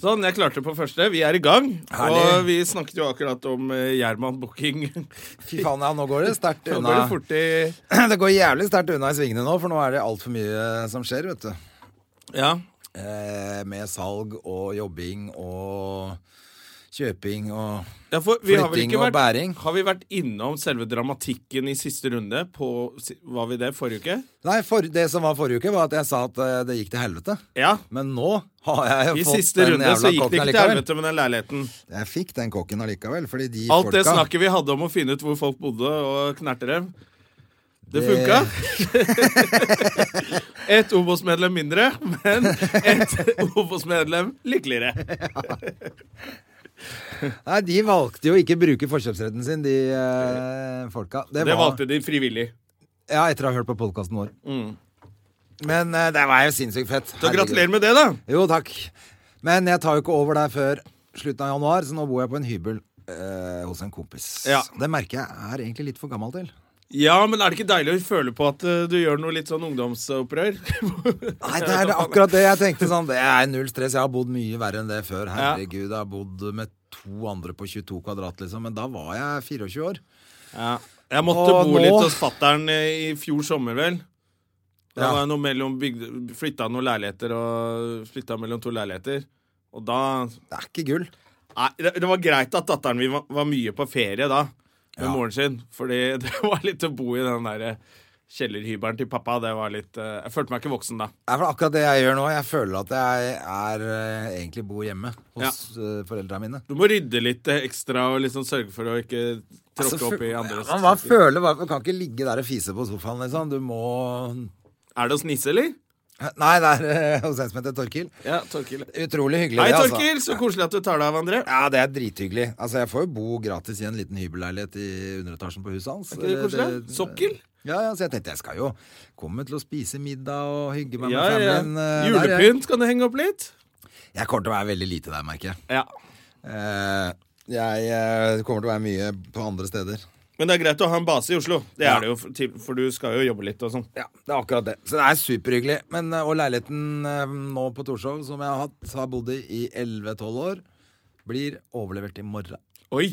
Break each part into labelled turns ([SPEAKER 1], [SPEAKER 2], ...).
[SPEAKER 1] Sånn, jeg klarte på første. Vi er i gang.
[SPEAKER 2] Herlig.
[SPEAKER 1] Og vi snakket jo akkurat om eh, Gjerman Booking. Nå
[SPEAKER 2] Fy faen, ja, nå går det sterkt
[SPEAKER 1] går det
[SPEAKER 2] unna.
[SPEAKER 1] fort i
[SPEAKER 2] Det går jævlig sterkt unna i svingene nå, for nå er det altfor mye som skjer, vet du.
[SPEAKER 1] Ja.
[SPEAKER 2] Eh, med salg og jobbing og kjøping og
[SPEAKER 1] ja for vi har vel
[SPEAKER 2] Flytting
[SPEAKER 1] ikke
[SPEAKER 2] og
[SPEAKER 1] vært,
[SPEAKER 2] bæring.
[SPEAKER 1] Har vi vært innom selve dramatikken i siste runde? På, si- var vi det forrige uke?
[SPEAKER 2] Nei, for, det som var forrige uke, var at jeg sa at eh, det gikk til helvete.
[SPEAKER 1] Ja.
[SPEAKER 2] Men nå har jeg
[SPEAKER 1] I
[SPEAKER 2] fått
[SPEAKER 1] siste
[SPEAKER 2] den
[SPEAKER 1] runde
[SPEAKER 2] jævla
[SPEAKER 1] så gikk
[SPEAKER 2] kokken
[SPEAKER 1] det ikke til
[SPEAKER 2] allikevel.
[SPEAKER 1] helvete med den leiligheten.
[SPEAKER 2] Jeg fikk den kokken allikevel, fordi de
[SPEAKER 1] Alt det
[SPEAKER 2] folka
[SPEAKER 1] snakket vi hadde om å finne ut hvor folk bodde og knerte dem, det
[SPEAKER 2] Det-
[SPEAKER 1] funka. Et Obos-medlem mindre, men et Obos-medlem lykkeligere.
[SPEAKER 2] Nei, de valgte jo ikke å bruke forkjøpsretten sin, de eh, folka. Det,
[SPEAKER 1] Det
[SPEAKER 2] var,
[SPEAKER 1] valgte de frivillig.
[SPEAKER 2] Ja, etter å ha hørt på podkasten vår. Men eh, det var jo sinnssykt fett.
[SPEAKER 1] Så
[SPEAKER 2] Herregud.
[SPEAKER 1] gratulerer med det, da.
[SPEAKER 2] Jo, takk. Men jeg tar jo ikke over der før slutten av januar, så nå bor jeg på en hybel eh, hos en kompis.
[SPEAKER 1] Ja.
[SPEAKER 2] Det merker jeg er egentlig litt for gammel til.
[SPEAKER 1] Ja, men er det ikke deilig å føle på at eh, du gjør noe litt sånn ungdomsopprør?
[SPEAKER 2] Nei, det er akkurat det jeg tenkte. Sånn, det er null stress. Jeg har bodd mye verre enn det før.
[SPEAKER 1] Ja.
[SPEAKER 2] Herregud, jeg har bodd med to andre på 22 kvadrat, liksom. Men da var jeg 24 år.
[SPEAKER 1] ja. Jeg måtte
[SPEAKER 2] Og
[SPEAKER 1] bo
[SPEAKER 2] nå-
[SPEAKER 1] litt hos fatter'n eh, i fjor sommer, vel.
[SPEAKER 2] Ja.
[SPEAKER 1] Da var jeg noe mellom bygde, flytta noen leiligheter og flytta mellom to leiligheter. Og da
[SPEAKER 2] Det er ikke gull.
[SPEAKER 1] Nei, det, det var greit at datteren min var, var mye på ferie da, med moren sin. Fordi det var litt å bo i den der kjellerhybelen til pappa. Det var litt eh, Jeg følte meg ikke voksen da.
[SPEAKER 2] Det er vel akkurat det jeg gjør nå. Jeg føler at jeg er, eh, egentlig bor hjemme hos ja. foreldra mine.
[SPEAKER 1] Du må rydde litt eh, ekstra og liksom sørge for å ikke
[SPEAKER 2] Altså,
[SPEAKER 1] tråkke opp i andres
[SPEAKER 2] man, man føler bare- Du kan ikke ligge der og fise på sofaen, liksom. Du må
[SPEAKER 1] Er det hos Nisse, eller?
[SPEAKER 2] Nei, det er eh, hos en som heter Torkil.
[SPEAKER 1] Ja, Torkil.
[SPEAKER 2] Utrolig hyggelig.
[SPEAKER 1] Hei,
[SPEAKER 2] det, altså.
[SPEAKER 1] Torkil! Så koselig at du tar deg av andre.
[SPEAKER 2] Ja, det er drithyggelig. Altså, jeg får jo bo gratis i en liten hybelleilighet i underetasjen på huset hans.
[SPEAKER 1] Er ikke det koselig? Sokkel?
[SPEAKER 2] Ja, ja, så jeg tenkte jeg skal jo komme til å spise middag og hygge meg med
[SPEAKER 1] Ja, ja.
[SPEAKER 2] familien. eh, der, jeg.
[SPEAKER 1] Julepynt kan du henge opp litt.
[SPEAKER 2] Jeg kommer til å være veldig lite der, merker jeg.
[SPEAKER 1] Ja.
[SPEAKER 2] Eh, jeg eh, kommer til å være mye på andre steder.
[SPEAKER 1] Men det er greit å ha en base i Oslo. Det
[SPEAKER 2] Ja.
[SPEAKER 1] er det jo, for- til- for du skal jo jobbe litt og sånn.
[SPEAKER 2] Ja, det er akkurat det. Så det er superhyggelig. Men, eh, og leiligheten eh, nå på Torshov, som jeg har hatt, har bodd i i 11-12 år, blir overlevert i morgen.
[SPEAKER 1] Oi!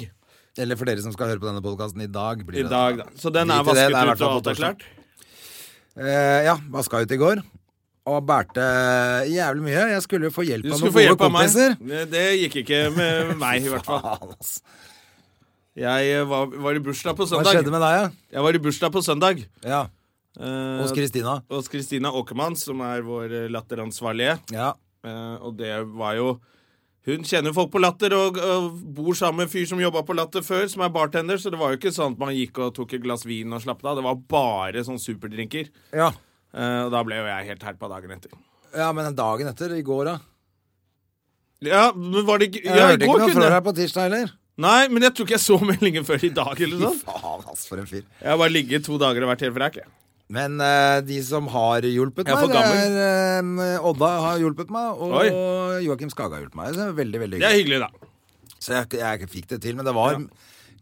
[SPEAKER 2] Eller for dere som skal høre på denne podkasten, i dag blir
[SPEAKER 1] I
[SPEAKER 2] det
[SPEAKER 1] dag, da. Så den er
[SPEAKER 2] Drit i det,
[SPEAKER 1] vasket
[SPEAKER 2] det er i hvert
[SPEAKER 1] ut, og
[SPEAKER 2] fall på
[SPEAKER 1] alt er
[SPEAKER 2] torsdag.
[SPEAKER 1] klart?
[SPEAKER 2] Eh, ja, vaska ut i går. Og bærte jævlig mye. Jeg skulle jo få hjelp
[SPEAKER 1] Du
[SPEAKER 2] av
[SPEAKER 1] skulle
[SPEAKER 2] noen
[SPEAKER 1] få
[SPEAKER 2] gode
[SPEAKER 1] hjelp av meg.
[SPEAKER 2] kompiser.
[SPEAKER 1] Det, det gikk ikke med meg, i hvert fall.
[SPEAKER 2] Faen, ass.
[SPEAKER 1] Jeg eh, var, var i bursdag på
[SPEAKER 2] Hva
[SPEAKER 1] søndag.
[SPEAKER 2] skjedde med deg,
[SPEAKER 1] Jeg var i bursdag på søndag.
[SPEAKER 2] ja? ja?
[SPEAKER 1] Eh,
[SPEAKER 2] Hos Kristina.
[SPEAKER 1] hos Kristina Åkermann, som er vår eh, latteransvarlige.
[SPEAKER 2] Ja.
[SPEAKER 1] Eh, og det var jo Hun kjenner folk på Latter og, og bor sammen med en fyr som jobba på Latter før, som er bartender, så det var jo ikke sånn at man gikk og tok et glass vin og slappet av. Det var bare sånn superdrinker.
[SPEAKER 2] ja.
[SPEAKER 1] Eh, og da ble jo jeg helt herpa dagen etter.
[SPEAKER 2] Ja, men den dagen etter, i går, da?
[SPEAKER 1] Ja, men var det ikke
[SPEAKER 2] Jeg
[SPEAKER 1] Ja, i
[SPEAKER 2] hørte ikke
[SPEAKER 1] går
[SPEAKER 2] noe fra
[SPEAKER 1] kunne
[SPEAKER 2] deg på tirsdag heller.
[SPEAKER 1] Nei, men jeg tror ikke jeg så meldingen før i dag, eller noe sånt.
[SPEAKER 2] Faen, ass, for en fyr.
[SPEAKER 1] Jeg har bare ligget to dager og vært helt vræk. jeg.
[SPEAKER 2] Men eh, de som har hjulpet
[SPEAKER 1] Jeg er
[SPEAKER 2] meg,
[SPEAKER 1] for
[SPEAKER 2] det
[SPEAKER 1] gammel.
[SPEAKER 2] er eh, Odda har hjulpet meg, og Joakim Skage har hjulpet meg. Så det er veldig, veldig
[SPEAKER 1] Det er
[SPEAKER 2] hyggelig.
[SPEAKER 1] hyggelig, da.
[SPEAKER 2] Så jeg, jeg fikk det til, men det var,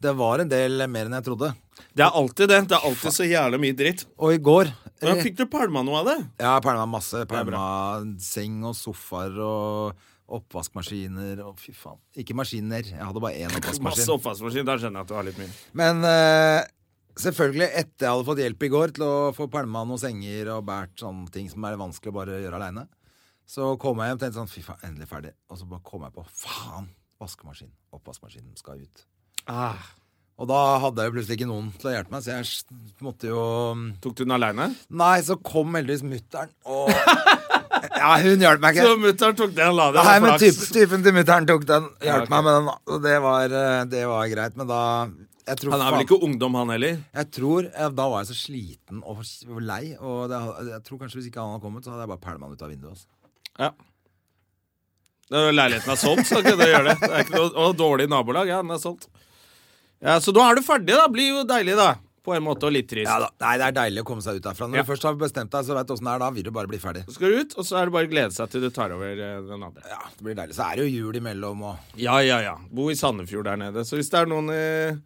[SPEAKER 2] det var en del mer enn jeg trodde.
[SPEAKER 1] Det er alltid det. Det er alltid så jævlig mye dritt.
[SPEAKER 2] Og i går
[SPEAKER 1] Men fikk du pælma noe av det?
[SPEAKER 2] Jeg har pælma masse.
[SPEAKER 1] er bra.
[SPEAKER 2] Pælma seng og sofaer og oppvaskmaskiner og fy faen. Ikke maskiner. Jeg hadde bare én
[SPEAKER 1] Masse
[SPEAKER 2] oppvaskmaskin.
[SPEAKER 1] oppvaskmaskin. Da skjønner jeg at du har litt mye.
[SPEAKER 2] Men eh, selvfølgelig, etter jeg hadde fått hjelp i går til å få pælma noen senger og båret sånne ting som er vanskelig å bare gjøre aleine, så kom jeg hjem og tenkte sånn Fy faen, endelig ferdig. Og så bare kom jeg på Faen! Vaskemaskin. Oppvaskmaskinen skal ut.
[SPEAKER 1] Ah.
[SPEAKER 2] Og da hadde jeg jo plutselig ikke noen til å hjelpe meg, så jeg s- måtte jo
[SPEAKER 1] Tok du den aleine?
[SPEAKER 2] Nei, så kom heldigvis mutter'n og Ja, hun hjalp meg ikke.
[SPEAKER 1] Så mutter'n tok den og la
[SPEAKER 2] Nei,
[SPEAKER 1] den.
[SPEAKER 2] men
[SPEAKER 1] og
[SPEAKER 2] typen,
[SPEAKER 1] flaks.
[SPEAKER 2] typen til mutter'n tok den. Hjalp
[SPEAKER 1] Ja, ok.
[SPEAKER 2] meg med den. da. Og det var, eh, det var greit. Men da jeg tror,
[SPEAKER 1] Han er vel
[SPEAKER 2] faen-
[SPEAKER 1] ikke ungdom, han heller?
[SPEAKER 2] jeg tror, eh, Da var jeg så sliten og s- og lei. Og det, jeg tror kanskje hvis ikke han hadde kommet, så hadde jeg bare pælma han ut av vinduet. Altså.
[SPEAKER 1] Ja. Når Leiligheten er solgt, så kan dere gjøre det. det er ikke noe, og dårlig nabolag. Ja, den er solgt. Ja, så nå er du ferdig, da. Blir jo deilig, da. På en måte, og litt trist.
[SPEAKER 2] Ja da. Nei, det er deilig å komme seg ut derfra. Når
[SPEAKER 1] Ja.
[SPEAKER 2] du først har bestemt deg, så veit du åssen det er. Da vil du bare bli ferdig.
[SPEAKER 1] Så skal du ut, og så er det bare å glede seg til du tar over eh, den andre.
[SPEAKER 2] Ja, det blir deilig. Så er det jo jul imellom og
[SPEAKER 1] Ja, ja, ja. Bo i Sandefjord der nede. Så hvis det er noen eh,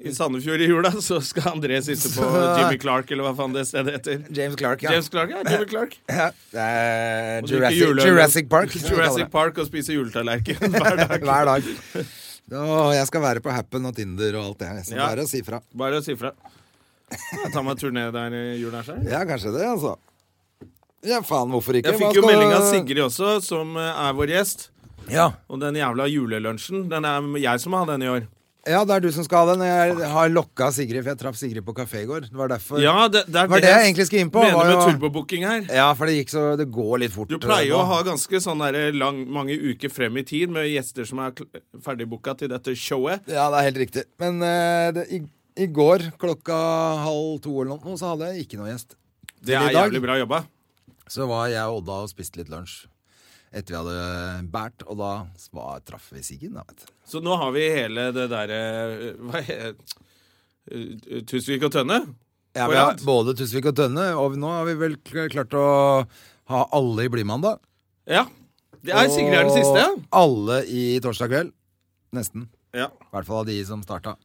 [SPEAKER 1] i Sandefjord i jula, så skal André sitte på
[SPEAKER 2] Så-
[SPEAKER 1] Jimmy Clark, eller hva faen det stedet heter.
[SPEAKER 2] James Clark, ja.
[SPEAKER 1] James Clark, ja. Jimmy Clark.
[SPEAKER 2] ja. Det er
[SPEAKER 1] Og drikke
[SPEAKER 2] Jurassic,
[SPEAKER 1] juleøl.
[SPEAKER 2] Jurassic Park. som vi kaller
[SPEAKER 1] Jurassic
[SPEAKER 2] det.
[SPEAKER 1] Park og spise juletallerken hver dag.
[SPEAKER 2] Hver dag. Å, jeg skal være på Happen og Tinder og alt det her. Så
[SPEAKER 1] Ja.
[SPEAKER 2] bare å si fra.
[SPEAKER 1] Bare å si fra. Jeg tar meg en tur ned der i julen er seg.
[SPEAKER 2] Ja, kanskje det, altså. Ja, faen, hvorfor ikke?
[SPEAKER 1] Jeg
[SPEAKER 2] Hva
[SPEAKER 1] fikk jo
[SPEAKER 2] skal-
[SPEAKER 1] melding av Sigrid også, som eh, er vår gjest.
[SPEAKER 2] Ja.
[SPEAKER 1] Og den jævla julelunsjen, den er jeg som har den i år.
[SPEAKER 2] ja, det er du som skal ha den. Jeg har lokka Sigrid, for jeg traff Sigrid på kafé i går. Det var derfor.
[SPEAKER 1] Ja, det, det er
[SPEAKER 2] Var det jeg egentlig skulle inn på,
[SPEAKER 1] Mener
[SPEAKER 2] var
[SPEAKER 1] med
[SPEAKER 2] jo-
[SPEAKER 1] turbobooking her.
[SPEAKER 2] Ja, for det gikk så Det går litt fort.
[SPEAKER 1] Du pleier jo
[SPEAKER 2] nå.
[SPEAKER 1] å ha ganske sånn der lang, mange uker frem i tid med gjester som er kl- ferdigbooka til dette showet.
[SPEAKER 2] Ja, det er helt riktig. Men eh, det, i, i går klokka halv to eller noe, så hadde jeg ikke noe gjest. Til
[SPEAKER 1] Det
[SPEAKER 2] i
[SPEAKER 1] er
[SPEAKER 2] dag.
[SPEAKER 1] jævlig bra jobba.
[SPEAKER 2] Så var jeg og Odda og spiste litt lunsj etter vi hadde båret, og da var, traff vi Siggen, da, vet du.
[SPEAKER 1] Så nå har vi hele det derre Hva heter Tusvik og Tønne?
[SPEAKER 2] Ja,
[SPEAKER 1] På
[SPEAKER 2] vi har
[SPEAKER 1] rad?
[SPEAKER 2] både Tusvik og Tønne, og nå har vi vel kl- klart å ha alle i Blymandag.
[SPEAKER 1] Ja. Det er Sigrid er den siste.
[SPEAKER 2] Og alle i torsdag kveld. Nesten.
[SPEAKER 1] Ja.
[SPEAKER 2] I hvert fall av de som starta.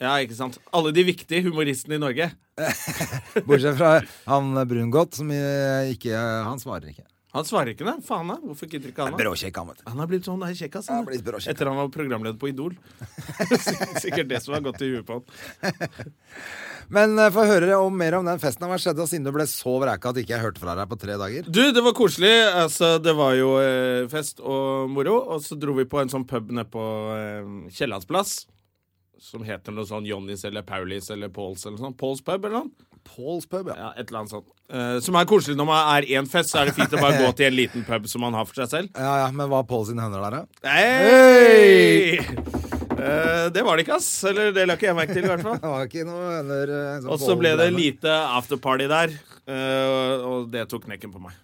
[SPEAKER 1] ja, ikke sant. Alle de viktige humoristene i Norge.
[SPEAKER 2] Bortsett fra han Brungot, som eh, ikke Han svarer ikke.
[SPEAKER 1] Han svarer ikke, nei. Faen, da. Hvorfor gidder ikke han? da?
[SPEAKER 2] Bråkjekk, han, vet du.
[SPEAKER 1] Han har blitt sånn der kjekkas.
[SPEAKER 2] Han har blitt bra kjekkas.
[SPEAKER 1] Etter han var programleder på Idol. Sikkert det som har gått i huet på han.
[SPEAKER 2] Men eh, få høre om mer om den festen. Hva skjedde siden du ble så vreka at ikke jeg hørte fra deg på tre dager?
[SPEAKER 1] Du, det var koselig. Altså, det var jo eh, fest og moro. Og så dro vi på en sånn pub nede på eh, Kiellandsplass. Som heter noe sånn Johnnys eller Paulis eller Pauls eller sånn. Pauls pub eller noe.
[SPEAKER 2] Pauls pub,
[SPEAKER 1] Ja, et eller annet sånt. Eh, som er koselig når man er én fest, så er det fint å bare gå til en liten pub som man har for seg selv.
[SPEAKER 2] Ja, ja, Men var Paul sine hender der, da?
[SPEAKER 1] Hei! Eh, det var det ikke, ass. Eller det la ikke jeg merke til, i hvert fall.
[SPEAKER 2] Det var ikke noe hender eh, som
[SPEAKER 1] Og så
[SPEAKER 2] Paul
[SPEAKER 1] ble det
[SPEAKER 2] drev med.
[SPEAKER 1] lite afterparty der, eh, og det tok knekken på meg.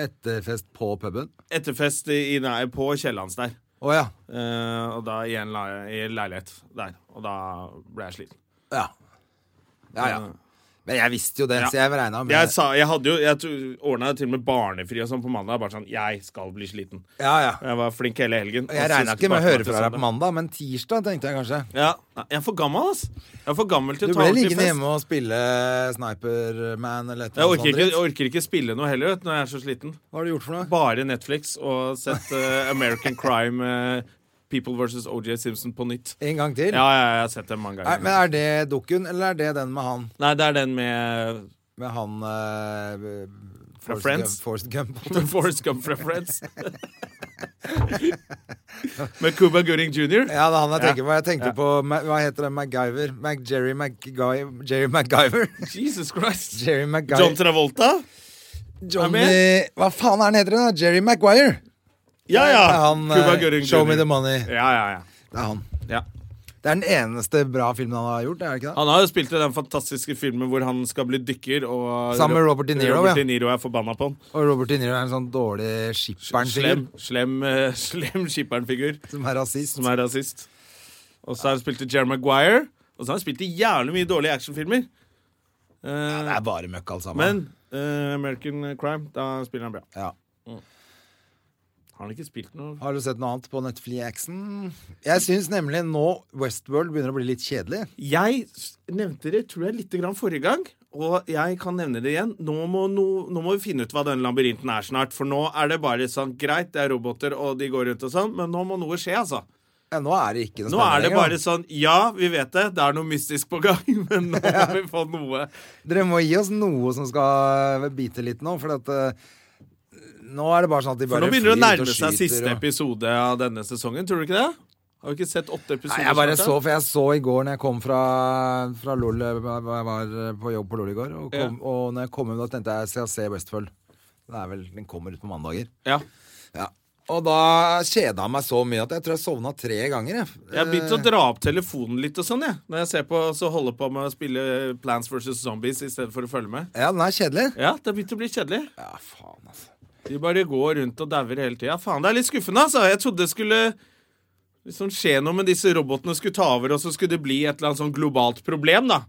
[SPEAKER 2] Etterfest på puben?
[SPEAKER 1] Etterfest i, nei, på Kiellands der,
[SPEAKER 2] Å ja.
[SPEAKER 1] eh, og da i en, le i en leilighet der. Og da ble jeg sliten.
[SPEAKER 2] ja. Ja ja. Men jeg visste jo det,
[SPEAKER 1] Ja.
[SPEAKER 2] så jeg regna med
[SPEAKER 1] Jeg, sa, jeg hadde jo Jeg ordna til og med barnefri og sånn på mandag. Bare sånn Jeg skal bli sliten.
[SPEAKER 2] Ja ja.
[SPEAKER 1] Og Jeg var flink hele helgen.
[SPEAKER 2] Og Jeg regna ikke med å høre fra deg på mandag, men tirsdag tenkte jeg kanskje.
[SPEAKER 1] Ja, Nei, Jeg er for gammel, ass. Jeg er for gammel til
[SPEAKER 2] Du
[SPEAKER 1] å ta
[SPEAKER 2] ble
[SPEAKER 1] ordentlig fest.
[SPEAKER 2] liggende hjemme og spille Sniperman eller et
[SPEAKER 1] Jeg
[SPEAKER 2] eller
[SPEAKER 1] orker
[SPEAKER 2] annet
[SPEAKER 1] ikke,
[SPEAKER 2] sånt. dritt.
[SPEAKER 1] orker ikke spille noe heller vet, du, når jeg er så sliten.
[SPEAKER 2] Hva har du gjort for noe?
[SPEAKER 1] bare Netflix og sett eh, American Crime eh, People vs. OJ Simpson på nytt.
[SPEAKER 2] En gang til?
[SPEAKER 1] Ja, ja, jeg har sett den mange
[SPEAKER 2] Er,
[SPEAKER 1] ganger.
[SPEAKER 2] men er det dukken, eller er det den med han?
[SPEAKER 1] Nei, det er den med
[SPEAKER 2] Med han eh,
[SPEAKER 1] Fra
[SPEAKER 2] Forrest
[SPEAKER 1] Friends?
[SPEAKER 2] Gump- Forrest Gump.
[SPEAKER 1] The Forest Gump fra Friends. med Cuba Gooding jr.
[SPEAKER 2] Ja, det er han jeg tenker på. Jeg tenkte
[SPEAKER 1] Ja.
[SPEAKER 2] på Ma- Hva heter den MacGyver? Mac Jerry MacGyver? Jerry MacGyver?
[SPEAKER 1] Jesus Christ.
[SPEAKER 2] Jerry MacGyver.
[SPEAKER 1] John Travolta? er
[SPEAKER 2] Johnny
[SPEAKER 1] med.
[SPEAKER 2] Hva faen er han heter han? da? Jerry Maguire?
[SPEAKER 1] Ja, ja.
[SPEAKER 2] Det er han,
[SPEAKER 1] Cuba
[SPEAKER 2] eh,
[SPEAKER 1] Gooding
[SPEAKER 2] Show me
[SPEAKER 1] Jr..
[SPEAKER 2] the money.
[SPEAKER 1] Ja, ja, ja.
[SPEAKER 2] Det er han.
[SPEAKER 1] ja.
[SPEAKER 2] Det er den eneste bra filmen han har gjort, er det ikke det?
[SPEAKER 1] Han har jo spilt i den fantastiske filmen hvor han skal bli dykker, og
[SPEAKER 2] Sammen med Robert De Niro, ja.
[SPEAKER 1] Robert De Niro er forbanna på han.
[SPEAKER 2] Og Robert De Niro er en sånn dårlig skipperen-figur
[SPEAKER 1] Slem, slem, eh, slem skipperen-figur.
[SPEAKER 2] som er rasist.
[SPEAKER 1] som er rasist. Og så har han spilt i Jerry Maguire. Og så har han spilt i jævlig mye dårlige actionfilmer. Eh,
[SPEAKER 2] Det er bare møkk, alt sammen.
[SPEAKER 1] men eh, American Crime, da spiller han bra.
[SPEAKER 2] ja.
[SPEAKER 1] Har han ikke spilt noe
[SPEAKER 2] Har du sett noe annet på Netflixen? Jeg syns nemlig nå Westworld begynner å bli litt kjedelig.
[SPEAKER 1] Jeg s- nevnte det tror jeg litt grann forrige gang, og jeg kan nevne det igjen. Nå må, no, nå må vi finne ut hva den labyrinten er snart, for nå er det bare sånn greit, det er roboter og de går rundt og sånn, men nå må noe skje, altså.
[SPEAKER 2] Ja, nå er det ikke noe
[SPEAKER 1] Nå er det
[SPEAKER 2] lenger,
[SPEAKER 1] bare
[SPEAKER 2] da.
[SPEAKER 1] sånn Ja, vi vet det, det er noe mystisk på gang, men nå må vi få noe.
[SPEAKER 2] Dere må gi oss noe som skal bite litt nå, for at eh, Nå er det bare sånn at de
[SPEAKER 1] For
[SPEAKER 2] bare
[SPEAKER 1] nå begynner
[SPEAKER 2] flyr ut
[SPEAKER 1] det å
[SPEAKER 2] og
[SPEAKER 1] nærme seg
[SPEAKER 2] skyter
[SPEAKER 1] siste
[SPEAKER 2] og-
[SPEAKER 1] episode av denne sesongen, tror du ikke det? Har vi ikke sett åtte episoder?
[SPEAKER 2] Nei, jeg bare
[SPEAKER 1] snart,
[SPEAKER 2] så,
[SPEAKER 1] da?
[SPEAKER 2] for jeg så i går når jeg kom fra, fra LOL Jeg var på jobb på LOL i går, og, kom, og når jeg kom hjem da tenkte jeg skal jeg se Westfold. Det er vel, den kommer ut på mandager.
[SPEAKER 1] Ja.
[SPEAKER 2] Ja. Og da kjeda jeg meg så mye at jeg tror jeg sovna tre ganger. Jeg,
[SPEAKER 1] Jeg har begynt å
[SPEAKER 2] Eh.
[SPEAKER 1] dra opp telefonen litt og sånn, jeg. Når jeg ser på, så holder på med å spille Plants vs. Zombies i stedet for å følge med.
[SPEAKER 2] Ja, den er kjedelig.
[SPEAKER 1] Ja, det har begynt å bli kjedelig.
[SPEAKER 2] Ja, faen, altså.
[SPEAKER 1] De bare går rundt og dauer hele tida. Faen, det er litt skuffende, altså. Jeg trodde det skulle liksom skje noe med disse robotene skulle ta over, og så skulle det bli et eller annet sånn globalt problem, da.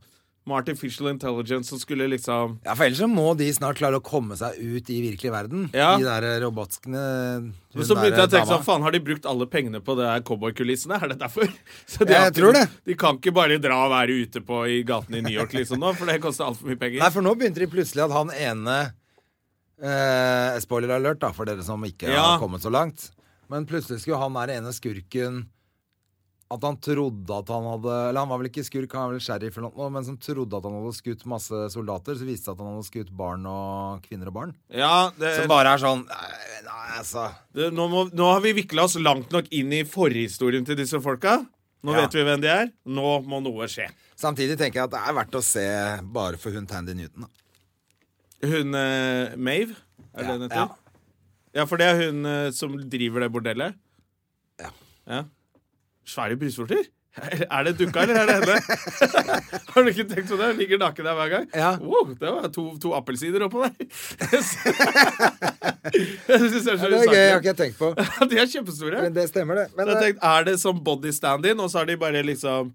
[SPEAKER 1] Med artificial intelligence som skulle liksom
[SPEAKER 2] Ja, for ellers så må de snart klare å komme seg ut i virkelig verden.
[SPEAKER 1] Ja.
[SPEAKER 2] De der robotskene hun
[SPEAKER 1] Men så begynte
[SPEAKER 2] der
[SPEAKER 1] jeg å tenke
[SPEAKER 2] dama.
[SPEAKER 1] sånn, faen, har de brukt alle pengene på det her cowboykulissene? Er det derfor? Så
[SPEAKER 2] Jeg
[SPEAKER 1] har ikke-
[SPEAKER 2] tror det.
[SPEAKER 1] De kan ikke bare dra og være ute på i gatene i New York liksom nå, for det koster altfor mye penger.
[SPEAKER 2] Nei, for nå begynte de plutselig at han ene eh, Spoiler alert, da, for dere som ikke
[SPEAKER 1] Ja.
[SPEAKER 2] har kommet så langt. Men plutselig skulle han der ene skurken At han trodde at han hadde Eller han var vel ikke skurk, han var vel sheriff eller noe, men som trodde at han hadde skutt masse soldater. Så viste det seg at han hadde skutt barn og kvinner og barn.
[SPEAKER 1] Ja, det,
[SPEAKER 2] Som bare er sånn Nei, nei altså
[SPEAKER 1] det, nå, må, nå har vi vikla oss langt nok inn i forhistorien til disse folka. Nå
[SPEAKER 2] Ja.
[SPEAKER 1] vet vi hvem de er. Nå må noe skje.
[SPEAKER 2] Samtidig tenker jeg at det er verdt å se bare for hun Tandy Newton. Da.
[SPEAKER 1] Hun eh, Mave, er det
[SPEAKER 2] Ja,
[SPEAKER 1] hun heter?
[SPEAKER 2] ja.
[SPEAKER 1] Ja. for det er hun eh, som driver det bordellet?
[SPEAKER 2] Ja.
[SPEAKER 1] ja. Svære brystvorter? Er er det dukka, eller er det henne? Har du ikke tenkt på det? Hun ligger naken der hver gang.
[SPEAKER 2] Ja.
[SPEAKER 1] Wow, det var to, to appelsider oppå der. Jeg synes det er så
[SPEAKER 2] Det er gøy, jeg har
[SPEAKER 1] usaklig.
[SPEAKER 2] ikke tenkt på.
[SPEAKER 1] De er kjempestore.
[SPEAKER 2] Men det stemmer, det. Men,
[SPEAKER 1] Så jeg
[SPEAKER 2] eh,
[SPEAKER 1] tenkte, er det som body stand-in, og så har de bare liksom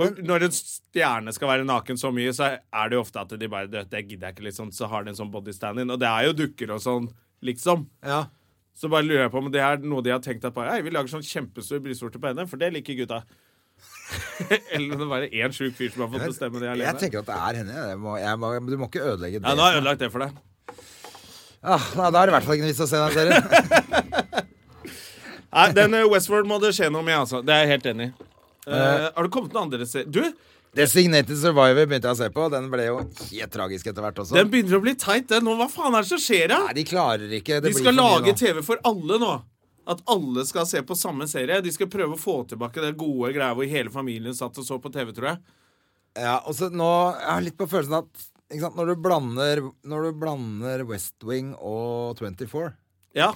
[SPEAKER 1] for Når en stjerne skal være naken så mye, så er det jo ofte at de bare "Det- Det gidder jeg ikke, liksom. Så har de en sånn body stand-in. Og det er jo dukker og sånn, liksom.
[SPEAKER 2] eh, ja.
[SPEAKER 1] Så bare lurer jeg på om det er noe de har tenkt at bare, Ei, vi lager sånn kjempestor brystvorte på henne, for det liker gutta. Eller om det bare er én sjuk fyr som har fått bestemme det
[SPEAKER 2] jeg,
[SPEAKER 1] alene.
[SPEAKER 2] tenker at det er henne. Jeg må, jeg må, du må ikke ødelegge det.
[SPEAKER 1] Ja, nå har jeg ødelagt det for deg.
[SPEAKER 2] Ah, nei, da er det i hvert fall ikke noe vits å se den serien.
[SPEAKER 1] Nei, den eh, Westworld må det skje noe med, altså. Det er jeg helt enig i. Eh, har det kommet noen andre serier? Du,
[SPEAKER 2] Designated Survivor begynte jeg å se på. Den ble jo helt tragisk etter hvert også.
[SPEAKER 1] den begynner å bli teit, den nå. Hva faen er det som skjer, da?
[SPEAKER 2] Nei, de klarer ikke. Det
[SPEAKER 1] De
[SPEAKER 2] blir
[SPEAKER 1] skal
[SPEAKER 2] for mye
[SPEAKER 1] lage
[SPEAKER 2] nå.
[SPEAKER 1] TV for alle nå. At alle skal se på samme serie. De skal prøve å få tilbake det gode greia hvor hele familien satt og så på TV, tror jeg.
[SPEAKER 2] Ja, og så nå Jeg har litt på følelsen at ikke sant, når, du blander, når du blander West Wing og 24
[SPEAKER 1] Ja.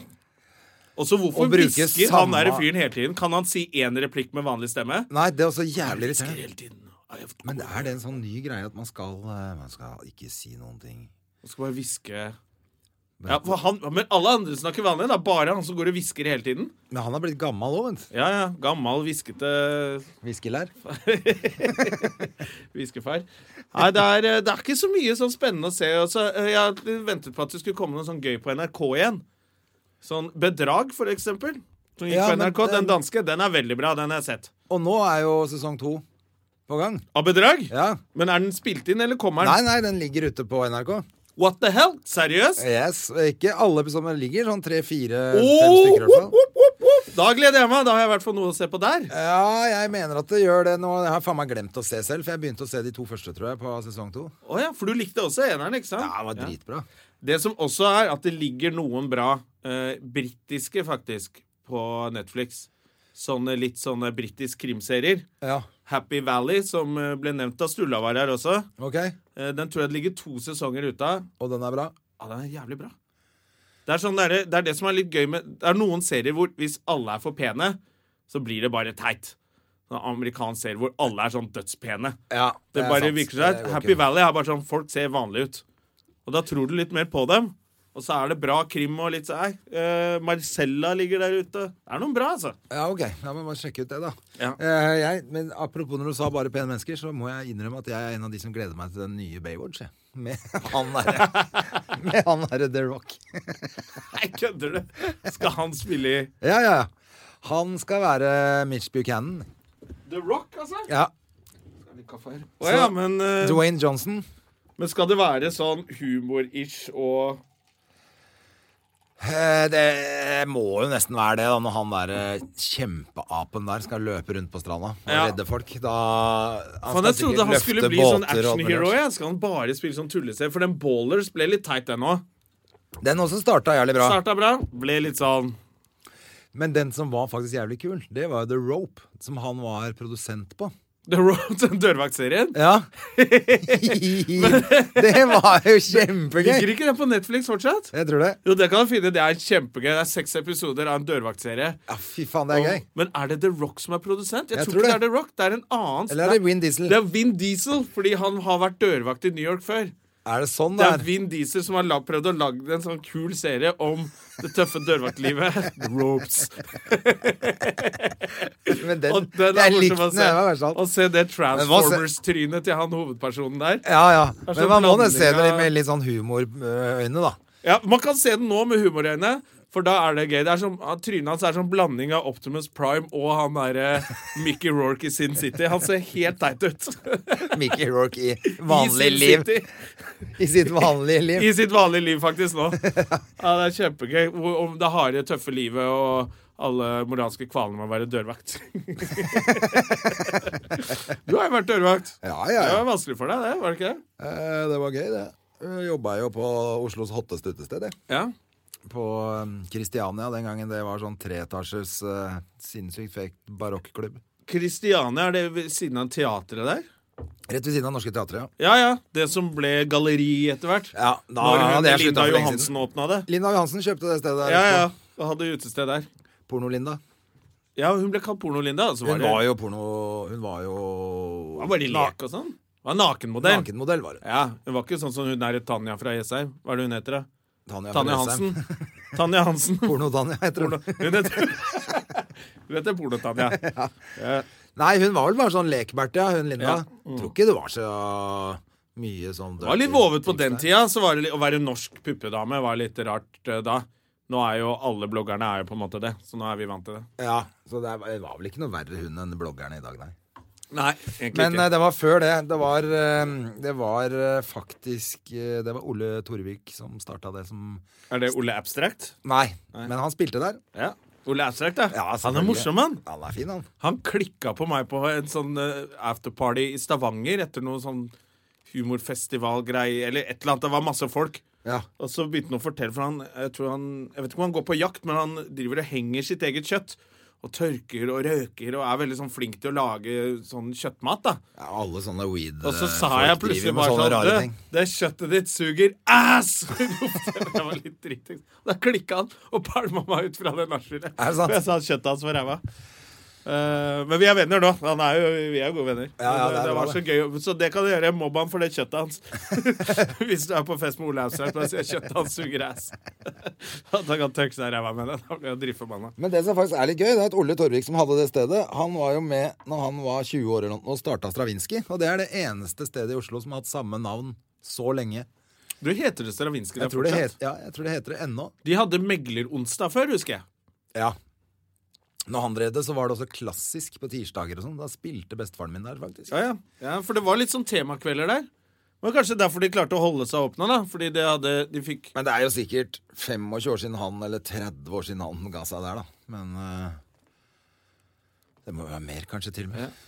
[SPEAKER 1] Og så hvorfor
[SPEAKER 2] Og bruke
[SPEAKER 1] hvisker
[SPEAKER 2] samme-
[SPEAKER 1] han der fyren hele tiden? Kan han si én replikk med vanlig stemme?
[SPEAKER 2] Nei, det er også jævlig
[SPEAKER 1] Hvisker
[SPEAKER 2] irriterende.
[SPEAKER 1] hele tiden. Nei, jeg-
[SPEAKER 2] Men er det en sånn ny greie at man skal eh, Man skal ikke si noen ting?
[SPEAKER 1] Jeg skal bare hviske ja, for han, Men alle andre snakker vanlig, da. Bare han som går og hvisker hele tiden.
[SPEAKER 2] Men han har blitt gammel òg, vent.
[SPEAKER 1] Ja, ja. Gammal, hviskete
[SPEAKER 2] Viskelær.
[SPEAKER 1] Hviskefar. Nei, det er, eh, det er ikke så mye sånn spennende å se. Også, Eh, jeg hadde ventet på at det skulle komme noe sånn gøy på NRK igjen. Sånn Bedrag, for eksempel. Som gikk
[SPEAKER 2] Ja,
[SPEAKER 1] på
[SPEAKER 2] men
[SPEAKER 1] NRK. Den
[SPEAKER 2] den-
[SPEAKER 1] danske. Den er veldig bra. Den har jeg sett.
[SPEAKER 2] Og nå er jo sesong to på gang.
[SPEAKER 1] Av Bedrag?
[SPEAKER 2] Ja.
[SPEAKER 1] Men er den spilt inn, eller kommer
[SPEAKER 2] Nei,
[SPEAKER 1] den?
[SPEAKER 2] nei, den ligger ute på NRK.
[SPEAKER 1] What the hell? Seriøst?
[SPEAKER 2] Yes, Ikke alle episoder ligger sånn tre-fire-fem
[SPEAKER 1] Åh,
[SPEAKER 2] stykker, i hvert
[SPEAKER 1] whoop,
[SPEAKER 2] fall.
[SPEAKER 1] whoop, whoop, whoop. Da gleder jeg meg. Da har jeg i hvert fall noe å se på der.
[SPEAKER 2] Ja, jeg mener at det gjør det nå. Jeg har faen meg glemt å se selv, for jeg begynte å se de to første, tror jeg, på sesong to.
[SPEAKER 1] Å ja, for du likte også eneren, ikke sant?
[SPEAKER 2] Ja, det var dritbra.
[SPEAKER 1] Det som også er at det ligger noen bra eh, britiske, faktisk, på Netflix. Sånne litt sånne britiske krimserier.
[SPEAKER 2] Ja,
[SPEAKER 1] Happy Valley, som eh, ble nevnt av Sturla var her også.
[SPEAKER 2] ok.
[SPEAKER 1] Eh, den tror jeg det ligger to sesonger ute av.
[SPEAKER 2] Og den er bra.
[SPEAKER 1] Ja, den er jævlig bra. Det er, sånn, det, er, det er det som er litt gøy med Det er noen serier hvor hvis alle er for pene, så blir det bare teit. Sånn amerikansk serie hvor alle er sånn dødspene.
[SPEAKER 2] Ja,
[SPEAKER 1] Det,
[SPEAKER 2] er
[SPEAKER 1] bare
[SPEAKER 2] sant.
[SPEAKER 1] virker seg
[SPEAKER 2] Det går
[SPEAKER 1] Happy
[SPEAKER 2] ikke.
[SPEAKER 1] Valley er bare sånn Folk ser vanlig ut Og da tror du litt mer på dem Og så er det bra krim og litt sånn eh, Marcella ligger der ute Det er noen bra altså
[SPEAKER 2] Ja, ok. Ja, men bare sjekke ut det, da.
[SPEAKER 1] Ja.
[SPEAKER 2] Eh, jeg, men apropos når du sa bare pene mennesker, så må jeg innrømme at jeg er en av de som gleder meg til den nye Baywatch, jeg. Med han derre Med han derre The Rock.
[SPEAKER 1] Nei, kødder du Skal han spille i
[SPEAKER 2] Ja, ja, ja. Han skal være Mitch Buchanan.
[SPEAKER 1] The Rock altså
[SPEAKER 2] Ja.
[SPEAKER 1] Åja, men, eh,
[SPEAKER 2] Dwayne Johnson.
[SPEAKER 1] men skal det være sånn humor-ish og
[SPEAKER 2] Eh, Det må jo nesten være det, da, når han der eh, kjempeapen der skal løpe rundt på stranda og
[SPEAKER 1] Ja.
[SPEAKER 2] redde folk. Da han
[SPEAKER 1] Faen,
[SPEAKER 2] skal
[SPEAKER 1] jeg trodde
[SPEAKER 2] sikkert
[SPEAKER 1] han skulle
[SPEAKER 2] løfte
[SPEAKER 1] bli sånn
[SPEAKER 2] båter og alt mulig
[SPEAKER 1] action-hero
[SPEAKER 2] rart.
[SPEAKER 1] ja. Skal han bare spille sånn tulleserie For den Ballers ble litt teit den også
[SPEAKER 2] Den også starta jævlig bra.
[SPEAKER 1] Startet bra, ble litt sånn
[SPEAKER 2] Men den som var faktisk jævlig kul, det var jo The Rope, som han var produsent på.
[SPEAKER 1] The Road til dørvaktserien
[SPEAKER 2] Ja. det var jo kjempegøy.
[SPEAKER 1] Ligger ikke den på Netflix fortsatt?
[SPEAKER 2] Jeg tror det.
[SPEAKER 1] Jo, det kan du finne. Det er kjempegøy. Det er seks episoder av en dørvaktserie.
[SPEAKER 2] Ja, fy faen, det er gøy.
[SPEAKER 1] Men er det The Rock som er produsent? Jeg,
[SPEAKER 2] Jeg
[SPEAKER 1] tror
[SPEAKER 2] tror
[SPEAKER 1] ikke det
[SPEAKER 2] det.
[SPEAKER 1] er The Rock. Det er en annen.
[SPEAKER 2] Eller er det Vin Diesel?
[SPEAKER 1] Det er Vin Diesel, fordi han har vært dørvakt i New York før.
[SPEAKER 2] Er det sånn
[SPEAKER 1] Det
[SPEAKER 2] det
[SPEAKER 1] er
[SPEAKER 2] er?
[SPEAKER 1] Vin Diesel som har la- prøvd å lage en sånn kul serie om det tøffe dørvaktlivet. Ropes.
[SPEAKER 2] Men den,
[SPEAKER 1] Og den er
[SPEAKER 2] jeg likte
[SPEAKER 1] morsom å
[SPEAKER 2] den.
[SPEAKER 1] se.
[SPEAKER 2] Den var verst av
[SPEAKER 1] Å
[SPEAKER 2] alt.
[SPEAKER 1] se det
[SPEAKER 2] se-
[SPEAKER 1] Transformers-trynet til han hovedpersonen der.
[SPEAKER 2] Ja, ja.
[SPEAKER 1] er
[SPEAKER 2] Men
[SPEAKER 1] sånn
[SPEAKER 2] man må
[SPEAKER 1] blanding
[SPEAKER 2] nesten se det
[SPEAKER 1] av-
[SPEAKER 2] med litt sånn humorøyne, da.
[SPEAKER 1] Ja, Man kan se den nå med humorøyne, for da er det gøy. Det er som, ah, Trynet hans er sånn blanding av Optimus Prime og han derre Mickey Rourke i Sin City. Han ser helt teit ut.
[SPEAKER 2] Mickey Rourke i
[SPEAKER 1] I
[SPEAKER 2] vanlig
[SPEAKER 1] Sin
[SPEAKER 2] liv.
[SPEAKER 1] City.
[SPEAKER 2] I sitt vanlige liv.
[SPEAKER 1] I sitt vanlige liv, faktisk, nå. Ja, Det er kjempegøy. Hvor- Om det harde, tøffe livet og alle moralske kvalene med å være dørvakt. Du har jo vært dørvakt.
[SPEAKER 2] Ja, ja,
[SPEAKER 1] Det
[SPEAKER 2] ja.
[SPEAKER 1] var vanskelig for deg, det? var det ikke?
[SPEAKER 2] Eh, Det var gøy, det. Jeg Jobba jo på Oslos hotteste utested, jeg.
[SPEAKER 1] Ja.
[SPEAKER 2] På eh, Christiania den gangen det var sånn treetasjes eh, sinnssykt fekt barokklubb.
[SPEAKER 1] Kristiania, er det ved siden av teatret der?
[SPEAKER 2] Rett ved siden av Norske Teatret, ja.
[SPEAKER 1] Ja ja. Det som ble galleri etter hvert.
[SPEAKER 2] Ja, da
[SPEAKER 1] Når hun,
[SPEAKER 2] hadde jeg sluttet
[SPEAKER 1] Linda
[SPEAKER 2] for lenge
[SPEAKER 1] Johansen åpna det.
[SPEAKER 2] Linda Johansen kjøpte det stedet.
[SPEAKER 1] Ja ja. Og hadde utested der.
[SPEAKER 2] Porno-Linda.
[SPEAKER 1] Ja, hun ble kalt Porno-Linda. Altså, var
[SPEAKER 2] Hun
[SPEAKER 1] det
[SPEAKER 2] var jo porno... Hun var jo
[SPEAKER 1] Hun var bare i lek og sånn. Var nakenmodell.
[SPEAKER 2] nakenmodell, var det.
[SPEAKER 1] Ja, Hun var ikke sånn som hun der Tanja fra Jessheim. Hva er det hun heter, da?
[SPEAKER 2] Tanja,
[SPEAKER 1] Tanja
[SPEAKER 2] Fresheim.
[SPEAKER 1] Hansen. Tanja Hansen.
[SPEAKER 2] Porno-Tanja heter
[SPEAKER 1] Porno.
[SPEAKER 2] hun.
[SPEAKER 1] Hun heter, hun heter Porno-Tanja.
[SPEAKER 2] Nei, hun var vel bare sånn lekberte, ja, hun Linda.
[SPEAKER 1] Ja.
[SPEAKER 2] Tror ikke det var så mye sånn
[SPEAKER 1] Var litt vovet på den tida. Så var det, litt- å være norsk puppedame var litt rart eh, da. Nå er jo alle bloggerne er jo på en måte det, så nå er vi vant til det.
[SPEAKER 2] Ja, så det var var vel ikke noe verre hun enn bloggerne i dag, nei.
[SPEAKER 1] Nei, egentlig
[SPEAKER 2] Men eh,
[SPEAKER 1] ikke.
[SPEAKER 2] det var før det. Det var, eh, det var eh, faktisk eh, Det var Ole Torvik som starta det som
[SPEAKER 1] Er det Ole Abstract?
[SPEAKER 2] Nei, men han spilte der.
[SPEAKER 1] Ja. Ole Abstract, da.
[SPEAKER 2] Ja,
[SPEAKER 1] han er
[SPEAKER 2] selvfølgelig.
[SPEAKER 1] morsom, han.
[SPEAKER 2] Han er fin, han.
[SPEAKER 1] Han klikka på meg på en sånn eh, afterparty i Stavanger etter noe sånn humorfestivalgreie eller et eller annet. Det var masse folk.
[SPEAKER 2] Ja.
[SPEAKER 1] Og så begynte han å fortelle, for han, jeg, tror han, jeg vet ikke om han går på jakt, men han driver og henger sitt eget kjøtt. Og tørker og røker og er veldig sånn flink til å lage sånn kjøttmat. da.
[SPEAKER 2] Ja, Alle sånne weed
[SPEAKER 1] Og så
[SPEAKER 2] eh,
[SPEAKER 1] sa
[SPEAKER 2] folk
[SPEAKER 1] jeg
[SPEAKER 2] driver
[SPEAKER 1] plutselig
[SPEAKER 2] med
[SPEAKER 1] bare
[SPEAKER 2] sånne
[SPEAKER 1] sånn
[SPEAKER 2] rare
[SPEAKER 1] Det,
[SPEAKER 2] ting.
[SPEAKER 1] det kjøttet ditt suger ass! det var litt dritings. Da klikka han og pælma meg ut fra det nachspielet.
[SPEAKER 2] Er det sant?
[SPEAKER 1] For Jeg sa kjøttet hans var ræva. Eh, men vi er venner nå. Han er jo, vi er jo gode venner.
[SPEAKER 2] Ja, ja,
[SPEAKER 1] Men
[SPEAKER 2] det er
[SPEAKER 1] det var
[SPEAKER 2] bra,
[SPEAKER 1] Så gøy Så det kan du gjøre. Mobb han for det kjøttet hans. Hvis du er på fest med Ole Haugstrand og sier kjøttet hans suger ass. At han kan tørke seg i ræva med det. Da blir han drittforbanna.
[SPEAKER 2] Men det som faktisk er litt gøy, det er at Ole Torvik som hadde det stedet, han var jo med når han var 20 år eller noe og starta Stravinskij. Og det er det eneste stedet i Oslo som har hatt samme navn så lenge.
[SPEAKER 1] Du heter det Stravinskij der
[SPEAKER 2] Jeg tror det,
[SPEAKER 1] fortsatt?
[SPEAKER 2] het, ja, jeg tror det heter det ennå.
[SPEAKER 1] De hadde megleronsdag før, husker jeg.
[SPEAKER 2] Ja. Når han drev det, så var det også klassisk på tirsdager og sånn. Da spilte bestefaren min der, faktisk.
[SPEAKER 1] Ja, ja. ja, for det var litt sånn temakvelder der. Det var kanskje derfor de klarte å holde seg åpne, da. Fordi de hadde De fikk
[SPEAKER 2] Men det er jo sikkert 25 år siden han, eller 30 år siden han ga seg der, da. Men eh, det må jo være mer, kanskje, til og med.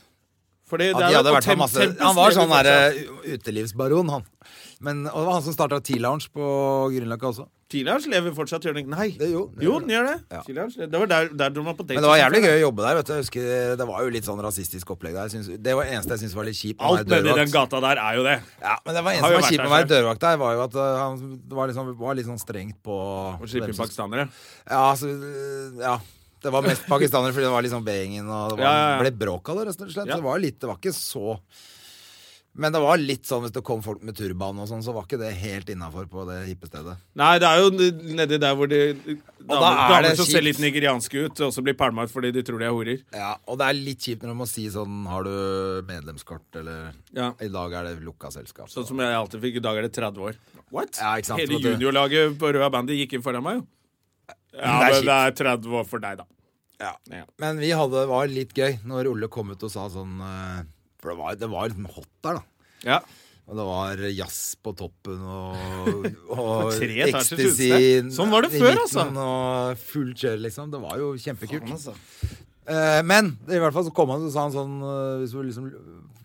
[SPEAKER 1] Fordi
[SPEAKER 2] Ja,
[SPEAKER 1] det
[SPEAKER 2] de
[SPEAKER 1] er
[SPEAKER 2] hadde
[SPEAKER 1] jo
[SPEAKER 2] vært
[SPEAKER 1] temp-
[SPEAKER 2] på masse
[SPEAKER 1] Tempus
[SPEAKER 2] Han var
[SPEAKER 1] lever
[SPEAKER 2] sånn
[SPEAKER 1] fortsatt.
[SPEAKER 2] der eh, utelivsbaron, han. Men, og det var han som starta T-Lounge på Grünerløkka også.
[SPEAKER 1] Tillers lever fortsatt, gjør den ikke? Nei.
[SPEAKER 2] Det gjorde- det
[SPEAKER 1] jo,
[SPEAKER 2] gjorde
[SPEAKER 1] den gjør det.
[SPEAKER 2] Ja.
[SPEAKER 1] Tillers lever- Det var der, der dro man på date.
[SPEAKER 2] Men det var jævlig gøy å jobbe der. vet du Jeg husker Det var jo litt sånn rasistisk opplegg der. Jeg Synes, det var eneste jeg syntes var litt kjipt. med å
[SPEAKER 1] Alt
[SPEAKER 2] være
[SPEAKER 1] nedi den
[SPEAKER 2] dørvakt.
[SPEAKER 1] gata der er jo det.
[SPEAKER 2] Ja, men det var
[SPEAKER 1] Har
[SPEAKER 2] eneste
[SPEAKER 1] jo
[SPEAKER 2] som var
[SPEAKER 1] vært
[SPEAKER 2] kjipt med å
[SPEAKER 1] der
[SPEAKER 2] være dørvakt der, var jo at øh, han var, liksom, var litt sånn strengt på
[SPEAKER 1] Å slippe
[SPEAKER 2] hvem
[SPEAKER 1] inn
[SPEAKER 2] som-
[SPEAKER 1] pakistanere.
[SPEAKER 2] Ja, så, øh, ja. Det var mest pakistanere fordi det var liksom B-gjengen, og det var,
[SPEAKER 1] Ja, ja,
[SPEAKER 2] ble
[SPEAKER 1] ja.
[SPEAKER 2] bråk av det, rett og slett.
[SPEAKER 1] Ja.
[SPEAKER 2] Så det var litt Det var ikke så men det var litt sånn hvis det kom folk med turban og sånn, så var ikke det helt innafor på det hippe stedet.
[SPEAKER 1] Nei, det er jo n- nedi der hvor de
[SPEAKER 2] da
[SPEAKER 1] damer,
[SPEAKER 2] er
[SPEAKER 1] damer
[SPEAKER 2] det
[SPEAKER 1] som ser
[SPEAKER 2] kjipt.
[SPEAKER 1] litt nigerianske ut, og så blir pælma ut fordi de tror de er horer.
[SPEAKER 2] Ja, og det er litt kjipt når du må si sånn Har du medlemskort, eller
[SPEAKER 1] Ja.
[SPEAKER 2] I dag er det lukka selskap.
[SPEAKER 1] Sånn som jeg alltid fikk. I dag er det 30 år. What?
[SPEAKER 2] Ja, ikke sant,
[SPEAKER 1] Hele
[SPEAKER 2] vet du.
[SPEAKER 1] juniorlaget på Røa Bandy gikk inn foran meg, jo. Ja,
[SPEAKER 2] Det er
[SPEAKER 1] men det er 30 år for deg, da.
[SPEAKER 2] Ja.
[SPEAKER 1] Ja.
[SPEAKER 2] Men vi hadde det var litt gøy når Olle kom ut og sa sånn eh, For det var, det var liksom hot der, da.
[SPEAKER 1] Ja.
[SPEAKER 2] Og det var jazz på toppen og, og
[SPEAKER 1] Tre etasjers
[SPEAKER 2] ecstasy
[SPEAKER 1] utested. Sånn var det
[SPEAKER 2] i
[SPEAKER 1] før,
[SPEAKER 2] midten,
[SPEAKER 1] altså.
[SPEAKER 2] Og full kjør, liksom. Det var jo kjempekult. Eh, men i hvert fall så kom han og sa han sånn eh, hvis du liksom,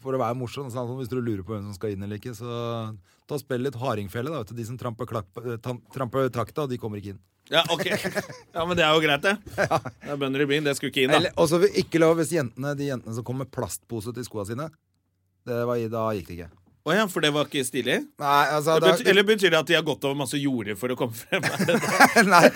[SPEAKER 2] For å være morsom, så sa han sånn Hvis du lurer på hvem som skal inn eller ikke, så ta og spill litt hardingfele, da. Vet du. De som tramper, klakk- eh, tam- tramper takta, de kommer ikke inn.
[SPEAKER 1] Ja, ok. Ja, men det er jo greit, det. Det er bønder i byen. Det skulle ikke inn, da.
[SPEAKER 2] Eller- Og så vil ikke lov hvis jentene De jentene som kom med plastpose til skoene sine det var, i- Da gikk det ikke
[SPEAKER 1] Å ja, for det var ikke stilig?
[SPEAKER 2] Nei, altså
[SPEAKER 1] Det
[SPEAKER 2] da,
[SPEAKER 1] betyr, eller betyr det at de har gått over masse jorder for å komme frem?
[SPEAKER 2] Nei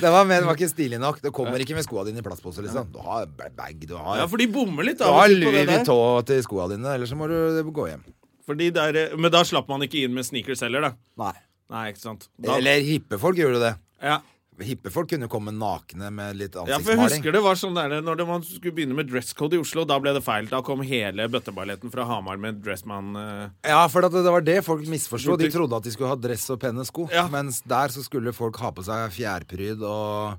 [SPEAKER 2] det, var, men det var ikke stilig nok Det kommer ikke med skoene dine i plastpose liksom. Du har bag, du har,
[SPEAKER 1] Ja, for de bommer litt.
[SPEAKER 2] du
[SPEAKER 1] av og
[SPEAKER 2] har
[SPEAKER 1] til på det
[SPEAKER 2] Louis
[SPEAKER 1] der.
[SPEAKER 2] Vuitton til skoene dine Ellers så må du gå hjem
[SPEAKER 1] Fordi der, eh, men da slapp man ikke inn med sneakers heller, da.
[SPEAKER 2] Nei.
[SPEAKER 1] Nei, ikke sant. Da,
[SPEAKER 2] Eller hippe folk gjorde jo det.
[SPEAKER 1] ja.
[SPEAKER 2] Hippe folk kunne komme nakne med litt
[SPEAKER 1] ja, for jeg
[SPEAKER 2] ansiktsmaling.
[SPEAKER 1] husker det var sånn der Når det, man skulle begynne med dresscode i Oslo, da ble det feil. Da kom hele bøtteballetten fra Hamar med dressman. eh,
[SPEAKER 2] Ja, for at det var det folk misforsto. De
[SPEAKER 1] Burde-
[SPEAKER 2] trodde at de skulle ha dress og pene sko.
[SPEAKER 1] Ja.
[SPEAKER 2] Mens der så skulle folk ha på seg fjærpryd og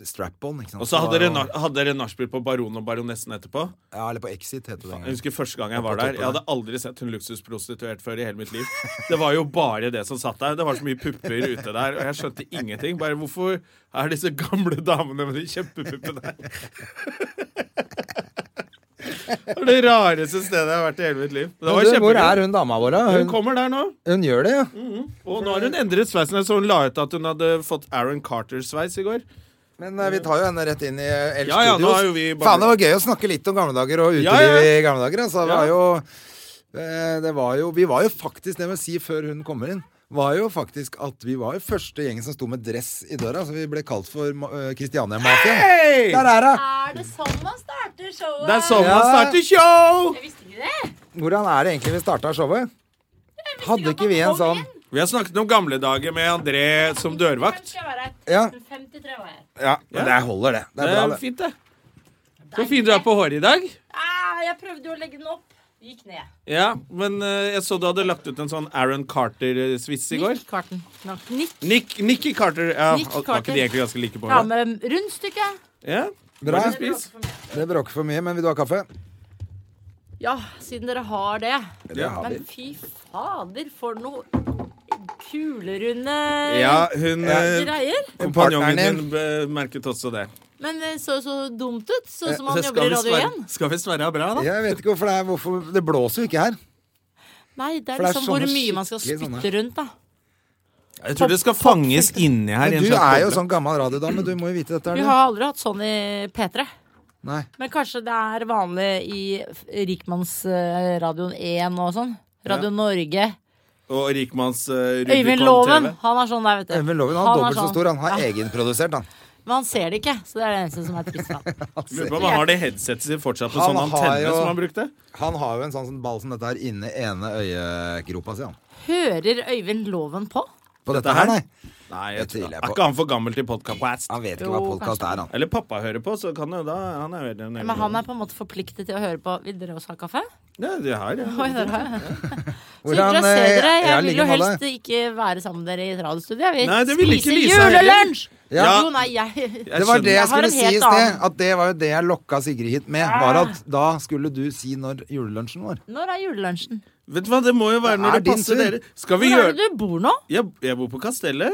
[SPEAKER 2] strap-on. ikke sant?
[SPEAKER 1] Og så hadde
[SPEAKER 2] Det
[SPEAKER 1] dere
[SPEAKER 2] var jo-
[SPEAKER 1] na- hadde dere nachspiel på Baron og baronessen etterpå.
[SPEAKER 2] Ja, eller på Exit, het det den
[SPEAKER 1] Jeg
[SPEAKER 2] gangen.
[SPEAKER 1] husker første gang jeg
[SPEAKER 2] på
[SPEAKER 1] var der.
[SPEAKER 2] toppen
[SPEAKER 1] Jeg hadde aldri sett en luksusprostituert før i hele mitt liv. Det var jo bare det som satt der. Det var så mye pupper ute der, og jeg skjønte ingenting. Bare hvorfor er disse gamle damene med de kjempepuppene her? Det var det rareste stedet jeg har vært i hele mitt liv. Det var
[SPEAKER 2] Men du, hvor er
[SPEAKER 1] kjempegøy.
[SPEAKER 2] hun dama vår? da?
[SPEAKER 1] Hun
[SPEAKER 2] Hun,
[SPEAKER 1] kommer der nå,
[SPEAKER 2] hun gjør det, ja.
[SPEAKER 1] og nå har hun endret sveisen. Jeg så hun la ut at hun hadde fått Aaron Carter-sveis i går.
[SPEAKER 2] Men eh, vi tar jo henne rett inn i El
[SPEAKER 1] Ja, ja, nå
[SPEAKER 2] Studios.
[SPEAKER 1] er jo vi bare-
[SPEAKER 2] Faen, det var gøy å snakke litt om gamle dager og uteliv
[SPEAKER 1] Ja, ja.
[SPEAKER 2] i gamle dager. Altså, det
[SPEAKER 1] Ja.
[SPEAKER 2] var jo, eh, det var jo, vi var jo faktisk, det må jeg si før hun kommer inn, var jo faktisk at vi var jo første gjengen som sto med dress i døra. Så vi ble kalt for uh, Kristiania-mafiaen.
[SPEAKER 1] Hei!
[SPEAKER 2] Der er hun!
[SPEAKER 3] Er det sånn man starter showet?
[SPEAKER 1] Det er sånn
[SPEAKER 2] Ja.
[SPEAKER 1] man starter show!
[SPEAKER 3] Jeg visste ikke det.
[SPEAKER 2] Hvordan er det egentlig vi starta showet? Hadde ikke vi en sånn
[SPEAKER 1] Vi har snakket om gamle dager med André som dørvakt.
[SPEAKER 3] Jeg var her.
[SPEAKER 2] Ja.
[SPEAKER 3] 53 var jeg.
[SPEAKER 2] Ja, men det holder, det. Det
[SPEAKER 1] Det
[SPEAKER 2] er bra,
[SPEAKER 1] er
[SPEAKER 2] det.
[SPEAKER 1] fint, det. Så fin du er på håret i dag.
[SPEAKER 3] Ah, jeg prøvde jo å legge den opp. Det Gikk ned.
[SPEAKER 1] Ja, men eh, jeg så du hadde lagt ut en sånn Aaron Carter-sviss i går.
[SPEAKER 4] Nick Carton. No, Nick.
[SPEAKER 1] Nick, Nicky Carter. Ja,
[SPEAKER 4] Nick
[SPEAKER 1] Var ikke
[SPEAKER 4] Carter.
[SPEAKER 1] de egentlig ganske like på
[SPEAKER 4] Ja,
[SPEAKER 1] håret?
[SPEAKER 4] med rundstykke.
[SPEAKER 1] Ja,
[SPEAKER 2] Bra.
[SPEAKER 1] Bare spis.
[SPEAKER 2] Det bråker for mye, men vil du ha kaffe?
[SPEAKER 4] Ja, siden dere har det.
[SPEAKER 2] Det har vi.
[SPEAKER 4] Men fy fader, for noe kulerunde
[SPEAKER 1] Ja, hun eh,
[SPEAKER 4] greier.
[SPEAKER 1] Kompanjongen
[SPEAKER 2] Partneren
[SPEAKER 1] din bemerket også det.
[SPEAKER 4] Men det så så dumt ut, sånn
[SPEAKER 2] Eh,
[SPEAKER 4] som
[SPEAKER 2] altså,
[SPEAKER 1] Så
[SPEAKER 4] han jobber i Radio 1.
[SPEAKER 1] skal vi Sverre ha bra, da?
[SPEAKER 2] Jeg vet ikke hvorfor det er hvorfor, Det blåser jo ikke her.
[SPEAKER 4] Nei,
[SPEAKER 2] For
[SPEAKER 4] det
[SPEAKER 2] det
[SPEAKER 4] er
[SPEAKER 2] er
[SPEAKER 4] liksom hvor
[SPEAKER 2] sånne
[SPEAKER 4] mye man skal
[SPEAKER 2] skikkelig sånne-
[SPEAKER 4] spytte rundt, da.
[SPEAKER 1] Jeg tror det skal fanges inni her. i
[SPEAKER 2] Men
[SPEAKER 1] en
[SPEAKER 2] du
[SPEAKER 1] slags
[SPEAKER 2] er jo
[SPEAKER 1] boble.
[SPEAKER 2] sånn gammel radiodame, du må jo vite dette. er
[SPEAKER 4] Vi
[SPEAKER 2] du?
[SPEAKER 4] har aldri hatt sånn i P3.
[SPEAKER 2] Nei.
[SPEAKER 4] Men kanskje det er vanlig i f- Rikmannsradioen 1 og sånn. Radio Norge.
[SPEAKER 1] Og rikmanns uh,
[SPEAKER 4] Øyvind Loven, han er sånn der, vet du.
[SPEAKER 2] Øyvind Loven han er
[SPEAKER 4] Han er
[SPEAKER 2] dobbelt så
[SPEAKER 4] sånn.
[SPEAKER 2] stor. Han har egenprodusert, han.
[SPEAKER 4] Men han ser det ikke, så det er det eneste som er trist. for han.
[SPEAKER 1] Lurer på om han har det headsetet sitt fortsatt med
[SPEAKER 2] Han
[SPEAKER 1] sånn
[SPEAKER 2] har
[SPEAKER 1] antenne
[SPEAKER 2] jo-
[SPEAKER 1] som han brukte?
[SPEAKER 2] Han har jo en sånn sånn ball som dette her inni ene øyegropa si, han.
[SPEAKER 4] Hører Øyvind Loven på?
[SPEAKER 2] På dette her, nei.
[SPEAKER 1] Nei,
[SPEAKER 2] Det
[SPEAKER 1] jeg tror
[SPEAKER 2] tviler jeg
[SPEAKER 1] Er
[SPEAKER 2] på.
[SPEAKER 1] ikke han for gammel til podkast?
[SPEAKER 2] Han vet ikke
[SPEAKER 4] Jo,
[SPEAKER 2] hva podkast
[SPEAKER 4] kanskje.
[SPEAKER 2] er, han.
[SPEAKER 1] Eller pappa hører på, så kan jo da Han er veldig
[SPEAKER 4] Men han er på en måte forpliktet til å høre på. Vil dere også ha kaffe?
[SPEAKER 1] Ja, det har jeg.
[SPEAKER 4] Oi, der har jeg. Så
[SPEAKER 2] Hvordan,
[SPEAKER 4] hyggelig å se
[SPEAKER 2] eh,
[SPEAKER 4] dere.
[SPEAKER 2] ja,
[SPEAKER 4] Jeg vil jo
[SPEAKER 2] like måte.
[SPEAKER 4] helst ikke være sammen med dere i et radiostudio. Jeg vil
[SPEAKER 1] Nei, det vil ikke
[SPEAKER 4] spise
[SPEAKER 1] Lisa heller.
[SPEAKER 4] julelunsj!
[SPEAKER 1] Ja.
[SPEAKER 4] Jo, nei, jeg
[SPEAKER 1] Jeg
[SPEAKER 2] Det var
[SPEAKER 1] skjønner.
[SPEAKER 2] det jeg
[SPEAKER 4] Jeg har
[SPEAKER 2] skulle
[SPEAKER 4] en
[SPEAKER 2] si i
[SPEAKER 4] helt Ah.
[SPEAKER 2] sted.
[SPEAKER 4] annen.
[SPEAKER 2] At det var jo det jeg lokka Sigrid hit med. Var at da skulle du si når julelunsjen var.
[SPEAKER 4] Når er julelunsjen?
[SPEAKER 1] Vet du hva, det må jo være
[SPEAKER 2] Det
[SPEAKER 1] når
[SPEAKER 2] er
[SPEAKER 1] det,
[SPEAKER 2] din
[SPEAKER 1] passer
[SPEAKER 2] tur.
[SPEAKER 1] dere. Skal vi
[SPEAKER 4] Hvor er
[SPEAKER 1] gjøre
[SPEAKER 4] det du bor nå?
[SPEAKER 1] jeg, jeg bor på Kastellet.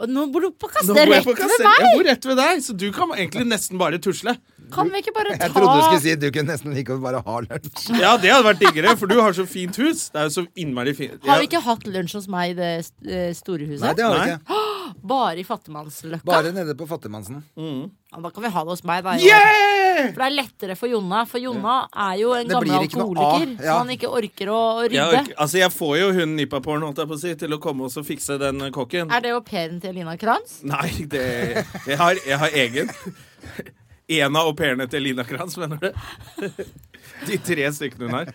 [SPEAKER 4] Og Nå bor du på
[SPEAKER 1] Nå
[SPEAKER 4] Kastet
[SPEAKER 1] bor jeg
[SPEAKER 4] rett
[SPEAKER 1] på
[SPEAKER 4] ved
[SPEAKER 1] Kastellet. Jeg
[SPEAKER 4] meg!
[SPEAKER 1] bor rett ved deg, så du kan egentlig nesten bare tusle.
[SPEAKER 4] Kan vi ikke bare ta
[SPEAKER 2] Jeg trodde du skulle si du kunne nesten like godt bare ha lunsj.
[SPEAKER 1] Ja, det hadde vært diggere, for du har så fint hus. Det er jo så innmari fint.
[SPEAKER 4] Har vi
[SPEAKER 1] Ja.
[SPEAKER 4] ikke hatt lunsj hos meg i det eh, store
[SPEAKER 2] Nei,
[SPEAKER 4] huset?
[SPEAKER 2] det har vi
[SPEAKER 1] Nei.
[SPEAKER 2] ikke.
[SPEAKER 4] Bare i Fattigmannsløkka.
[SPEAKER 2] Bare nede på Fattigmannsen.
[SPEAKER 4] Ja, da kan vi ha det hos meg, da.
[SPEAKER 1] Yeah!
[SPEAKER 4] For det er lettere for Jonna, for Jonna er jo en
[SPEAKER 2] Det
[SPEAKER 4] gammel
[SPEAKER 2] blir ikke noe av,
[SPEAKER 4] alkoholiker.
[SPEAKER 2] ja.
[SPEAKER 4] Så han ikke orker å å
[SPEAKER 1] Jeg,
[SPEAKER 4] rydde.
[SPEAKER 1] orker- altså, jeg får jo hun Nipaporn, holdt jeg på å si, til å komme og så fikse den eh, kokken.
[SPEAKER 4] Er det au pairen til Elina Kranz?
[SPEAKER 1] Nei, det Jeg har, jeg har egen. En av au pairene til Lina Kranz, mener du? De tre stykkene hun har.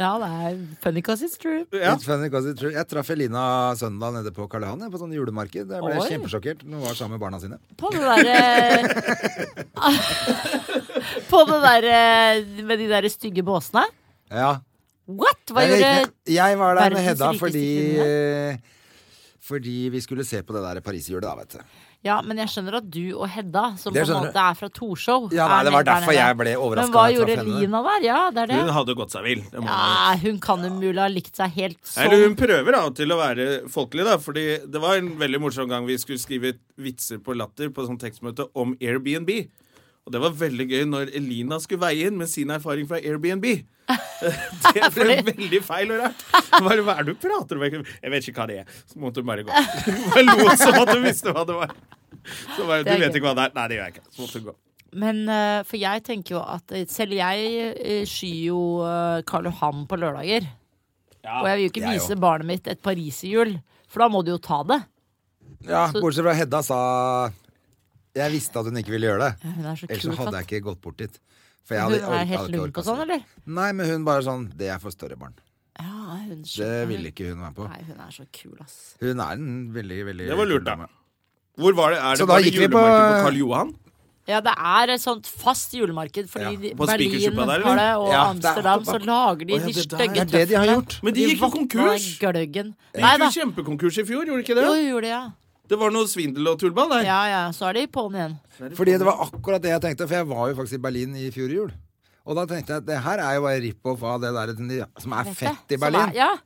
[SPEAKER 4] Ja, det er funny because it's true.
[SPEAKER 1] Ja.
[SPEAKER 2] It's funny because it's true. Jeg traff Elina søndag nede på Karl Johan jeg, på sånn julemarked. Jeg ble
[SPEAKER 4] Oi.
[SPEAKER 2] kjempesjokkert. Hun var sammen med barna sine.
[SPEAKER 4] På det derre På det derre med de derre stygge båsene.
[SPEAKER 2] Ja,
[SPEAKER 4] What?
[SPEAKER 2] Nei,
[SPEAKER 4] Hva
[SPEAKER 2] det
[SPEAKER 4] gjorde
[SPEAKER 2] gikk ned. Jeg var der med
[SPEAKER 4] verdens
[SPEAKER 2] Hedda
[SPEAKER 4] rikeste
[SPEAKER 2] fordi
[SPEAKER 4] kvinne?
[SPEAKER 2] Fordi vi skulle se på det der Paris-hjulet, da, vet du.
[SPEAKER 4] Ja, men jeg skjønner at du og Hedda, som på
[SPEAKER 2] Det
[SPEAKER 4] en
[SPEAKER 2] skjønner
[SPEAKER 4] måte er fra Torshov
[SPEAKER 2] Ja, nei,
[SPEAKER 4] er
[SPEAKER 2] det var
[SPEAKER 4] med der
[SPEAKER 2] derfor
[SPEAKER 4] nede.
[SPEAKER 2] jeg ble overrasket
[SPEAKER 4] Men hva
[SPEAKER 2] når jeg
[SPEAKER 4] gjorde
[SPEAKER 2] traff henne.
[SPEAKER 4] Lina der? Ja, det er det.
[SPEAKER 1] Hun hadde gått seg vill. Det må man jo
[SPEAKER 4] Ja, hun kan umulig ha likt seg helt sånn.
[SPEAKER 1] Eller hun prøver av og til å være folkelig, da. Fordi det var en veldig morsom gang vi skulle skrive vitser på latter på sånn tekstmøte om Airbnb. Og det var veldig gøy når Elina skulle veie inn med sin erfaring fra Airbnb. Det ble veldig feil og rart. Bare, hva er det du prater om? Jeg vet ikke hva det er. Så måtte hun bare gå. Hun lo som at hun visste hva det var. Så bare,
[SPEAKER 4] Det er
[SPEAKER 1] du vet
[SPEAKER 4] gøy.
[SPEAKER 1] ikke hva det er. Nei, det gjør jeg ikke. Så måtte hun gå.
[SPEAKER 4] Men eh, for jeg tenker jo at eh, selv jeg eh, skyr jo eh, Karl Johan på lørdager. og jeg vil jo ikke
[SPEAKER 2] jeg
[SPEAKER 4] vise barnet mitt et pariserhjul, for da må du jo ta det.
[SPEAKER 2] Ja, Bortsett fra Hedda sa Jeg visste at hun ikke ville gjøre det.
[SPEAKER 4] Hun er så
[SPEAKER 2] Ellers
[SPEAKER 4] kul.
[SPEAKER 2] så hadde
[SPEAKER 4] fatt.
[SPEAKER 2] jeg ikke gått bort dit. For jeg
[SPEAKER 4] Hun
[SPEAKER 2] hadde,
[SPEAKER 4] er
[SPEAKER 2] jeg
[SPEAKER 4] helt
[SPEAKER 2] hadde ikke
[SPEAKER 4] lunk og
[SPEAKER 2] orket å
[SPEAKER 4] sånn,
[SPEAKER 2] se.
[SPEAKER 4] eller?
[SPEAKER 2] Nei, men hun bare sånn Det er for større barn.
[SPEAKER 4] Ja, er hun så-
[SPEAKER 2] Det
[SPEAKER 4] er hun-
[SPEAKER 2] ville ikke hun være på.
[SPEAKER 4] Nei, hun er så kul, ass.
[SPEAKER 2] Hun er en veldig, veldig
[SPEAKER 1] Det var lurt, da.
[SPEAKER 2] kul dame.
[SPEAKER 1] Hvor var det?
[SPEAKER 2] Så
[SPEAKER 1] Er det
[SPEAKER 2] da
[SPEAKER 1] bare
[SPEAKER 2] gikk vi på-
[SPEAKER 1] julemarked på Karl Johan?
[SPEAKER 4] Ja, det er et sånt fast julemarked, fordi de-
[SPEAKER 1] på
[SPEAKER 4] Berlin
[SPEAKER 1] Spikersuppa
[SPEAKER 4] har
[SPEAKER 1] der,
[SPEAKER 4] det,
[SPEAKER 1] eller?
[SPEAKER 4] og
[SPEAKER 2] Ja,
[SPEAKER 4] Amsterdam,
[SPEAKER 2] det
[SPEAKER 4] så
[SPEAKER 2] er-
[SPEAKER 4] lager de
[SPEAKER 1] Å, ja,
[SPEAKER 4] de
[SPEAKER 1] det der.
[SPEAKER 4] stygge
[SPEAKER 2] Det er det de har gjort.
[SPEAKER 1] Men de gikk jo konkurs!
[SPEAKER 4] De vatna gløggen.
[SPEAKER 1] De gikk
[SPEAKER 4] Nei da.
[SPEAKER 1] jo kjempekonkurs i fjor, gjorde de ikke det?
[SPEAKER 4] Jo, gjorde det, ja.
[SPEAKER 1] Det var noe svindel og tullball der.
[SPEAKER 4] Ja ja, så er de på'n igjen.
[SPEAKER 2] Fordi det var akkurat det jeg tenkte, for jeg var jo faktisk i Berlin i fjor jul. Og da tenkte jeg at det her er jo bare rip-off av det der som er fett i
[SPEAKER 4] Som
[SPEAKER 2] Berlin.
[SPEAKER 4] Er, ja.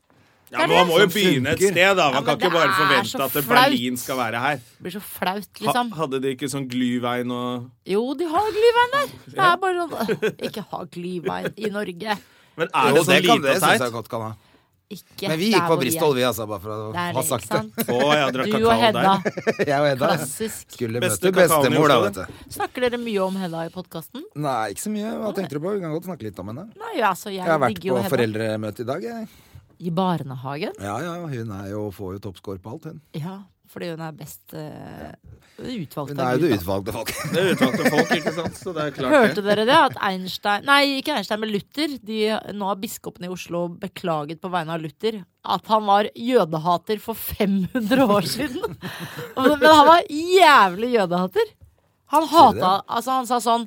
[SPEAKER 1] Ja, men Man må jo
[SPEAKER 2] Som
[SPEAKER 1] begynne et
[SPEAKER 2] funker.
[SPEAKER 1] sted, da. Man
[SPEAKER 4] Ja, men
[SPEAKER 1] kan ikke
[SPEAKER 4] det
[SPEAKER 1] bare
[SPEAKER 4] er
[SPEAKER 1] forvente
[SPEAKER 4] så
[SPEAKER 1] at det-
[SPEAKER 4] flaut.
[SPEAKER 1] Berlin skal være her.
[SPEAKER 4] Det blir så flaut,
[SPEAKER 1] Ha,
[SPEAKER 4] liksom.
[SPEAKER 1] hadde de ikke sånn glyvein og
[SPEAKER 4] Jo, de har glyvein der. Det er bare sånn øh, Ikke ha glyvein i Norge.
[SPEAKER 1] Men er det
[SPEAKER 2] Jo,
[SPEAKER 1] sånn
[SPEAKER 2] kan-
[SPEAKER 1] lite og
[SPEAKER 2] det synes jeg
[SPEAKER 1] teit?
[SPEAKER 2] godt kan ha.
[SPEAKER 4] Ikke
[SPEAKER 2] Men vi
[SPEAKER 4] der
[SPEAKER 2] gikk på
[SPEAKER 4] hvor de er.
[SPEAKER 2] Bristol, vi, altså, bare for å
[SPEAKER 4] Der,
[SPEAKER 2] ha
[SPEAKER 4] ikke
[SPEAKER 2] sagt det.
[SPEAKER 4] sant?
[SPEAKER 1] Å, jeg drakk
[SPEAKER 4] Du og
[SPEAKER 1] kakao
[SPEAKER 4] Hedda.
[SPEAKER 1] der.
[SPEAKER 2] Jeg og Hedda
[SPEAKER 4] Klassisk.
[SPEAKER 2] skulle
[SPEAKER 1] Beste
[SPEAKER 2] møte
[SPEAKER 1] kakaoen i
[SPEAKER 2] bestemor, da,
[SPEAKER 1] Oslo,
[SPEAKER 2] vet
[SPEAKER 1] det.
[SPEAKER 2] du.
[SPEAKER 4] Snakker dere mye om Hedda i podkasten?
[SPEAKER 2] Nei, ikke så mye. Hva tenkte du på? Vi kan godt snakke litt om henne.
[SPEAKER 4] Nei, altså, jeg,
[SPEAKER 2] Jeg har vært
[SPEAKER 4] digger jo
[SPEAKER 2] på
[SPEAKER 4] Hedda.
[SPEAKER 2] foreldremøte i dag, jeg.
[SPEAKER 4] I barnehagen?
[SPEAKER 2] Ja, ja, hun er jo, får jo toppscore på alt, hun.
[SPEAKER 4] Ja, fordi hun er best eh, utvalgt
[SPEAKER 2] Hun er
[SPEAKER 4] av
[SPEAKER 2] jo det
[SPEAKER 4] Gud, da.
[SPEAKER 2] utvalgte folk.
[SPEAKER 1] Det er uttalte folk, ikke sant? Så det er klart
[SPEAKER 4] Hørte
[SPEAKER 1] det.
[SPEAKER 4] dere det? At Einstein Nei, ikke Einstein, men Luther. De, nå har biskopene i Oslo beklaget på vegne av Luther at han var jødehater for 500 år siden. Men men han var jævlig jødehater. Han
[SPEAKER 2] du
[SPEAKER 4] hata
[SPEAKER 2] det?
[SPEAKER 4] Altså, han sa sånn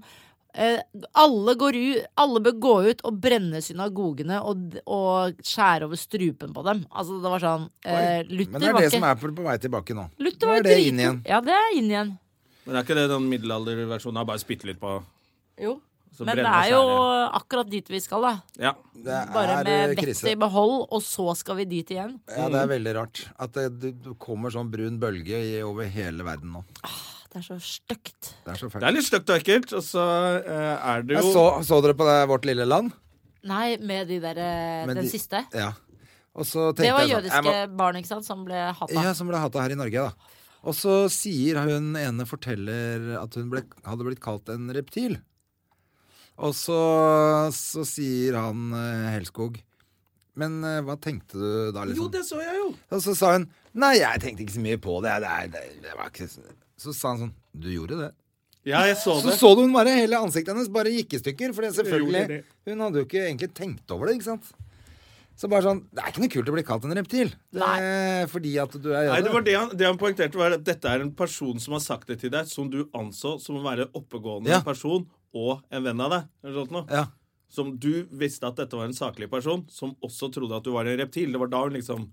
[SPEAKER 4] eh, alle, går u, alle bør gå ut og brenne synagogene og, og skjære over strupen på dem. Altså, det var sånn eh, Luther
[SPEAKER 2] Men det er
[SPEAKER 4] var
[SPEAKER 2] det
[SPEAKER 4] ikke
[SPEAKER 2] som er på, på vei tilbake nå.
[SPEAKER 4] Luther
[SPEAKER 2] Nå
[SPEAKER 4] var
[SPEAKER 2] er det
[SPEAKER 4] dritgod.
[SPEAKER 2] inn igjen.
[SPEAKER 4] Ja, det er inn igjen.
[SPEAKER 1] Men er ikke det den middelalderversjonen av bare spytte litt på
[SPEAKER 4] Jo.
[SPEAKER 1] så
[SPEAKER 4] Men det
[SPEAKER 1] brenne og
[SPEAKER 4] er jo
[SPEAKER 1] skjære?
[SPEAKER 4] akkurat dit vi skal, da.
[SPEAKER 1] Ja.
[SPEAKER 2] Det
[SPEAKER 4] Bare
[SPEAKER 2] eh,
[SPEAKER 4] med vettet i behold, og så skal vi dit igjen.
[SPEAKER 2] Ja, det
[SPEAKER 4] Mm.
[SPEAKER 2] er veldig rart. At det, det det kommer sånn brun bølge i, over hele verden nå.
[SPEAKER 4] Det er så stygt.
[SPEAKER 2] Det er så
[SPEAKER 1] Det er
[SPEAKER 2] fælt.
[SPEAKER 1] litt stygt og ekkelt, og så eh, er det
[SPEAKER 2] Jeg
[SPEAKER 1] jo
[SPEAKER 2] Så, så dere på det, Vårt lille land?
[SPEAKER 4] Nei, med de der eh,
[SPEAKER 2] Men
[SPEAKER 4] Den
[SPEAKER 2] de-
[SPEAKER 4] siste.
[SPEAKER 2] Ja. Og så
[SPEAKER 4] Det
[SPEAKER 2] tenkte jeg
[SPEAKER 4] var
[SPEAKER 2] sånn, jeg
[SPEAKER 4] jødiske
[SPEAKER 2] må-
[SPEAKER 4] barn, ikke sant, som ble hata.
[SPEAKER 2] Ja, som ble hata her i Norge, da. Og så sier hun ene forteller at hun ble, hadde blitt kalt en reptil. Og så, så sier han eh, Helskog Men eh, hva tenkte du da, liksom?
[SPEAKER 1] Jo, det så jeg jo.
[SPEAKER 2] Og så sa hun Nei, jeg tenkte ikke så mye på det. det, er- det, det var ikke så-" Så sa han sånn Du gjorde det.
[SPEAKER 1] Ja, jeg så
[SPEAKER 2] Så
[SPEAKER 1] det.
[SPEAKER 2] så du hun bare hele ansiktet hennes bare gikk i stykker. For
[SPEAKER 1] Gjorde
[SPEAKER 2] selvfølgelig
[SPEAKER 1] det.
[SPEAKER 2] Hun hadde jo ikke egentlig tenkt over det, ikke sant? Så bare sånn Det er ikke noe kult å bli kalt en reptil. Det er fordi at du er
[SPEAKER 1] Nei, det, var
[SPEAKER 2] jøde.
[SPEAKER 1] det, han, det han poengterte, var at dette er en person som har sagt det til deg, som du anså som å være en oppegående
[SPEAKER 2] Ja.
[SPEAKER 1] person og en venn av deg. sånn Eller sånt noe.
[SPEAKER 2] Ja.
[SPEAKER 1] Som du visste at dette var en saklig person, som også trodde at du var en reptil. Det var da hun liksom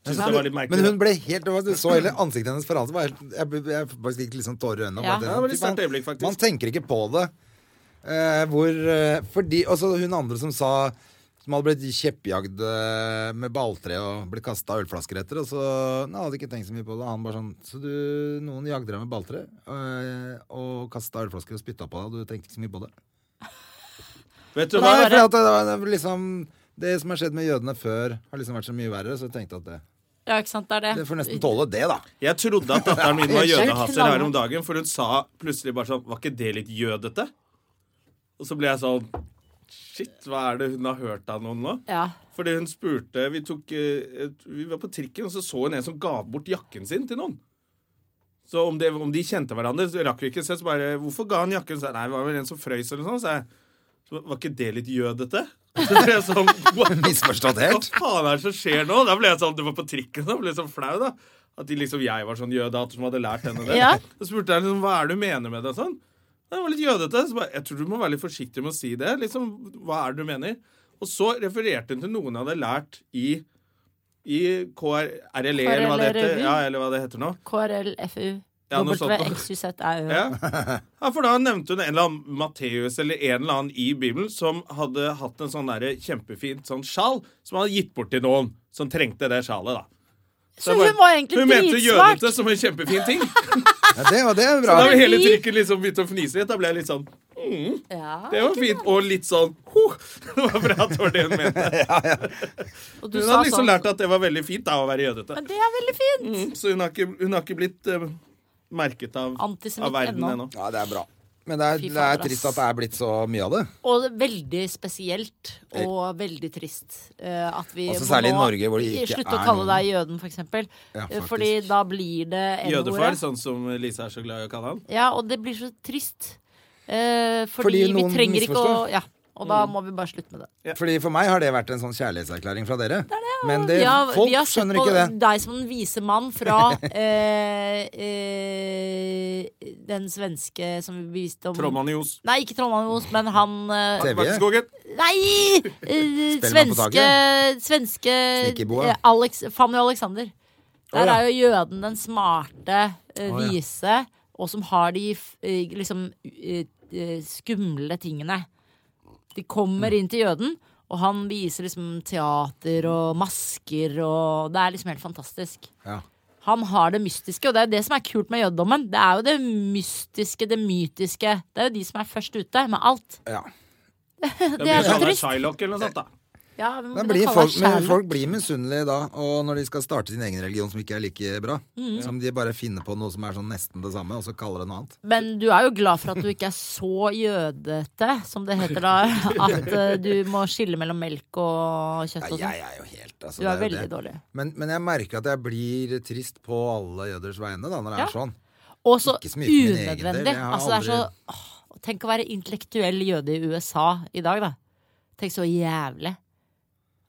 [SPEAKER 1] syntes det var litt merkelig.
[SPEAKER 2] Men hun ble helt det var- Du så hele ansiktet hennes forandre seg. Jeg, jeg faktisk gikk litt sånn tårer i øynene.
[SPEAKER 4] Ja.
[SPEAKER 2] bare,
[SPEAKER 1] Ja, det var litt
[SPEAKER 2] man-
[SPEAKER 1] sterkt øyeblikk, faktisk.
[SPEAKER 2] Man tenker ikke på det. Eh, hvor eh, Fordi Og så hun andre som sa Som hadde blitt kjeppjagd eh, med balltre og blitt kasta ølflasker etter. Og så Nei, hadde ikke tenkt så mye på det. Han bare sånn Så du Noen jagde deg med balltre eh, og kasta ølflasker og spytta på deg, og du tenkte ikke så mye på det.
[SPEAKER 1] Vet du
[SPEAKER 2] Nei,
[SPEAKER 1] hva?
[SPEAKER 2] for at det, var- det var liksom Det som har skjedd med jødene før, har liksom vært så mye verre, så jeg tenkte at det
[SPEAKER 4] Ja, ikke sant, det er det.
[SPEAKER 2] Det får nesten tåle det, da.
[SPEAKER 1] Jeg trodde at datteren min var
[SPEAKER 4] Det er helt
[SPEAKER 1] jødehater her om dagen, for hun sa plutselig bare sånn Var ikke det litt jødete? Og så ble jeg sånn Shit, hva er det hun har hørt av noen nå?
[SPEAKER 4] Ja.
[SPEAKER 1] Fordi hun spurte Vi, tok, eh, et- vi var på trikken, og så så hun en som ga bort jakken sin til noen. Så om, det, om de kjente hverandre, så rakk vi ikke se. Så bare 'Hvorfor ga han jakken?' Så jeg, Nei, det var vel en som frøys eller noe sånt. Så jeg, så, var ikke det litt jødete? Så ble jeg sånn Hva
[SPEAKER 2] Misforstått
[SPEAKER 1] hva
[SPEAKER 2] helt.
[SPEAKER 1] faen er det som skjer nå? Da ble jeg sånn Du var på trikken, da ble jeg så flau, da. At de liksom, jeg var sånn jødehater som hadde lært henne det.
[SPEAKER 4] Ja.
[SPEAKER 1] Så spurte jeg liksom, hva er det du mener med det? og Sånn. «Nei, Det var litt jødete. Så bare, jeg tror du må være litt forsiktig med å si det. Liksom, hva er det du mener? Og så refererte hun til noen jeg hadde lært i i KRLE, E, eller
[SPEAKER 4] E
[SPEAKER 1] hva det heter.
[SPEAKER 4] KRLE-revy.
[SPEAKER 1] Ja, eller hva det heter nå.
[SPEAKER 4] KRLFU.
[SPEAKER 1] Ja, noe sånt.
[SPEAKER 4] WXYZEU.
[SPEAKER 1] Ja. ja, for da nevnte hun en eller annen Matteus eller en eller annen i Bibelen som hadde hatt en sånn der kjempefint sånn sjal som han hadde gitt bort til noen som trengte det sjalet, da.
[SPEAKER 4] Så
[SPEAKER 1] jeg bare-
[SPEAKER 4] hun var egentlig
[SPEAKER 1] Hun mente
[SPEAKER 4] dritsmart.
[SPEAKER 1] jødete som en kjempefin ting.
[SPEAKER 2] Ja, det, og det er bra.
[SPEAKER 1] Da var hele
[SPEAKER 4] vi-
[SPEAKER 1] trykket liksom begynt å fnise litt. Da ble jeg litt sånn
[SPEAKER 4] Ja.
[SPEAKER 1] Det var fint. Og litt sånn huh. Det var bra at det var det hun mente.
[SPEAKER 4] Og du
[SPEAKER 1] Hun
[SPEAKER 4] sa
[SPEAKER 1] hadde liksom
[SPEAKER 4] sånn.
[SPEAKER 1] lært at det var veldig fint da å være jødete.
[SPEAKER 4] Men det er veldig fint.
[SPEAKER 1] Mm, Så hun har ikke, hun har ikke blitt eh, merket av,
[SPEAKER 4] Antisemitt
[SPEAKER 1] av verden
[SPEAKER 4] ennå.
[SPEAKER 1] ennå.
[SPEAKER 2] Ja, det er bra. Men det er,
[SPEAKER 4] Fy
[SPEAKER 2] det
[SPEAKER 4] fader,
[SPEAKER 2] er
[SPEAKER 4] ass.
[SPEAKER 2] trist at det er blitt så mye av det.
[SPEAKER 4] Og veldig spesielt, og veldig trist. eh, at vi
[SPEAKER 2] Eh. Altså,
[SPEAKER 4] må
[SPEAKER 2] særlig i
[SPEAKER 4] nå
[SPEAKER 2] Norge, hvor det ikke
[SPEAKER 4] Slutt å
[SPEAKER 2] er
[SPEAKER 4] kalle
[SPEAKER 2] noen-
[SPEAKER 4] deg jøden, for eksempel.
[SPEAKER 2] Ja,
[SPEAKER 4] Eh,
[SPEAKER 2] faktisk.
[SPEAKER 4] Fordi da blir det
[SPEAKER 1] Jødefar,
[SPEAKER 4] N-ordet.
[SPEAKER 1] sånn som Lise er så glad i å kalle han.
[SPEAKER 4] Ja, og det blir så trist. Eh, fordi,
[SPEAKER 2] Fordi
[SPEAKER 4] vi
[SPEAKER 2] noen
[SPEAKER 4] trenger ikke å
[SPEAKER 2] misforstår. Mm.
[SPEAKER 4] ja. Og da må vi bare slutte med det.
[SPEAKER 2] Fordi For meg har det vært en sånn kjærlighetserklæring fra dere. Men det,
[SPEAKER 4] Vi har,
[SPEAKER 2] Eh, folk
[SPEAKER 4] vi har sett
[SPEAKER 2] skjønner
[SPEAKER 4] på
[SPEAKER 2] ikke det.
[SPEAKER 4] deg som den vise mann fra eh, eh, den svenske som vi viste om
[SPEAKER 1] Trollmannen i Os.
[SPEAKER 4] Nei, ikke Trondheim Os, men han eh,
[SPEAKER 2] TV.
[SPEAKER 1] Bakkeskogen.
[SPEAKER 4] Nei! eh,
[SPEAKER 2] Spellemann på
[SPEAKER 4] svenske svenske
[SPEAKER 2] Snikerboa.
[SPEAKER 4] eh, Alex, Fanny og Alexander. Der
[SPEAKER 2] Å, ja.
[SPEAKER 4] er jo jøden den smarte, eh,
[SPEAKER 2] Å, ja.
[SPEAKER 4] vise, og som har de f- eh, liksom eh, eh, skumle tingene. De kommer
[SPEAKER 2] Mm.
[SPEAKER 4] inn til jøden, og han viser liksom teater og masker og Det er liksom helt fantastisk.
[SPEAKER 2] Ja.
[SPEAKER 4] Han har det mystiske, og det er jo det som er kult med jødedommen. Det er jo det mystiske, det mytiske. Det er jo de som er først ute med alt.
[SPEAKER 2] Ja.
[SPEAKER 1] Det
[SPEAKER 4] er
[SPEAKER 1] blir
[SPEAKER 4] så
[SPEAKER 1] sånn
[SPEAKER 4] trist.
[SPEAKER 1] Shylock eller noe sånt, da.
[SPEAKER 4] Ja, vi må
[SPEAKER 2] Da
[SPEAKER 4] begynne å
[SPEAKER 2] blir
[SPEAKER 4] kalle
[SPEAKER 2] folk,
[SPEAKER 4] det
[SPEAKER 2] men
[SPEAKER 4] Sherlock.
[SPEAKER 2] folk blir misunnelige da, og når de skal starte sin egen religion som ikke er like bra.
[SPEAKER 4] Mm.
[SPEAKER 2] Som de bare finner på noe som er sånn nesten det samme, og så kaller det noe annet.
[SPEAKER 4] Men du er jo glad for at du ikke er så jødete, som det heter da. At eh, du må skille mellom melk og
[SPEAKER 2] Nei,
[SPEAKER 4] kjøtt og sånn.
[SPEAKER 2] jeg er jo helt altså,
[SPEAKER 4] Du
[SPEAKER 2] det
[SPEAKER 4] er
[SPEAKER 2] jo
[SPEAKER 4] veldig
[SPEAKER 2] det.
[SPEAKER 4] dårlig.
[SPEAKER 2] Men, men jeg merker at jeg blir trist på alle jøders vegne da, når det
[SPEAKER 4] Ja.
[SPEAKER 2] er sånn.
[SPEAKER 4] Og så
[SPEAKER 2] Ikke så mye for min egen del,
[SPEAKER 4] unødvendig.
[SPEAKER 2] jeg har
[SPEAKER 4] Altså, det er så
[SPEAKER 2] aldri-
[SPEAKER 4] åh, Tenk å være intellektuell jøde i USA i dag, da. Tenk så jævlig.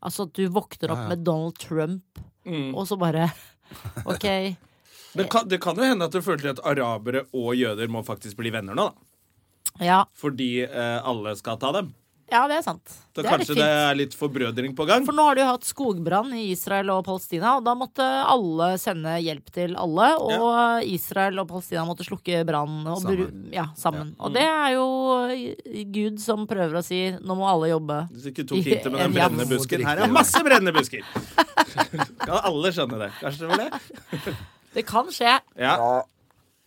[SPEAKER 4] Altså at du våkner opp
[SPEAKER 2] Ja, ja.
[SPEAKER 4] med Donald Trump,
[SPEAKER 1] Mm.
[SPEAKER 4] og så bare OK.
[SPEAKER 1] Det kan, det kan jo hende at du føler til at arabere og jøder må faktisk bli venner nå, da.
[SPEAKER 4] Ja,
[SPEAKER 1] Fordi eh, alle skal ta dem.
[SPEAKER 4] ja det er sant.
[SPEAKER 1] Så
[SPEAKER 4] det er litt
[SPEAKER 1] kanskje
[SPEAKER 4] fint.
[SPEAKER 1] det er litt forbrødring på gang.
[SPEAKER 4] For nå har du jo hatt skogbrann i Israel og Palestina, og da måtte alle sende hjelp til alle. Og Israel og Palestina måtte slukke brannen og bru- ja, sammen. Og det er jo eh, Gud som prøver å si nå må alle jobbe.
[SPEAKER 1] Hvis ikke tok hit med den
[SPEAKER 4] Ja.
[SPEAKER 1] brennende busken. Her er masse brennende busker! Kan alle skjønne det? Kanskje det var det?
[SPEAKER 4] Det kan skje.
[SPEAKER 1] Ja.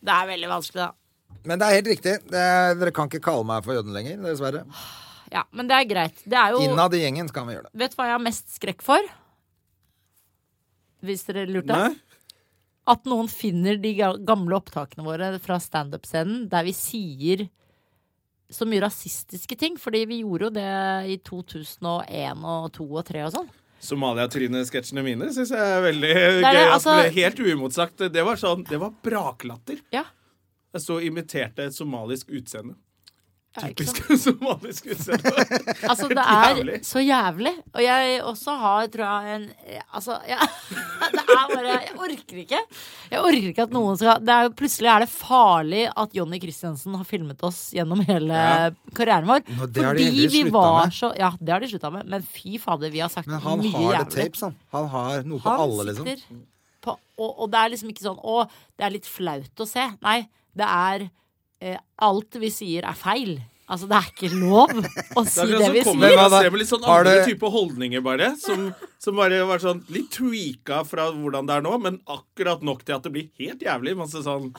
[SPEAKER 4] Det er veldig vanskelig, da.
[SPEAKER 2] Men det er helt riktig. Det er, dere kan ikke kalle meg for jøden lenger, dessverre.
[SPEAKER 4] Ja, men det er greit. Det er jo
[SPEAKER 2] Innad i gjengen så kan vi gjøre det.
[SPEAKER 4] Vet du hva jeg har mest skrekk for? Hvis dere lurte.
[SPEAKER 1] Nei?
[SPEAKER 4] At noen finner de ga- gamle opptakene våre fra standup-scenen der vi sier så mye rasistiske ting. Fordi vi gjorde jo det i 2001 og 2002 og 2003 og sånn.
[SPEAKER 1] Somalia-tryne-sketsjene mine syns jeg er veldig gøy.
[SPEAKER 4] det,
[SPEAKER 1] At det
[SPEAKER 4] altså-
[SPEAKER 1] ble helt uimotsagt. Det var sånn Det var braklatter.
[SPEAKER 4] Ja.
[SPEAKER 1] Jeg så og imiterte et somalisk utseende.
[SPEAKER 4] Ja, ikke sant?
[SPEAKER 1] Typisk somalisk utseende.
[SPEAKER 4] Altså, det er så jævlig. Og jeg også har, tror jeg, en eh, Altså, jeg, det er bare Jeg orker ikke. Jeg orker ikke at noen skal det er jo, Plutselig er det farlig at Jonny Christiansen har filmet oss gjennom hele
[SPEAKER 1] Ja.
[SPEAKER 4] karrieren vår.
[SPEAKER 2] Nå, det har de
[SPEAKER 4] Fordi
[SPEAKER 2] heldigvis
[SPEAKER 4] vi
[SPEAKER 2] sluttet
[SPEAKER 4] var
[SPEAKER 2] med.
[SPEAKER 4] så Ja, det har de slutta med. Men fy fader, vi har sagt
[SPEAKER 2] Men han
[SPEAKER 4] mye
[SPEAKER 2] har det
[SPEAKER 4] jævlig.
[SPEAKER 2] tapes, han. Han har noe på
[SPEAKER 4] Han
[SPEAKER 2] alle, liksom.
[SPEAKER 4] sitter på, og, og det er liksom ikke sånn Å, det er litt flaut å se. Nei, det er eh, Alt vi sier, er feil. Altså, det er ikke lov å
[SPEAKER 1] Det
[SPEAKER 4] si
[SPEAKER 1] er
[SPEAKER 4] det
[SPEAKER 1] akkurat
[SPEAKER 4] vi
[SPEAKER 1] som
[SPEAKER 4] sier.
[SPEAKER 1] kommer
[SPEAKER 2] Men hva
[SPEAKER 1] fra
[SPEAKER 2] da?
[SPEAKER 1] sted med litt sånn
[SPEAKER 2] Har
[SPEAKER 1] andre
[SPEAKER 2] du-
[SPEAKER 1] type holdninger, bare. Som, som bare var sånn litt tweaka fra hvordan det er nå, men akkurat nok til at det blir helt jævlig. Masse sånn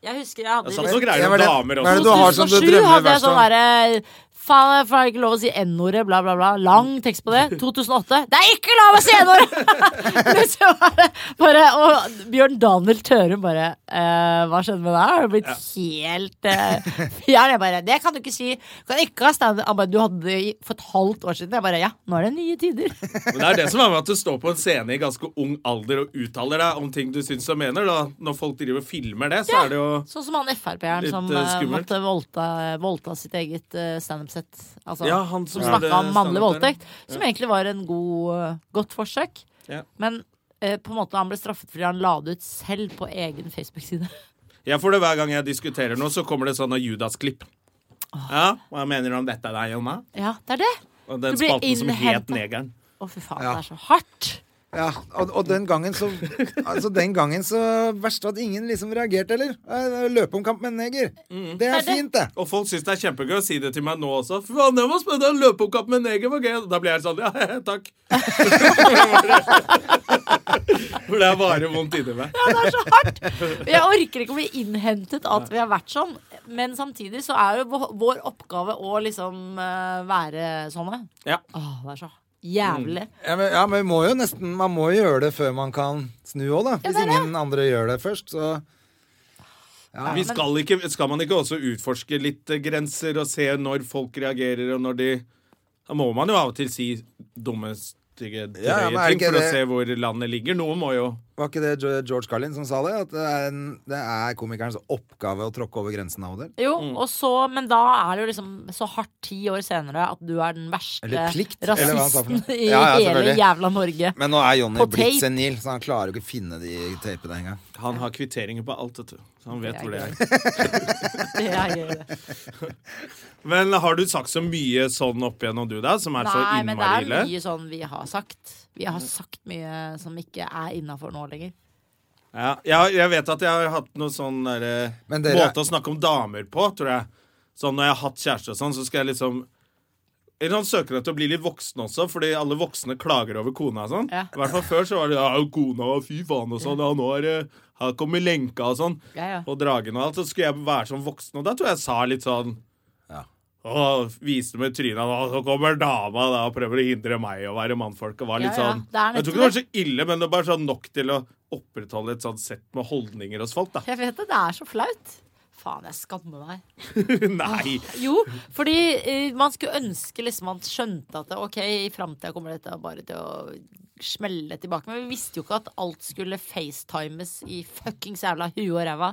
[SPEAKER 4] Jeg husker jeg hadde
[SPEAKER 1] Jeg satt så greier
[SPEAKER 2] Ja, hva
[SPEAKER 1] om
[SPEAKER 2] er det-
[SPEAKER 1] damer
[SPEAKER 2] hva er det
[SPEAKER 1] også.
[SPEAKER 2] du har som du
[SPEAKER 4] 2007
[SPEAKER 2] drømmer
[SPEAKER 4] hadde jeg
[SPEAKER 2] verst
[SPEAKER 4] sånn
[SPEAKER 2] om?
[SPEAKER 4] derre Faen, jeg får ikke lov å si N-ordet, bla, bla, bla. Lang tekst på det. 2008. Det er ikke lov å si N-ordet! Liksom bare, bare, og Bjørn Daniel Tørum bare eh, Hva skjedde med deg? Har du blitt helt eh, fjern? Jeg bare Det kan du ikke si. Du kan ikke ha standup. Han bare Du hadde det i- for et halvt år siden. Jeg bare Ja, nå er det nye tider.
[SPEAKER 1] Men det er det som er med at du står på en scene i ganske ung alder og uttaler deg om ting du syns og mener. Da. Når folk driver og filmer det, så er det jo
[SPEAKER 4] Sånn som han Frp-eren
[SPEAKER 1] Litt,
[SPEAKER 4] som
[SPEAKER 1] eh,
[SPEAKER 4] eh,
[SPEAKER 1] skummelt.
[SPEAKER 4] måtte voldta, voldta sitt eget eh, standup-sett. Altså,
[SPEAKER 1] Ja, han som
[SPEAKER 4] snakka
[SPEAKER 1] gjorde
[SPEAKER 4] om mannlig
[SPEAKER 1] standup der,
[SPEAKER 4] voldtekt. Som egentlig var en god, eh, godt forsøk.
[SPEAKER 1] Ja.
[SPEAKER 4] Men eh, på en måte han ble straffet fordi han la det ut selv på egen Facebook-side.
[SPEAKER 1] Jeg får det hver gang jeg diskuterer noe, så kommer det sånne Judas-klipp. Ja, hva mener du om dette der, Jonna?
[SPEAKER 4] Ja, det er det!
[SPEAKER 1] Og den
[SPEAKER 4] Du blir
[SPEAKER 1] spalten som het
[SPEAKER 4] innhentet.
[SPEAKER 1] Negeren.
[SPEAKER 4] Å, fy faen,
[SPEAKER 2] Ja.
[SPEAKER 4] det er så hardt!
[SPEAKER 2] Ja, og, og den gangen så Altså, den gangen så verst at ingen liksom reagerte, heller. Eh, Løpeomkamp med en neger. Det er fint, det.
[SPEAKER 1] Og folk syns det er kjempegøy å si det til meg nå også. Fy faen, det var spennende, en løpeoppkamp med en neger var gøy. Da blir jeg sånn, ja, takk. For det er bare vondt inni meg.
[SPEAKER 4] Ja, det er så hardt! Jeg orker ikke å bli innhentet av at vi har vært sånn. Men samtidig så er jo vå- vår oppgave å liksom eh, være sånne.
[SPEAKER 1] Ja.
[SPEAKER 4] Åh, det er så jævlig.
[SPEAKER 2] Ja, men, ja, men vi må jo nesten, man må jo gjøre det før man kan snu òg, da. Hvis ingen andre gjør det først, så
[SPEAKER 1] Vi skal, ikke, skal man ikke også utforske litt eh, grenser og se når folk reagerer, og når de Da må man jo av og til si dumme s- drøye
[SPEAKER 2] Ja, men er det
[SPEAKER 1] ting
[SPEAKER 2] ikke
[SPEAKER 1] for å
[SPEAKER 2] det-
[SPEAKER 1] se hvor landet ligger. Noen må jo
[SPEAKER 2] Var ikke det Jo- George Carlin som sa det? At det er, en, det er komikernes oppgave å tråkke over grensen av og til?
[SPEAKER 4] Jo, og så, men da er det jo liksom så hardt ti år senere at du er den verste
[SPEAKER 2] Eller plikt, eller hva han sa for
[SPEAKER 4] rasisten
[SPEAKER 2] noe.
[SPEAKER 4] i
[SPEAKER 2] Ja, ja,
[SPEAKER 4] hele
[SPEAKER 2] selvfølgelig.
[SPEAKER 4] jævla Norge.
[SPEAKER 2] Men nå er Johnny
[SPEAKER 4] På
[SPEAKER 2] blitt
[SPEAKER 4] tape.
[SPEAKER 2] senil, så han klarer jo ikke å finne de tapene engang.
[SPEAKER 1] Han har kvitteringer på alt, vet du. Så han vet
[SPEAKER 4] Det er
[SPEAKER 1] hvor det er.
[SPEAKER 4] Det er gøy, det.
[SPEAKER 1] Men har du sagt så mye sånn opp igjennom du, da, som er så
[SPEAKER 4] Nei, men det
[SPEAKER 1] innmari
[SPEAKER 4] er
[SPEAKER 1] ille?
[SPEAKER 4] mye sånn vi har sagt. Vi har sagt mye som ikke er innafor nå lenger.
[SPEAKER 1] Ja, jeg, jeg vet at jeg har hatt noen sånn derre
[SPEAKER 2] Men dere-
[SPEAKER 1] måte å snakke om damer på, tror jeg. Sånn når jeg har hatt kjæreste og sånn, så skal jeg liksom eller sånn søker etter å bli litt voksen også, fordi alle voksne klager over kona og sånn.
[SPEAKER 4] Ja.
[SPEAKER 1] I hvert fall før så var det ja, kona og fy faen og sånn, ja, nå er det Her kommer lenka og sånn.
[SPEAKER 4] Ja, ja.
[SPEAKER 1] Og dragen og alt. Så skulle jeg være sånn voksen, og da tror jeg jeg sa litt sånn
[SPEAKER 2] Ja.
[SPEAKER 1] Og viste med trynet, og så kommer dama da og prøver å hindre meg å være mannfolk. Og var litt
[SPEAKER 4] Ja, ja.
[SPEAKER 1] sånn
[SPEAKER 4] Det er
[SPEAKER 1] Jeg tror ikke det var så ille, men det var bare sånn nok til å opprettholde et sånt sett med holdninger hos folk, da.
[SPEAKER 4] Jeg vet det, det er så flaut. Faen, jeg skammer meg.
[SPEAKER 1] Nei!
[SPEAKER 4] Jo, fordi eh, man skulle ønske liksom man skjønte at ok, i framtida kommer dette bare til å smelle tilbake. Men vi visste jo ikke at alt skulle facetimes i fuckings jævla huet og ræva.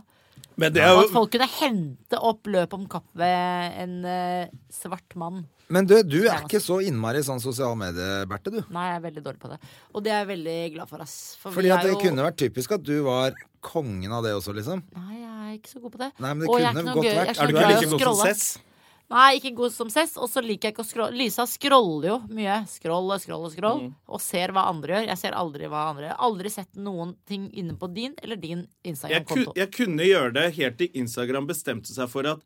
[SPEAKER 1] Men det
[SPEAKER 4] Og
[SPEAKER 1] er
[SPEAKER 4] at
[SPEAKER 1] jo
[SPEAKER 4] folk kunne hente opp løp om kapp ved en eh, svart mann.
[SPEAKER 2] Men du, du er ikke så innmari sånn sosiale medier, Berthe, du.
[SPEAKER 4] Nei, jeg er veldig dårlig på det. Og det er jeg veldig glad for, ass. For vi
[SPEAKER 2] Fordi at
[SPEAKER 4] er
[SPEAKER 2] det
[SPEAKER 4] jo-
[SPEAKER 2] kunne vært typisk at du var kongen av det også, liksom.
[SPEAKER 4] Nei, jeg er ikke så god på det.
[SPEAKER 2] Nei, men det
[SPEAKER 4] Og jeg er
[SPEAKER 2] kunne
[SPEAKER 4] ikke noe
[SPEAKER 2] godt
[SPEAKER 4] gøy- jeg
[SPEAKER 2] vært.
[SPEAKER 4] så
[SPEAKER 1] Er du
[SPEAKER 4] glad
[SPEAKER 1] ikke
[SPEAKER 4] i å
[SPEAKER 2] liksom
[SPEAKER 1] like god
[SPEAKER 2] sånn
[SPEAKER 1] som
[SPEAKER 4] scrolle.
[SPEAKER 1] Cess?
[SPEAKER 4] Nei, ikke god som sess. Og så liker jeg ikke å scrolle. Lysa scroller jo mye. Scroll og scroll og scroll.
[SPEAKER 1] Mm.
[SPEAKER 4] Og ser hva andre gjør. Jeg ser aldri hva andre gjør. Aldri sett noen ting inne på din eller din
[SPEAKER 1] Jeg, ku-
[SPEAKER 4] Instagram-konto.
[SPEAKER 1] jeg kunne gjøre det helt til Instagram bestemte seg for at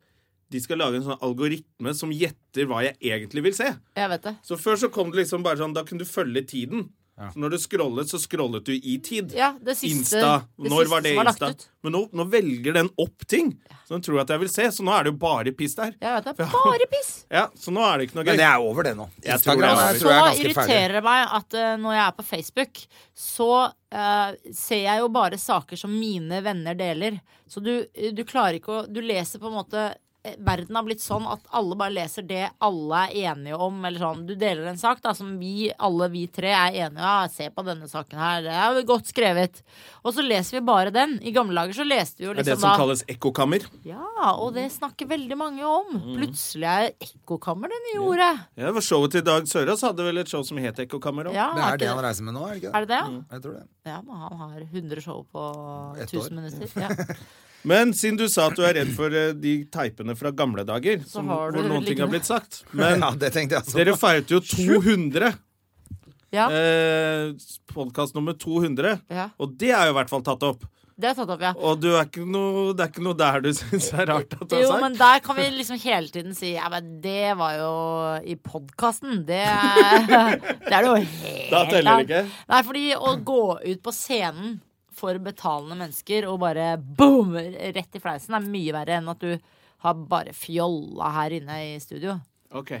[SPEAKER 1] de skal lage en sånn algoritme som gjetter hva jeg egentlig vil se.
[SPEAKER 4] Jeg vet det.
[SPEAKER 1] Så før så kom det liksom bare sånn, da kunne du følge tiden. Så når du scrollet, så scrollet du i tid.
[SPEAKER 4] Ja, det siste,
[SPEAKER 1] Insta.
[SPEAKER 4] det
[SPEAKER 1] Når
[SPEAKER 4] siste
[SPEAKER 1] var det
[SPEAKER 4] som var lagt
[SPEAKER 1] Insta?
[SPEAKER 4] ut.
[SPEAKER 1] Men nå, nå velger den opp ting som den tror at jeg vil se, så nå er det jo bare piss der.
[SPEAKER 4] Jeg vet det. Bare piss!
[SPEAKER 1] Ja, så nå er det ikke noe
[SPEAKER 2] Men
[SPEAKER 1] gøy.
[SPEAKER 2] det er over, det nå.
[SPEAKER 1] Jeg tror
[SPEAKER 2] Instagram er,
[SPEAKER 1] det er
[SPEAKER 2] tror jeg er
[SPEAKER 4] Så
[SPEAKER 2] ganske ferdig.
[SPEAKER 4] irriterer det meg at eh, når jeg er på Facebook, så eh, ser jeg jo bare saker som mine venner deler. Så du, eh, du klarer ikke å Du leser på en måte eh, Verden har blitt sånn at alle bare leser det alle er enige om. Eller sånn. Du deler en sak da, som vi, alle vi tre er enige om. Ja, se på denne saken her. Det er jo godt skrevet. Og så leser vi bare den. I gamle dager så leste vi jo
[SPEAKER 1] Det er det
[SPEAKER 4] liksom
[SPEAKER 1] som
[SPEAKER 4] da
[SPEAKER 1] kalles ekkokammer.
[SPEAKER 4] Ja, og det snakker veldig mange om. Plutselig er ekkokammer det nye ordet.
[SPEAKER 1] Ja, det var showet til Dag Sørås hadde vel et show som het Ekkokammer òg.
[SPEAKER 4] Ja,
[SPEAKER 2] Det
[SPEAKER 4] ikke
[SPEAKER 2] er det han reiser med nå, er det ikke
[SPEAKER 4] Er
[SPEAKER 2] det?
[SPEAKER 4] det det?
[SPEAKER 2] Jeg tror det.
[SPEAKER 4] Ja, men han har 100 show på
[SPEAKER 2] Ett
[SPEAKER 4] 1000
[SPEAKER 2] år.
[SPEAKER 4] minutter. Ja.
[SPEAKER 1] Men siden du sa at du er redd for eh, de teipene fra gamle dager, som,
[SPEAKER 4] har
[SPEAKER 1] hvor
[SPEAKER 4] du
[SPEAKER 1] noen ting har
[SPEAKER 4] liggende.
[SPEAKER 1] blitt sagt Men
[SPEAKER 2] ja, det tenkte jeg også.
[SPEAKER 1] dere feiret jo 200.
[SPEAKER 4] Ja.
[SPEAKER 1] Eh, Podkast nummer 200.
[SPEAKER 4] Ja.
[SPEAKER 1] Og det er jo i hvert fall tatt opp.
[SPEAKER 4] Det er tatt opp, ja.
[SPEAKER 1] Og du er ikke noe, det er ikke noe der du syns er rart at du har
[SPEAKER 4] Jo,
[SPEAKER 1] sagt.
[SPEAKER 4] men der kan vi liksom hele tiden si Ja, men det var jo i podkasten. Det, er- det er det jo helt
[SPEAKER 1] Da teller det ikke.
[SPEAKER 4] Nei, fordi å gå ut på scenen for betalende mennesker og bare boom! Rett i fleisen er mye verre enn at du har bare fjolla her inne i studio.
[SPEAKER 1] Ok.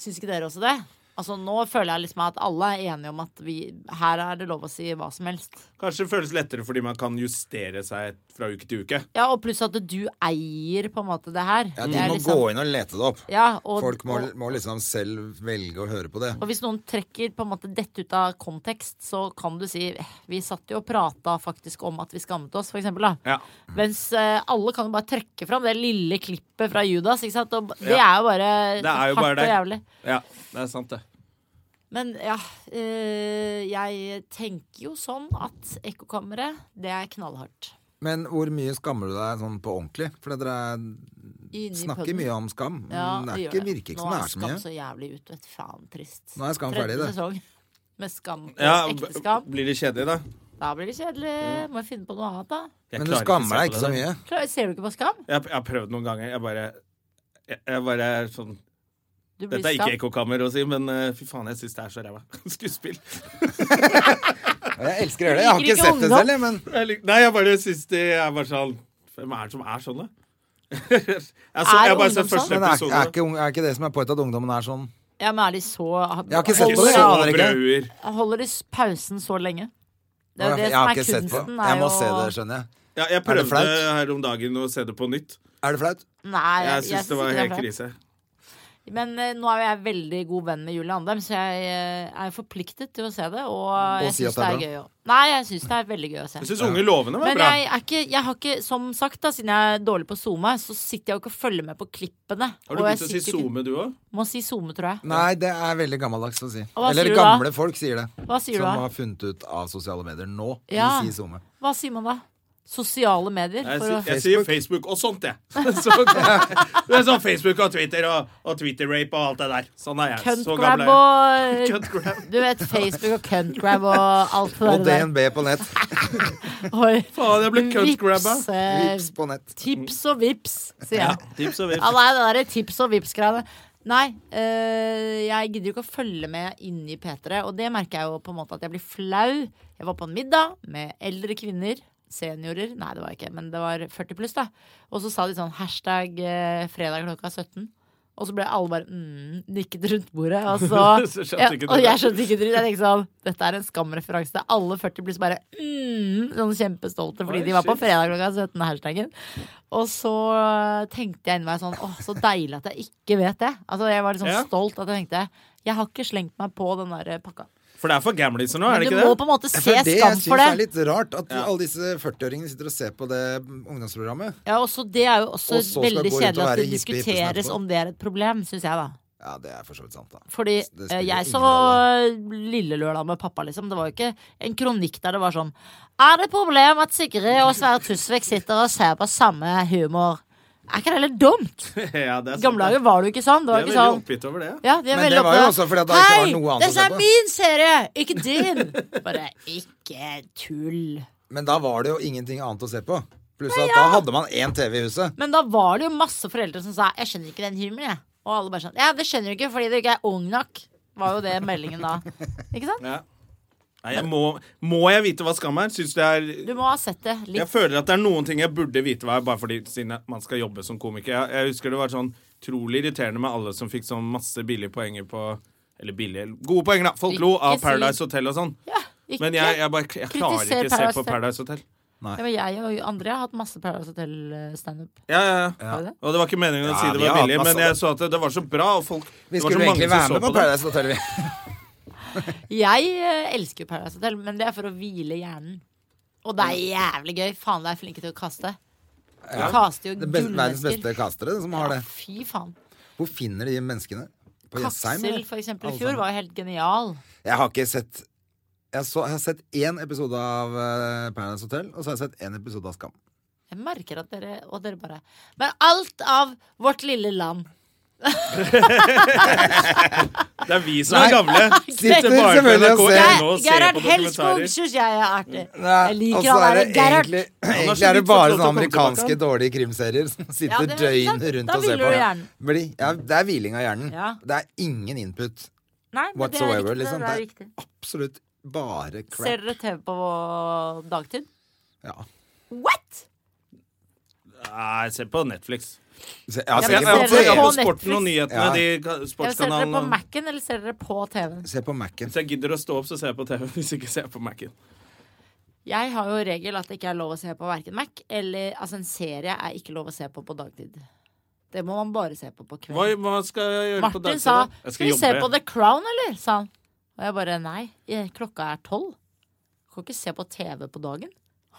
[SPEAKER 4] Syns ikke dere også det? Altså, Nå føler jeg liksom at alle er enige om at vi, her er det lov å si hva som helst.
[SPEAKER 1] Kanskje det føles lettere fordi man kan justere seg fra uke til uke.
[SPEAKER 4] Ja, og pluss at du eier på en måte det her.
[SPEAKER 2] Ja,
[SPEAKER 4] Det
[SPEAKER 2] de
[SPEAKER 4] er
[SPEAKER 2] må
[SPEAKER 4] liksom-
[SPEAKER 2] gå inn og lete det opp.
[SPEAKER 4] Ja, og,
[SPEAKER 2] Folk må,
[SPEAKER 4] og,
[SPEAKER 2] må liksom selv velge å høre på det.
[SPEAKER 4] og hvis noen trekker på en måte dette ut av kontekst, så kan du si eh, Vi satt jo og prata faktisk om at vi skammet oss, for eksempel. Da.
[SPEAKER 1] Ja.
[SPEAKER 4] Mens eh, alle kan jo bare trekke fram det lille klippet fra Judas, ikke sant. Og b- det
[SPEAKER 1] Ja.
[SPEAKER 4] er jo bare
[SPEAKER 1] Det er jo
[SPEAKER 4] hardt
[SPEAKER 1] bare
[SPEAKER 4] og
[SPEAKER 1] der.
[SPEAKER 4] jævlig.
[SPEAKER 1] Ja, det er sant, det.
[SPEAKER 4] Men ja, eh, jeg tenker jo sånn at ekkokammeret, det er knallhardt.
[SPEAKER 2] Men hvor mye skammer du deg sånn på ordentlig? For dere er,
[SPEAKER 4] Inni
[SPEAKER 2] snakker
[SPEAKER 4] podden.
[SPEAKER 2] mye om skam. Men det er
[SPEAKER 4] gjør
[SPEAKER 2] ikke, virker ikke som
[SPEAKER 4] Nå
[SPEAKER 2] det
[SPEAKER 4] er
[SPEAKER 2] er så mye.
[SPEAKER 4] Skam så jævlig ut, vet du. faen trist.
[SPEAKER 2] Nå er Skam ferdig,
[SPEAKER 4] Tredje
[SPEAKER 2] det.
[SPEAKER 4] sesong med Skam på
[SPEAKER 1] Ja, Mm.
[SPEAKER 4] ekte Skam.
[SPEAKER 1] blir det kjedelig, da?
[SPEAKER 4] Da blir det kjedelig. Må jeg finne på noe annet, da.
[SPEAKER 1] Jeg
[SPEAKER 2] Men du
[SPEAKER 1] klarer
[SPEAKER 2] skammer
[SPEAKER 1] å se
[SPEAKER 2] deg
[SPEAKER 1] på
[SPEAKER 2] ikke
[SPEAKER 1] det
[SPEAKER 2] så
[SPEAKER 1] der.
[SPEAKER 2] mye.
[SPEAKER 4] Klar, ser du ikke på Skam?
[SPEAKER 1] Jeg, jeg har prøvd noen ganger. Jeg bare jeg, jeg bare er sånn
[SPEAKER 4] Du blir
[SPEAKER 1] Dette er ikke
[SPEAKER 4] skam.
[SPEAKER 1] ekkokammer å si, men eh, fy faen, jeg syns det er så ræva. Skuespill.
[SPEAKER 2] Ja, Jeg elsker å gjøre det. Jeg har
[SPEAKER 4] Liker
[SPEAKER 2] ikke sett
[SPEAKER 4] ikke
[SPEAKER 2] det
[SPEAKER 4] ungdom.
[SPEAKER 2] selv, jeg, men
[SPEAKER 1] Jeg lik- Nei, jeg bare syns det er bare sånn Hvem er det som er sånn, da? jeg, så,
[SPEAKER 4] Er
[SPEAKER 1] jeg har bare sett
[SPEAKER 4] ungdom
[SPEAKER 1] første
[SPEAKER 4] sånn?
[SPEAKER 2] men er,
[SPEAKER 1] episode.
[SPEAKER 2] er, ikke, ung- er ikke det som er poenget at ungdommen er sånn?
[SPEAKER 4] Ja, men er de så
[SPEAKER 2] Jeg har ikke sett på
[SPEAKER 1] Ikke
[SPEAKER 2] det.
[SPEAKER 1] så
[SPEAKER 2] Jeg aner ikke.
[SPEAKER 1] brøder.
[SPEAKER 4] Holder de s- pausen så lenge? Det er jo det
[SPEAKER 2] Jeg
[SPEAKER 4] som
[SPEAKER 2] har
[SPEAKER 4] er
[SPEAKER 2] ikke sett på
[SPEAKER 4] kunsten.
[SPEAKER 2] det. Jeg må se det, skjønner jeg.
[SPEAKER 1] Ja, jeg
[SPEAKER 2] Er det
[SPEAKER 1] prøvde
[SPEAKER 2] flaut?
[SPEAKER 1] her om dagen å se det på nytt.
[SPEAKER 2] Er det flaut?
[SPEAKER 4] Nei,
[SPEAKER 1] Jeg syns det var
[SPEAKER 4] ikke
[SPEAKER 1] helt
[SPEAKER 4] flaut.
[SPEAKER 1] krise.
[SPEAKER 4] Men eh, nå er jo jeg veldig god venn med Julie Andem, så jeg eh, er forpliktet til å se det. Og, jeg
[SPEAKER 2] si
[SPEAKER 4] syns det
[SPEAKER 2] at
[SPEAKER 4] er,
[SPEAKER 2] det
[SPEAKER 4] gøy òg. Nei, jeg syns det er veldig gøy å se.
[SPEAKER 1] Jeg syns Unge lovende var
[SPEAKER 4] Men
[SPEAKER 1] bra.
[SPEAKER 4] jeg, er ikke, jeg har ikke, som sagt, da, siden jeg er dårlig på å zoome, så sitter jeg jo ikke og følger med på klippene.
[SPEAKER 1] Har du
[SPEAKER 4] og jeg
[SPEAKER 1] begynt å si
[SPEAKER 4] sitter ikke-
[SPEAKER 1] SoMe, du òg?
[SPEAKER 4] Må si zoome, tror jeg.
[SPEAKER 2] Nei, det er veldig gammeldags å si.
[SPEAKER 4] hva
[SPEAKER 2] Eller
[SPEAKER 4] sier du da?
[SPEAKER 2] gamle folk sier det.
[SPEAKER 4] Hva sier du
[SPEAKER 2] som
[SPEAKER 4] da?
[SPEAKER 2] har funnet ut av sosiale medier nå.
[SPEAKER 4] Ja.
[SPEAKER 2] De sier SoMe.
[SPEAKER 4] Hva sier man da? Sosiale medier?
[SPEAKER 1] Jeg,
[SPEAKER 4] For å,
[SPEAKER 1] si- jeg sier Facebook og sånt, jeg. Så, det er sånn Facebook og Twitter og, og Twitter-rape og alt det der. Sånn er jeg.
[SPEAKER 4] Cunt
[SPEAKER 1] Så
[SPEAKER 4] grab
[SPEAKER 1] gammel er jeg.
[SPEAKER 4] og
[SPEAKER 1] Cunt grab.
[SPEAKER 4] Du vet Facebook og cunt grab og alt det
[SPEAKER 2] Og
[SPEAKER 4] der.
[SPEAKER 2] DNB på nett.
[SPEAKER 4] Oi.
[SPEAKER 1] Faen, jeg ble cunt grabba.
[SPEAKER 4] Vips, eh,
[SPEAKER 2] Vips på nett.
[SPEAKER 4] tips og vips, sier jeg.
[SPEAKER 1] Tips og
[SPEAKER 4] Ja,
[SPEAKER 1] vips.
[SPEAKER 4] nei, det der er tips og vips-greiene. Nei, eh, jeg gidder jo ikke å følge med inn i P3, og det merker jeg jo på en måte at jeg blir flau. Jeg var på en middag med eldre kvinner, seniorer, nei det var jeg ikke, men det var 40 pluss, da. Og så sa de sånn hashtag eh, fredag klokka 17. Og så ble alle bare mm, nikket rundt bordet. Og, så,
[SPEAKER 1] Så skjønte
[SPEAKER 4] ja,
[SPEAKER 1] ikke du
[SPEAKER 4] og
[SPEAKER 1] det.
[SPEAKER 4] jeg skjønte ikke det. Jeg tenkte sånn Dette er en skamreferanse. Det er Alle 40 pluss bare mm, sånn kjempestolte fordi
[SPEAKER 1] Oi,
[SPEAKER 4] de var på
[SPEAKER 1] shit.
[SPEAKER 4] fredag klokka 17. hashtaggen. Og så tenkte jeg inni meg sånn Åh, så deilig at jeg ikke vet det. Altså Jeg var litt sånn
[SPEAKER 1] Ja.
[SPEAKER 4] stolt at jeg tenkte Jeg har ikke slengt meg på den der eh, pakka.
[SPEAKER 1] For det er for gamliser nå, er
[SPEAKER 4] Men
[SPEAKER 1] det
[SPEAKER 4] du
[SPEAKER 1] ikke
[SPEAKER 4] må
[SPEAKER 1] det?
[SPEAKER 4] på en måte
[SPEAKER 2] Jeg
[SPEAKER 4] se
[SPEAKER 2] føler det jeg
[SPEAKER 4] skam
[SPEAKER 2] synes
[SPEAKER 4] for
[SPEAKER 2] er
[SPEAKER 4] det.
[SPEAKER 2] litt rart, at
[SPEAKER 1] Ja.
[SPEAKER 2] alle disse 40-åringene sitter og ser på det ungdomsprogrammet.
[SPEAKER 4] Ja, også Det er jo også
[SPEAKER 2] Og så skal
[SPEAKER 4] veldig
[SPEAKER 2] gå ut og
[SPEAKER 4] kjedelig at
[SPEAKER 2] være
[SPEAKER 4] det
[SPEAKER 2] hippie etterpå.
[SPEAKER 4] diskuteres om det er et problem, syns jeg, da.
[SPEAKER 2] Ja, det er for så vidt sant, da.
[SPEAKER 4] Fordi
[SPEAKER 2] Altså, Det spiller
[SPEAKER 4] eh, jeg
[SPEAKER 2] ingen
[SPEAKER 4] så Lille Lørdag med pappa, liksom. Det var jo ikke en kronikk der det var sånn Er det et problem at Sigrid og Sverre Tusvik sitter og ser på samme humor? Er ikke det litt dumt?
[SPEAKER 1] Ja, Altså, det er
[SPEAKER 4] I
[SPEAKER 1] sant.
[SPEAKER 4] gamle dager var det jo ikke sånn.
[SPEAKER 1] De
[SPEAKER 4] Det var
[SPEAKER 1] er
[SPEAKER 4] ikke
[SPEAKER 1] veldig
[SPEAKER 4] sånn
[SPEAKER 1] oppgitt over det.
[SPEAKER 4] ja, de er
[SPEAKER 2] Men
[SPEAKER 4] veldig
[SPEAKER 2] det var jo
[SPEAKER 4] opptatt.
[SPEAKER 2] også fordi at det ikke var noe annet å
[SPEAKER 4] Hei, dette
[SPEAKER 2] se
[SPEAKER 4] er
[SPEAKER 2] på.
[SPEAKER 4] min serie, ikke din! Bare ikke tull.
[SPEAKER 2] Men da var det jo ingenting annet å se på. Pluss at da hadde man én TV i huset.
[SPEAKER 4] Men da var det jo masse foreldre som sa 'jeg skjønner ikke den humoren', jeg. Og alle bare sånn 'ja, det skjønner du ikke fordi du ikke er ung nok', var jo det meldingen da. Ikke sant?
[SPEAKER 1] Ja. Nei, jeg må, må jeg vite hva skam er? Syns det er
[SPEAKER 4] Du må ha sett det
[SPEAKER 1] Jeg
[SPEAKER 4] litt.
[SPEAKER 1] føler at det er noen ting jeg burde vite hva er, bare fordi siden jeg- man skal jobbe som komiker. Jeg, jeg husker det var sånn utrolig irriterende med alle som fikk sånn masse billige poenger på Eller billige Gode poenger, da! Folk lo av
[SPEAKER 4] Ikke si-
[SPEAKER 1] Paradise Hotel og sånn.
[SPEAKER 4] Ja, ikke.
[SPEAKER 1] Men jeg, jeg, bare, jeg klarer ikke
[SPEAKER 4] Kritiser
[SPEAKER 1] å se
[SPEAKER 4] Paradise
[SPEAKER 1] på Paradise Hotel.
[SPEAKER 4] Ja, men jeg og André har hatt masse Paradise Hotel-standup.
[SPEAKER 1] Ja, ja, ja.
[SPEAKER 4] Har vi det?
[SPEAKER 1] Og det var ikke meningen å
[SPEAKER 2] Ja,
[SPEAKER 1] si det
[SPEAKER 2] vi
[SPEAKER 1] var
[SPEAKER 2] har hatt
[SPEAKER 1] billig, men
[SPEAKER 2] masse-
[SPEAKER 1] jeg så at det, det var så bra, og folk
[SPEAKER 2] Vi
[SPEAKER 1] Det var så
[SPEAKER 2] skulle jo
[SPEAKER 1] mange
[SPEAKER 2] egentlig være
[SPEAKER 1] som
[SPEAKER 2] med
[SPEAKER 1] så
[SPEAKER 2] på
[SPEAKER 1] på det.
[SPEAKER 2] Paradise Hotel, vi.
[SPEAKER 4] Jeg eh, elsker jo Paradise Hotel, men det er for å hvile hjernen. Og det er jævlig gøy. Faen, de er flinke til å kaste. De kaster jo
[SPEAKER 2] Det beste, verdens beste
[SPEAKER 4] gullmennesker.
[SPEAKER 2] castere som har det.
[SPEAKER 4] Fy faen.
[SPEAKER 2] Hvor finner de menneskene? På Jessheim?
[SPEAKER 4] Kapsel
[SPEAKER 2] eller?
[SPEAKER 4] for eksempel i
[SPEAKER 2] Alle
[SPEAKER 4] fjor
[SPEAKER 2] sammen.
[SPEAKER 4] var jo helt genial.
[SPEAKER 2] Jeg har ikke sett jeg, så, jeg har sett én episode av eh, Paradise Hotel, og så har jeg sett én episode av Skam.
[SPEAKER 4] Jeg merker at dere Og dere bare Men alt av vårt lille land.
[SPEAKER 1] Det er vi som er gamle.
[SPEAKER 2] Sitter
[SPEAKER 1] bare på
[SPEAKER 2] selvfølgelig og
[SPEAKER 1] NRK
[SPEAKER 2] ser.
[SPEAKER 1] nå og ser
[SPEAKER 4] Gerhard
[SPEAKER 1] på
[SPEAKER 4] Helskog
[SPEAKER 1] dokumentarer.
[SPEAKER 4] syns jeg er artig. Jeg
[SPEAKER 2] og
[SPEAKER 4] liker
[SPEAKER 2] så
[SPEAKER 1] altså,
[SPEAKER 4] han
[SPEAKER 2] altså, er det
[SPEAKER 4] derre Gerhard.
[SPEAKER 2] egentlig,
[SPEAKER 1] Han har så
[SPEAKER 2] egentlig er det
[SPEAKER 1] vidt fått
[SPEAKER 2] bare
[SPEAKER 1] lov til
[SPEAKER 2] sånne
[SPEAKER 1] å komme tilbake,
[SPEAKER 2] amerikanske
[SPEAKER 1] han.
[SPEAKER 2] dårlige krimserier som sitter
[SPEAKER 4] det er sant.
[SPEAKER 2] døgnet rundt
[SPEAKER 4] Da
[SPEAKER 2] og ser
[SPEAKER 4] hviler
[SPEAKER 2] på.
[SPEAKER 4] jo hjernen.
[SPEAKER 2] Bli, ja, det er hviling av hjernen.
[SPEAKER 4] Ja.
[SPEAKER 2] Det er ingen input.
[SPEAKER 4] Nei, men det er
[SPEAKER 2] whatsoever,
[SPEAKER 4] riktig,
[SPEAKER 2] liksom.
[SPEAKER 4] Det er
[SPEAKER 2] Det-
[SPEAKER 4] riktig.
[SPEAKER 2] Absolutt bare
[SPEAKER 4] Ser
[SPEAKER 2] crap.
[SPEAKER 4] dere TV på dagtid?
[SPEAKER 2] Ja.
[SPEAKER 4] What?!
[SPEAKER 1] Nei, se på Netflix.
[SPEAKER 2] Så- ja,
[SPEAKER 4] men
[SPEAKER 2] sikkert
[SPEAKER 1] Jeg, jeg,
[SPEAKER 4] ser
[SPEAKER 2] på
[SPEAKER 1] jeg,
[SPEAKER 4] dere
[SPEAKER 1] er
[SPEAKER 2] TV.
[SPEAKER 1] på
[SPEAKER 4] på
[SPEAKER 1] sporten og nyhetene,
[SPEAKER 2] Ja.
[SPEAKER 1] de
[SPEAKER 4] Ja, ser dere på
[SPEAKER 1] sportskanalene.
[SPEAKER 4] Mac-en, eller ser dere på TV-en?
[SPEAKER 2] Se på Mac-en.
[SPEAKER 1] Hvis jeg gidder å stå opp, så ser jeg på TV. Hvis ikke ser jeg på Mac-en.
[SPEAKER 4] Jeg har jo regel at det ikke er lov å se på verken Mac eller Altså, en serie er ikke lov å se på på dagtid. Det må man bare se på på
[SPEAKER 1] Hva,
[SPEAKER 4] kveld.
[SPEAKER 1] hva skal jeg gjøre på
[SPEAKER 4] Martin
[SPEAKER 1] dagtid?
[SPEAKER 4] sa
[SPEAKER 1] da? Jeg
[SPEAKER 4] 'Skal vi se på The Crown, eller?' sa han. Og jeg bare 'Nei, eh, klokka er tolv. Du kan ikke se på TV på dagen'.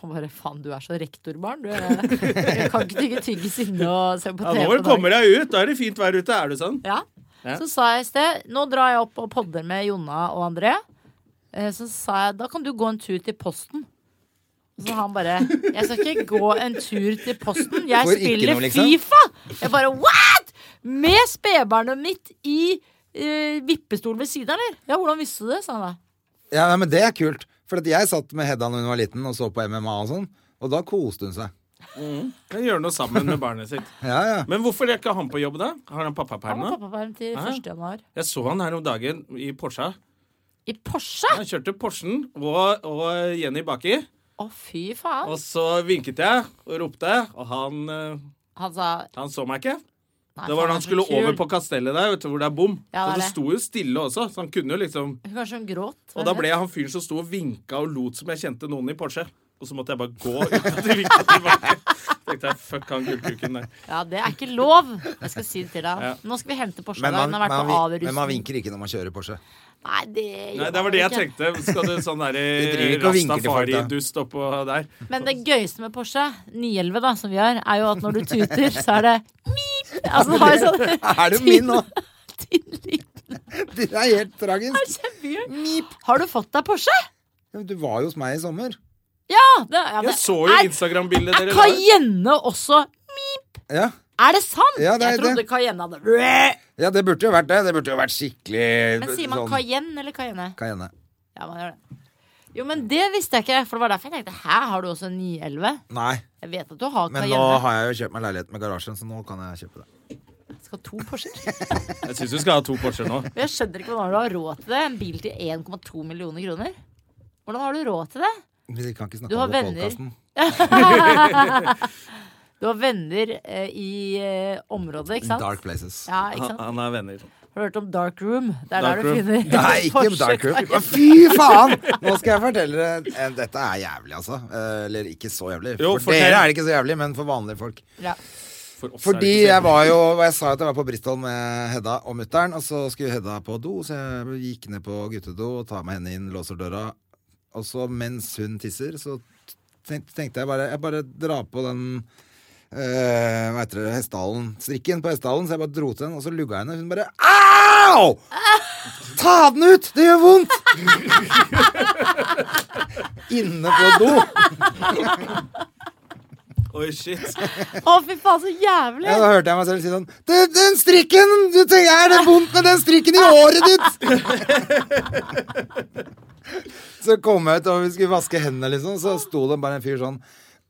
[SPEAKER 4] Han bare 'Faen, du er så rektorbarn. Du er, jeg kan ikke tygge tyggis inne og se på
[SPEAKER 1] Ja,
[SPEAKER 4] TV
[SPEAKER 1] nå
[SPEAKER 4] på dagen'.
[SPEAKER 1] kommer jeg ut. Da er det fint vær ute. Er det sånn?
[SPEAKER 4] Ja.
[SPEAKER 1] Ja.
[SPEAKER 4] Så sa jeg i sted Nå drar jeg opp og podder med Jonna og André. Eh, Så sa jeg da kan du gå en tur til Posten. Og Så han bare Jeg skal ikke gå en tur til Posten. Jeg
[SPEAKER 2] Får ikke
[SPEAKER 4] spiller
[SPEAKER 2] noe, liksom.
[SPEAKER 4] Fifa! Jeg bare what?! Med spedbarnet mitt i eh, vippestol ved siden, eller? Ja, hvordan visste du det? sa han da.
[SPEAKER 2] Ja, nei, men det er kult. For at jeg satt med Hedda da hun var liten og så på MMA og sånn, og da koste hun seg.
[SPEAKER 1] Kan gjøre noe sammen med barnet sitt.
[SPEAKER 2] Ja, ja.
[SPEAKER 1] Men hvorfor er ikke han på jobb, da? Har han
[SPEAKER 4] Han
[SPEAKER 1] pappaperm
[SPEAKER 4] var
[SPEAKER 1] nå?
[SPEAKER 4] pappaperm til 1. januar.
[SPEAKER 1] Jeg så han her om dagen i Porscha.
[SPEAKER 4] I Porsche?
[SPEAKER 1] Han kjørte Porschen og, og Jenny baki.
[SPEAKER 4] Å, fy faen.
[SPEAKER 1] Og så vinket jeg og ropte, og han, eh,
[SPEAKER 4] Han sa
[SPEAKER 1] han så meg ikke.
[SPEAKER 4] nei,
[SPEAKER 1] Det var
[SPEAKER 4] faen,
[SPEAKER 1] da
[SPEAKER 4] er
[SPEAKER 1] han
[SPEAKER 4] så
[SPEAKER 1] skulle
[SPEAKER 4] kul.
[SPEAKER 1] over på kastellet der, vet du, hvor det er bom.
[SPEAKER 4] Ja,
[SPEAKER 1] Så
[SPEAKER 4] det er
[SPEAKER 1] det
[SPEAKER 4] det.
[SPEAKER 1] sto jo stille også, så han kunne jo liksom
[SPEAKER 4] Kanskje hun gråt.
[SPEAKER 1] Og da ble jeg han fyren som sto og vinka og lot som jeg kjente noen i Porsche. Og så måtte jeg bare gå uten at de vinka tilbake. Tenkte jeg, fuck han gullkuken der.
[SPEAKER 4] Ja, det er ikke lov! Jeg skal si det til deg.
[SPEAKER 1] Ja.
[SPEAKER 4] Nå skal vi hente Porsche.
[SPEAKER 2] Men
[SPEAKER 4] da.
[SPEAKER 2] man,
[SPEAKER 4] Den har
[SPEAKER 2] man,
[SPEAKER 4] vært på
[SPEAKER 2] vi- men man
[SPEAKER 4] avrusning.
[SPEAKER 2] vinker ikke når man kjører Porsche.
[SPEAKER 4] Nei, det
[SPEAKER 1] Nei,
[SPEAKER 4] gjør
[SPEAKER 1] det
[SPEAKER 4] man
[SPEAKER 1] var det jeg
[SPEAKER 4] ikke.
[SPEAKER 1] tenkte. Skal du sånn
[SPEAKER 2] Vi driver
[SPEAKER 1] derre
[SPEAKER 2] ikke og vinker til folk, da.
[SPEAKER 1] rastafari-dust oppå der?
[SPEAKER 4] Men det gøyeste med Porsche 911, da, som vi har, er jo at når du tuter, så er det mip! Altså, det har jo sånn
[SPEAKER 2] Er det min nå?
[SPEAKER 4] tydelig
[SPEAKER 2] Det er helt tragisk.
[SPEAKER 4] Har du fått deg Porsche?
[SPEAKER 2] Du var jo hos meg i sommer.
[SPEAKER 4] Ja! Det, ja det,
[SPEAKER 1] Jeg så jo
[SPEAKER 4] er-
[SPEAKER 1] Instagram-bildet
[SPEAKER 4] Er
[SPEAKER 1] dere la ut.
[SPEAKER 4] Cayenne også
[SPEAKER 2] Ja,
[SPEAKER 4] Er det sant?
[SPEAKER 2] Ja, det er
[SPEAKER 4] jeg trodde
[SPEAKER 2] det.
[SPEAKER 4] Cayenne hadde
[SPEAKER 2] ja det burde jo vært det. Det burde jo vært skikkelig sånn
[SPEAKER 4] Men sier man Cayenne eller Cayenne?
[SPEAKER 2] Cayenne.
[SPEAKER 4] Ja, man gjør det. Jo, men det visste jeg ikke, for det var derfor jeg tenkte Hæ, har du også en 911?
[SPEAKER 2] Nei,
[SPEAKER 4] Jeg vet at du har
[SPEAKER 2] men
[SPEAKER 4] Cayenne.
[SPEAKER 2] nå har jeg jo kjøpt meg leilighet med garasjen, så nå kan jeg kjøpe det.
[SPEAKER 4] Jeg skal ha to Porscher.
[SPEAKER 1] Jeg syns du skal ha to Porscher nå.
[SPEAKER 4] Men Jeg skjønner ikke hvordan du har råd til det. En bil til 1,2 millioner kroner. Hvordan har du råd til det?
[SPEAKER 2] Vi kan ikke
[SPEAKER 4] Du
[SPEAKER 2] snakke
[SPEAKER 4] har
[SPEAKER 2] om det på
[SPEAKER 4] venner.
[SPEAKER 2] podkasten.
[SPEAKER 4] Du har venner eh, i eh, området, ikke sant?
[SPEAKER 2] Dark Ah, places.
[SPEAKER 4] Ja, ikke
[SPEAKER 1] Han,
[SPEAKER 4] sant?
[SPEAKER 1] han er venner. liksom.
[SPEAKER 4] Har du hørt om Dark Room? Det er
[SPEAKER 1] Dark
[SPEAKER 4] der du
[SPEAKER 1] Room.
[SPEAKER 4] finner
[SPEAKER 2] Nei, ikke
[SPEAKER 4] Porsche
[SPEAKER 2] Dark Room.
[SPEAKER 4] Cayenne.
[SPEAKER 2] Å, Fy faen! Nå skal jeg fortelle dere eh, Dette er jævlig, altså. Eh, Eller ikke så jævlig.
[SPEAKER 1] Jo,
[SPEAKER 2] For
[SPEAKER 1] fortell.
[SPEAKER 2] dere er det ikke så jævlig, men for vanlige folk.
[SPEAKER 4] Ja.
[SPEAKER 1] For oss er det
[SPEAKER 2] Fordi
[SPEAKER 1] ikke så
[SPEAKER 2] jeg var jo Jeg sa at jeg var på Bristol med Hedda og mutter'n, og så skulle Hedda på do, så jeg gikk ned på guttedo og tar med henne inn, låser døra, og så mens hun tisser, så tenk- tenkte jeg bare Jeg bare drar på den eh, hva heter det, hestehalen Strikken på hestehalen, så jeg bare dro til den, og så lugga jeg henne, og hun bare Au! Ta den ut! Det gjør vondt! Inne på do.
[SPEAKER 1] Oi, shit.
[SPEAKER 4] Å, fy faen, så jævlig!
[SPEAKER 2] Ja, da hørte jeg meg selv si sånn Den, den strikken! Du tenker, er det vondt med den strikken i håret ditt? så kom jeg ut, og vi skulle vaske hendene, liksom, så sto det bare en fyr sånn.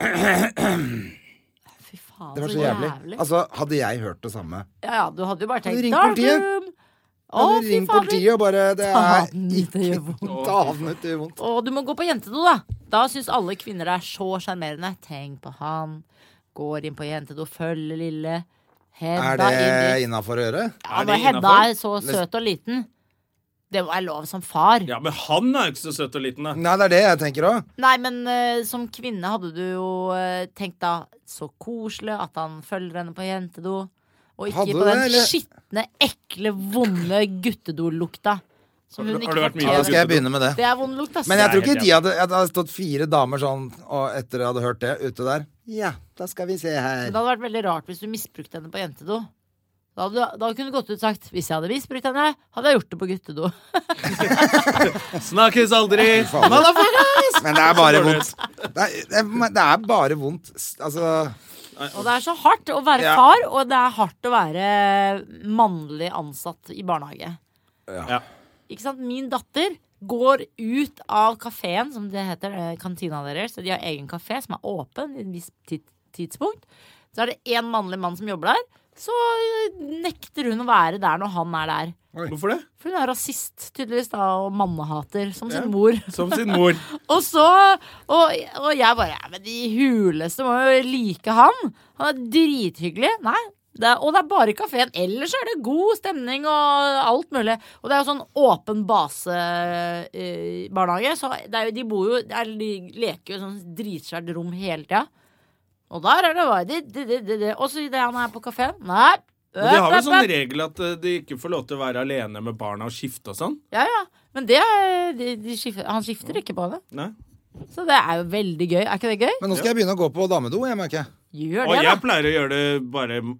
[SPEAKER 4] Fy faen,
[SPEAKER 2] Det var så jævlig. Altså, hadde jeg hørt det samme
[SPEAKER 4] Ja, ja, du hadde jo bare
[SPEAKER 2] Hadde
[SPEAKER 4] tenkt
[SPEAKER 2] ringt
[SPEAKER 4] Dark
[SPEAKER 2] politiet.
[SPEAKER 4] Room! Å,
[SPEAKER 2] Hadde
[SPEAKER 4] fy
[SPEAKER 2] ringt
[SPEAKER 4] faen.
[SPEAKER 2] politiet og bare Det
[SPEAKER 4] Ta
[SPEAKER 2] er
[SPEAKER 4] den,
[SPEAKER 2] ikke
[SPEAKER 4] det gjør
[SPEAKER 2] vondt. Ta den ut, det gjør vondt.
[SPEAKER 4] Og du må gå på jentedo, da. Da syns alle kvinner det er så sjarmerende. Tenk på han. Går inn på jentedo, følger lille
[SPEAKER 2] Er
[SPEAKER 4] Hedda
[SPEAKER 2] det
[SPEAKER 4] inn dit.
[SPEAKER 2] innafor å gjøre?
[SPEAKER 4] Ja,
[SPEAKER 1] Er det
[SPEAKER 4] når Hedda
[SPEAKER 1] innenfor?
[SPEAKER 4] er så søt og liten. Det må være lov som far.
[SPEAKER 1] Ja, men han er jo ikke så søt og liten, da.
[SPEAKER 2] Nei, det er det jeg tenker òg.
[SPEAKER 4] Nei, men eh, som kvinne hadde du jo eh, tenkt da så koselig at han følger henne på jentedo. Og ikke
[SPEAKER 2] Hadde du
[SPEAKER 4] på den
[SPEAKER 2] det, eller?
[SPEAKER 4] skitne, ekle, vonde guttedolukta. Som hun
[SPEAKER 1] Har du-
[SPEAKER 4] ikke
[SPEAKER 1] har du vært mye
[SPEAKER 2] Da
[SPEAKER 4] fortjener.
[SPEAKER 1] på
[SPEAKER 2] skal jeg begynne med det.
[SPEAKER 4] Det er vond lukt, ass.
[SPEAKER 2] Men jeg tror ikke
[SPEAKER 1] Nei,
[SPEAKER 2] de hadde at Det hadde stått fire damer sånn og etter jeg hadde hørt det, ute der. Ja, da skal vi se her.
[SPEAKER 4] Men det hadde vært veldig rart hvis du misbrukte henne på jentedo. Da, hadde, da kunne du gått ut og sagt hvis jeg hadde misbrukt henne, hadde jeg gjort det på guttedo.
[SPEAKER 1] Snakkes aldri!
[SPEAKER 2] fader. Men det er bare
[SPEAKER 1] Så går det
[SPEAKER 2] vondt. Det er, det, er, det er bare vondt. S- Altså
[SPEAKER 4] Og det er så hardt å være
[SPEAKER 2] Ja.
[SPEAKER 4] far, og det er hardt å være mannlig ansatt i barnehage.
[SPEAKER 1] Ja.
[SPEAKER 4] Ikke sant? Min datter går ut av kafeen, som det heter, eh, kantina deres. De har egen kafé som er åpen i et visst tid- tidspunkt. Så er det én mannlig mann som jobber der. Så eh, nekter hun å være der når han er der.
[SPEAKER 1] Hvorfor det?
[SPEAKER 4] For hun er rasist, tydeligvis, da, og mannehater, som sin mor.
[SPEAKER 1] Som sin mor.
[SPEAKER 4] Og så Og, og jeg bare ja, Men de huleste må jo like han. Han er drithyggelig. Nei. Det er, og det er bare kafeen. Ellers er det god stemning og alt mulig. Og det er jo sånn åpen base-barnehage, så det er jo, de bor jo det er, De leker jo i sånn dritsvært rom hele tida. Og der er det bare de, de, de, de, de. Og så idet han er på kafeen Nei.
[SPEAKER 1] Men de har vel
[SPEAKER 4] Øp, øp, øp.
[SPEAKER 1] sånn regel at eh, de ikke får lov til å være alene med barna og skifte og sånn?
[SPEAKER 4] Ja, ja. Men det er, de, de skifter, han skifter ikke på det.
[SPEAKER 1] Nei?
[SPEAKER 4] Så det er jo veldig gøy. Er ikke det gøy?
[SPEAKER 2] Men nå skal jeg begynne å gå på damedo, jeg merker jeg.
[SPEAKER 4] Gjør
[SPEAKER 1] Og
[SPEAKER 4] det, da.
[SPEAKER 1] jeg pleier å gjøre det bare mm,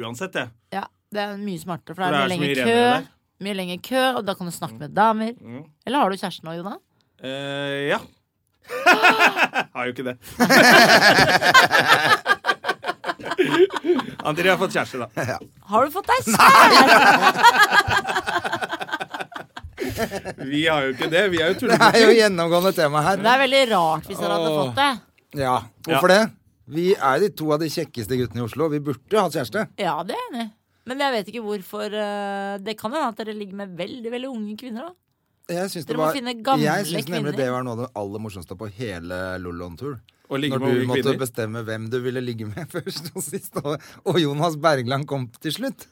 [SPEAKER 1] uansett, jeg.
[SPEAKER 4] Ja, det er mye smartere,
[SPEAKER 1] For
[SPEAKER 4] for det er,
[SPEAKER 1] det er så mye
[SPEAKER 4] mye lengre kø.
[SPEAKER 1] renere der.
[SPEAKER 4] Mye lengre kø, og da kan du snakke med damer. Eller har du kjæreste nå, Jona?
[SPEAKER 1] Eh, ja. har jo ikke det. André har fått kjæreste, da.
[SPEAKER 4] Har du fått deg kjæreste?
[SPEAKER 1] Vi har jo ikke det. Vi er jo
[SPEAKER 2] Det er jo
[SPEAKER 1] tullegutter.
[SPEAKER 2] gjennomgående tema her.
[SPEAKER 4] Det er veldig rart hvis dere hadde
[SPEAKER 2] Åh.
[SPEAKER 4] fått det.
[SPEAKER 2] Ja, Hvorfor det? Vi er de to av de kjekkeste guttene i Oslo. Vi burde hatt kjæreste.
[SPEAKER 4] Ja, det er jeg enig i. Men jeg vet ikke hvorfor eh, Det kan hende at dere ligger med veldig veldig unge kvinner. da
[SPEAKER 2] Jeg syns det
[SPEAKER 4] Dere må
[SPEAKER 2] var
[SPEAKER 4] finne gamle
[SPEAKER 2] Jeg syns nemlig
[SPEAKER 4] kvinner.
[SPEAKER 2] det var noe av det aller morsomste på hele Lollon-tur.
[SPEAKER 1] Å ligge
[SPEAKER 2] Når
[SPEAKER 1] med
[SPEAKER 2] du
[SPEAKER 1] unge
[SPEAKER 2] måtte
[SPEAKER 1] kvinner.
[SPEAKER 2] bestemme hvem du ville ligge med først og sist. Og, og Jonas Bergland kom til slutt.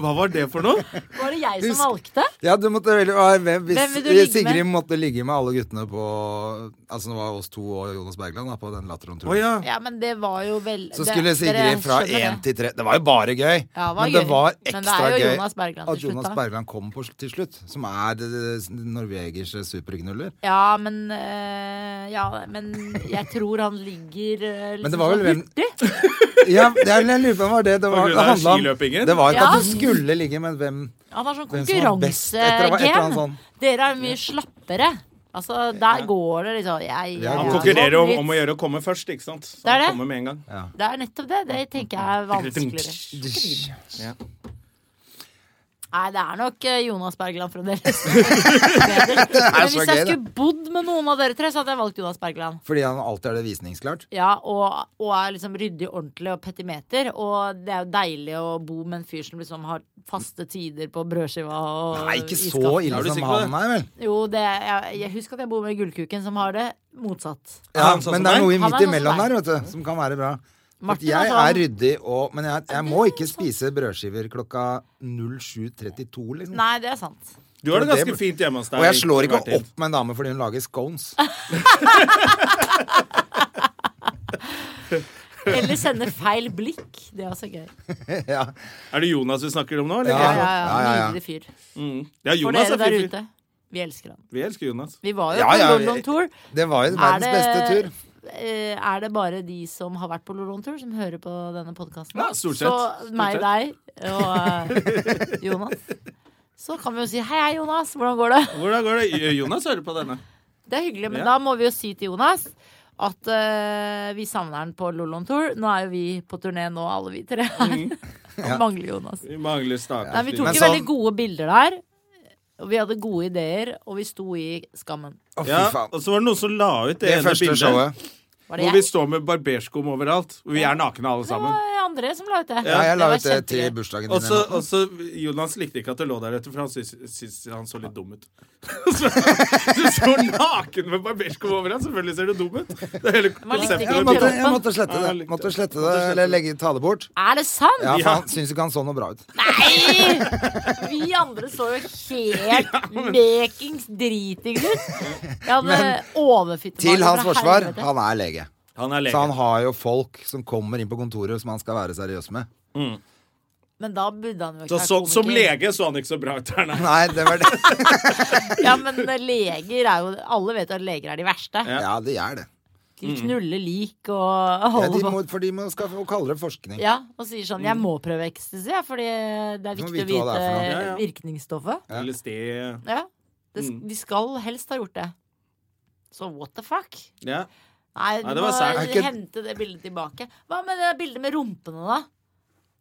[SPEAKER 1] Hva var det for noe?
[SPEAKER 4] Var det jeg som
[SPEAKER 2] Husk-
[SPEAKER 4] valgte?
[SPEAKER 2] Ja, du måtte velge hva- hvem, hvis,
[SPEAKER 4] Hvem vil du ligge
[SPEAKER 2] Sigrid
[SPEAKER 4] med?
[SPEAKER 2] måtte ligge med alle guttene på Altså det var oss to og Jonas Bergland da, på den latteren, tror
[SPEAKER 1] Å
[SPEAKER 2] jeg.
[SPEAKER 1] ja.
[SPEAKER 4] Ja, men det var jo vel
[SPEAKER 2] Så
[SPEAKER 4] det-
[SPEAKER 2] skulle
[SPEAKER 4] dere
[SPEAKER 2] Sigrid fra
[SPEAKER 4] skjønner det.
[SPEAKER 2] én til tre Det var jo bare gøy!
[SPEAKER 4] Ja, det var
[SPEAKER 2] men det
[SPEAKER 4] gøy.
[SPEAKER 2] var
[SPEAKER 4] Men det er
[SPEAKER 2] ekstra
[SPEAKER 4] jo
[SPEAKER 2] gøy
[SPEAKER 4] Jonas Bergland til
[SPEAKER 2] at
[SPEAKER 4] slutt,
[SPEAKER 2] Jonas
[SPEAKER 4] da.
[SPEAKER 2] Bergland kom på, sl- til slutt. Som er det, det, norvegers eh, superknuller.
[SPEAKER 4] Ja, men eh, Ja, men jeg tror han ligger eh, liksom
[SPEAKER 2] Men det var vel
[SPEAKER 4] sånn
[SPEAKER 2] hvem-
[SPEAKER 4] hurtig.
[SPEAKER 2] Ja, det er- jeg lurer på hva var det det
[SPEAKER 1] På
[SPEAKER 2] var. Det,
[SPEAKER 1] grunn av
[SPEAKER 2] handla om,
[SPEAKER 1] skiløpingen?
[SPEAKER 2] det var ikke
[SPEAKER 4] Ja.
[SPEAKER 2] at du skulle ligge, men hvem
[SPEAKER 4] Han har sånn
[SPEAKER 2] Hvem som var best, et eller annet- et eller annet
[SPEAKER 4] konkurransegen.
[SPEAKER 2] sånn.
[SPEAKER 4] Dere er mye slappere. Altså, der går det liksom jeg, jeg,
[SPEAKER 2] Ja,
[SPEAKER 1] Han
[SPEAKER 2] ja.
[SPEAKER 1] konkurrerer om, om å gjøre å komme først, ikke sant? Så
[SPEAKER 4] Det er det.
[SPEAKER 1] han kommer med en gang.
[SPEAKER 4] Det er nettopp det. Det tenker jeg er vanskeligere.
[SPEAKER 1] Ja.
[SPEAKER 4] Nei, det er nok eh, Jonas Bergland fremdeles. Men
[SPEAKER 2] så
[SPEAKER 4] hvis
[SPEAKER 2] gøy,
[SPEAKER 4] jeg
[SPEAKER 2] det.
[SPEAKER 4] skulle bodd med noen av dere tre, så hadde jeg valgt Jonas Bergland.
[SPEAKER 2] Fordi han alltid er det visningsklart.
[SPEAKER 4] Ja, og, og er liksom ryddig ordentlig og petimeter. Og det er jo deilig å bo med en fyr som liksom har faste tider på brødskiva og
[SPEAKER 2] Nei, ikke så
[SPEAKER 4] iskaffen.
[SPEAKER 1] Er
[SPEAKER 2] ille
[SPEAKER 1] du
[SPEAKER 2] som
[SPEAKER 1] sikker på det?
[SPEAKER 2] han er, vel.
[SPEAKER 4] Jo, det, jeg, jeg husker at jeg bor med Gullkuken, som har det motsatt.
[SPEAKER 2] Ja,
[SPEAKER 1] Er han sånn
[SPEAKER 2] men
[SPEAKER 1] som
[SPEAKER 2] det er
[SPEAKER 1] deg?
[SPEAKER 2] noe i
[SPEAKER 4] Han er
[SPEAKER 2] midt
[SPEAKER 4] sånn
[SPEAKER 2] imellom
[SPEAKER 4] som
[SPEAKER 2] der, vet du, som kan være bra. At
[SPEAKER 4] Martin er
[SPEAKER 2] jeg
[SPEAKER 4] sånn-
[SPEAKER 2] er ryddig og Men jeg, jeg må ikke spise brødskiver klokka 07.32, liksom.
[SPEAKER 4] Nei, det er sant.
[SPEAKER 1] Du har det
[SPEAKER 2] Det
[SPEAKER 1] ganske
[SPEAKER 2] blir-
[SPEAKER 1] fint hjemme hos deg.
[SPEAKER 2] Og jeg slår ikke
[SPEAKER 1] Martin.
[SPEAKER 2] opp med en dame fordi hun lager scones.
[SPEAKER 4] Eller sende feil blikk. Det er også gøy.
[SPEAKER 2] ja.
[SPEAKER 1] Er det Jonas vi snakker om nå? Eller?
[SPEAKER 4] Ja, ja,
[SPEAKER 2] ja, ja, ja.
[SPEAKER 4] Nydelig fyr.
[SPEAKER 1] Mm. ja
[SPEAKER 4] For
[SPEAKER 1] Jonas er
[SPEAKER 4] dere der
[SPEAKER 1] fin. fyr.
[SPEAKER 4] ute. Vi elsker han.
[SPEAKER 1] Vi elsker Jonas.
[SPEAKER 4] Vi var jo
[SPEAKER 2] Ja,
[SPEAKER 4] på
[SPEAKER 2] ja, vi-
[SPEAKER 4] London Tour.
[SPEAKER 2] Det var jo verdens beste tur.
[SPEAKER 4] eh, er det bare de som har vært på Lolon Tour, som hører på denne podkasten?
[SPEAKER 1] Ja, stort sett. Stort
[SPEAKER 4] Så meg, deg og eh, Jonas. Så kan vi jo si hei, hei, Jonas. Hvordan går det?
[SPEAKER 1] Hvordan går det? Jonas hører på denne.
[SPEAKER 4] Det er hyggelig, men
[SPEAKER 1] Ja.
[SPEAKER 4] da må vi jo si til Jonas at eh, vi savner han på Lolon Tour. Nå er jo vi på turné nå, alle vi tre her.
[SPEAKER 1] Mm.
[SPEAKER 4] Han mangler Jonas.
[SPEAKER 1] Vi mangler staker.
[SPEAKER 4] Nei, vi tok
[SPEAKER 2] Men
[SPEAKER 4] jo
[SPEAKER 2] sånn-
[SPEAKER 4] veldig gode bilder der. Og vi hadde gode ideer, og vi sto i skammen.
[SPEAKER 2] Å, fy
[SPEAKER 1] ja,
[SPEAKER 2] faen.
[SPEAKER 1] og så var det noen som la ut det,
[SPEAKER 2] Det
[SPEAKER 1] ene
[SPEAKER 2] første
[SPEAKER 1] bildet.
[SPEAKER 2] showet.
[SPEAKER 4] Var det
[SPEAKER 1] Hvor vi
[SPEAKER 4] jeg?
[SPEAKER 1] står med barberskum overalt. Hvor vi er nakne alle
[SPEAKER 4] Det
[SPEAKER 1] sammen.
[SPEAKER 4] var André som la ut det.
[SPEAKER 2] Ja, jeg la
[SPEAKER 4] var
[SPEAKER 2] ut det til
[SPEAKER 4] kjempegøy.
[SPEAKER 2] bursdagen
[SPEAKER 1] Og
[SPEAKER 2] din.
[SPEAKER 1] så
[SPEAKER 2] eller noe.
[SPEAKER 1] og så- Jonas likte ikke at det lå der etter, for han syntes syntes han så litt dum ut. Så, du står naken med barberskum overalt. Selvfølgelig ser du dum ut. Det er hele konseptet
[SPEAKER 4] ikke
[SPEAKER 2] Jeg måtte,
[SPEAKER 1] med bildet.
[SPEAKER 4] kroppen.
[SPEAKER 2] jeg måtte slette
[SPEAKER 1] Ja,
[SPEAKER 2] det.
[SPEAKER 1] jeg likte
[SPEAKER 2] Måtte
[SPEAKER 1] det.
[SPEAKER 2] slette det,
[SPEAKER 1] Måtte slette
[SPEAKER 2] Eller
[SPEAKER 1] det.
[SPEAKER 2] legge, ta det bort.
[SPEAKER 4] Er det sant?
[SPEAKER 2] Ja,
[SPEAKER 1] Ja.
[SPEAKER 2] for han syns ikke han så noe bra ut.
[SPEAKER 4] Nei! Vi andre så jo helt lekings dritings ut. Jeg hadde overfittemage
[SPEAKER 2] Til hans
[SPEAKER 4] fra
[SPEAKER 2] forsvar,
[SPEAKER 4] helvete.
[SPEAKER 2] han er lege.
[SPEAKER 1] Han er
[SPEAKER 2] Så han
[SPEAKER 1] lege.
[SPEAKER 2] har jo folk som kommer inn på kontoret som han skal være seriøs med.
[SPEAKER 4] Men da burde han jo
[SPEAKER 1] Så,
[SPEAKER 4] ikke
[SPEAKER 1] så, som
[SPEAKER 4] komiker.
[SPEAKER 1] lege så han ikke så bra ut der, nei.
[SPEAKER 2] Nei, det var det.
[SPEAKER 4] Ja, men eh, leger er jo Alle vet jo at leger er de verste.
[SPEAKER 2] Ja, det er det.
[SPEAKER 4] De
[SPEAKER 1] Mm.
[SPEAKER 4] knuller lik og
[SPEAKER 2] Ja,
[SPEAKER 4] holder
[SPEAKER 2] de
[SPEAKER 4] på.
[SPEAKER 2] må, for de må, skal få kalle det forskning.
[SPEAKER 4] Ja, og sier sånn 'Jeg må prøve ecstasy, jeg, fordi eh, det er
[SPEAKER 2] Du må
[SPEAKER 4] viktig å
[SPEAKER 2] vite hva
[SPEAKER 4] vite
[SPEAKER 2] det er for noe.»
[SPEAKER 1] Ja, Mm. ja.
[SPEAKER 4] virkningsstoffet'.
[SPEAKER 1] Eller sted.
[SPEAKER 4] Ja. Det, De skal helst ha gjort det. Så what the fuck?
[SPEAKER 1] Ja.
[SPEAKER 4] Nei,
[SPEAKER 1] Nei,
[SPEAKER 4] du
[SPEAKER 1] det
[SPEAKER 4] må
[SPEAKER 1] var sært.
[SPEAKER 2] Er ikke-
[SPEAKER 4] hente det bildet tilbake. Hva med det bildet med rumpene, da?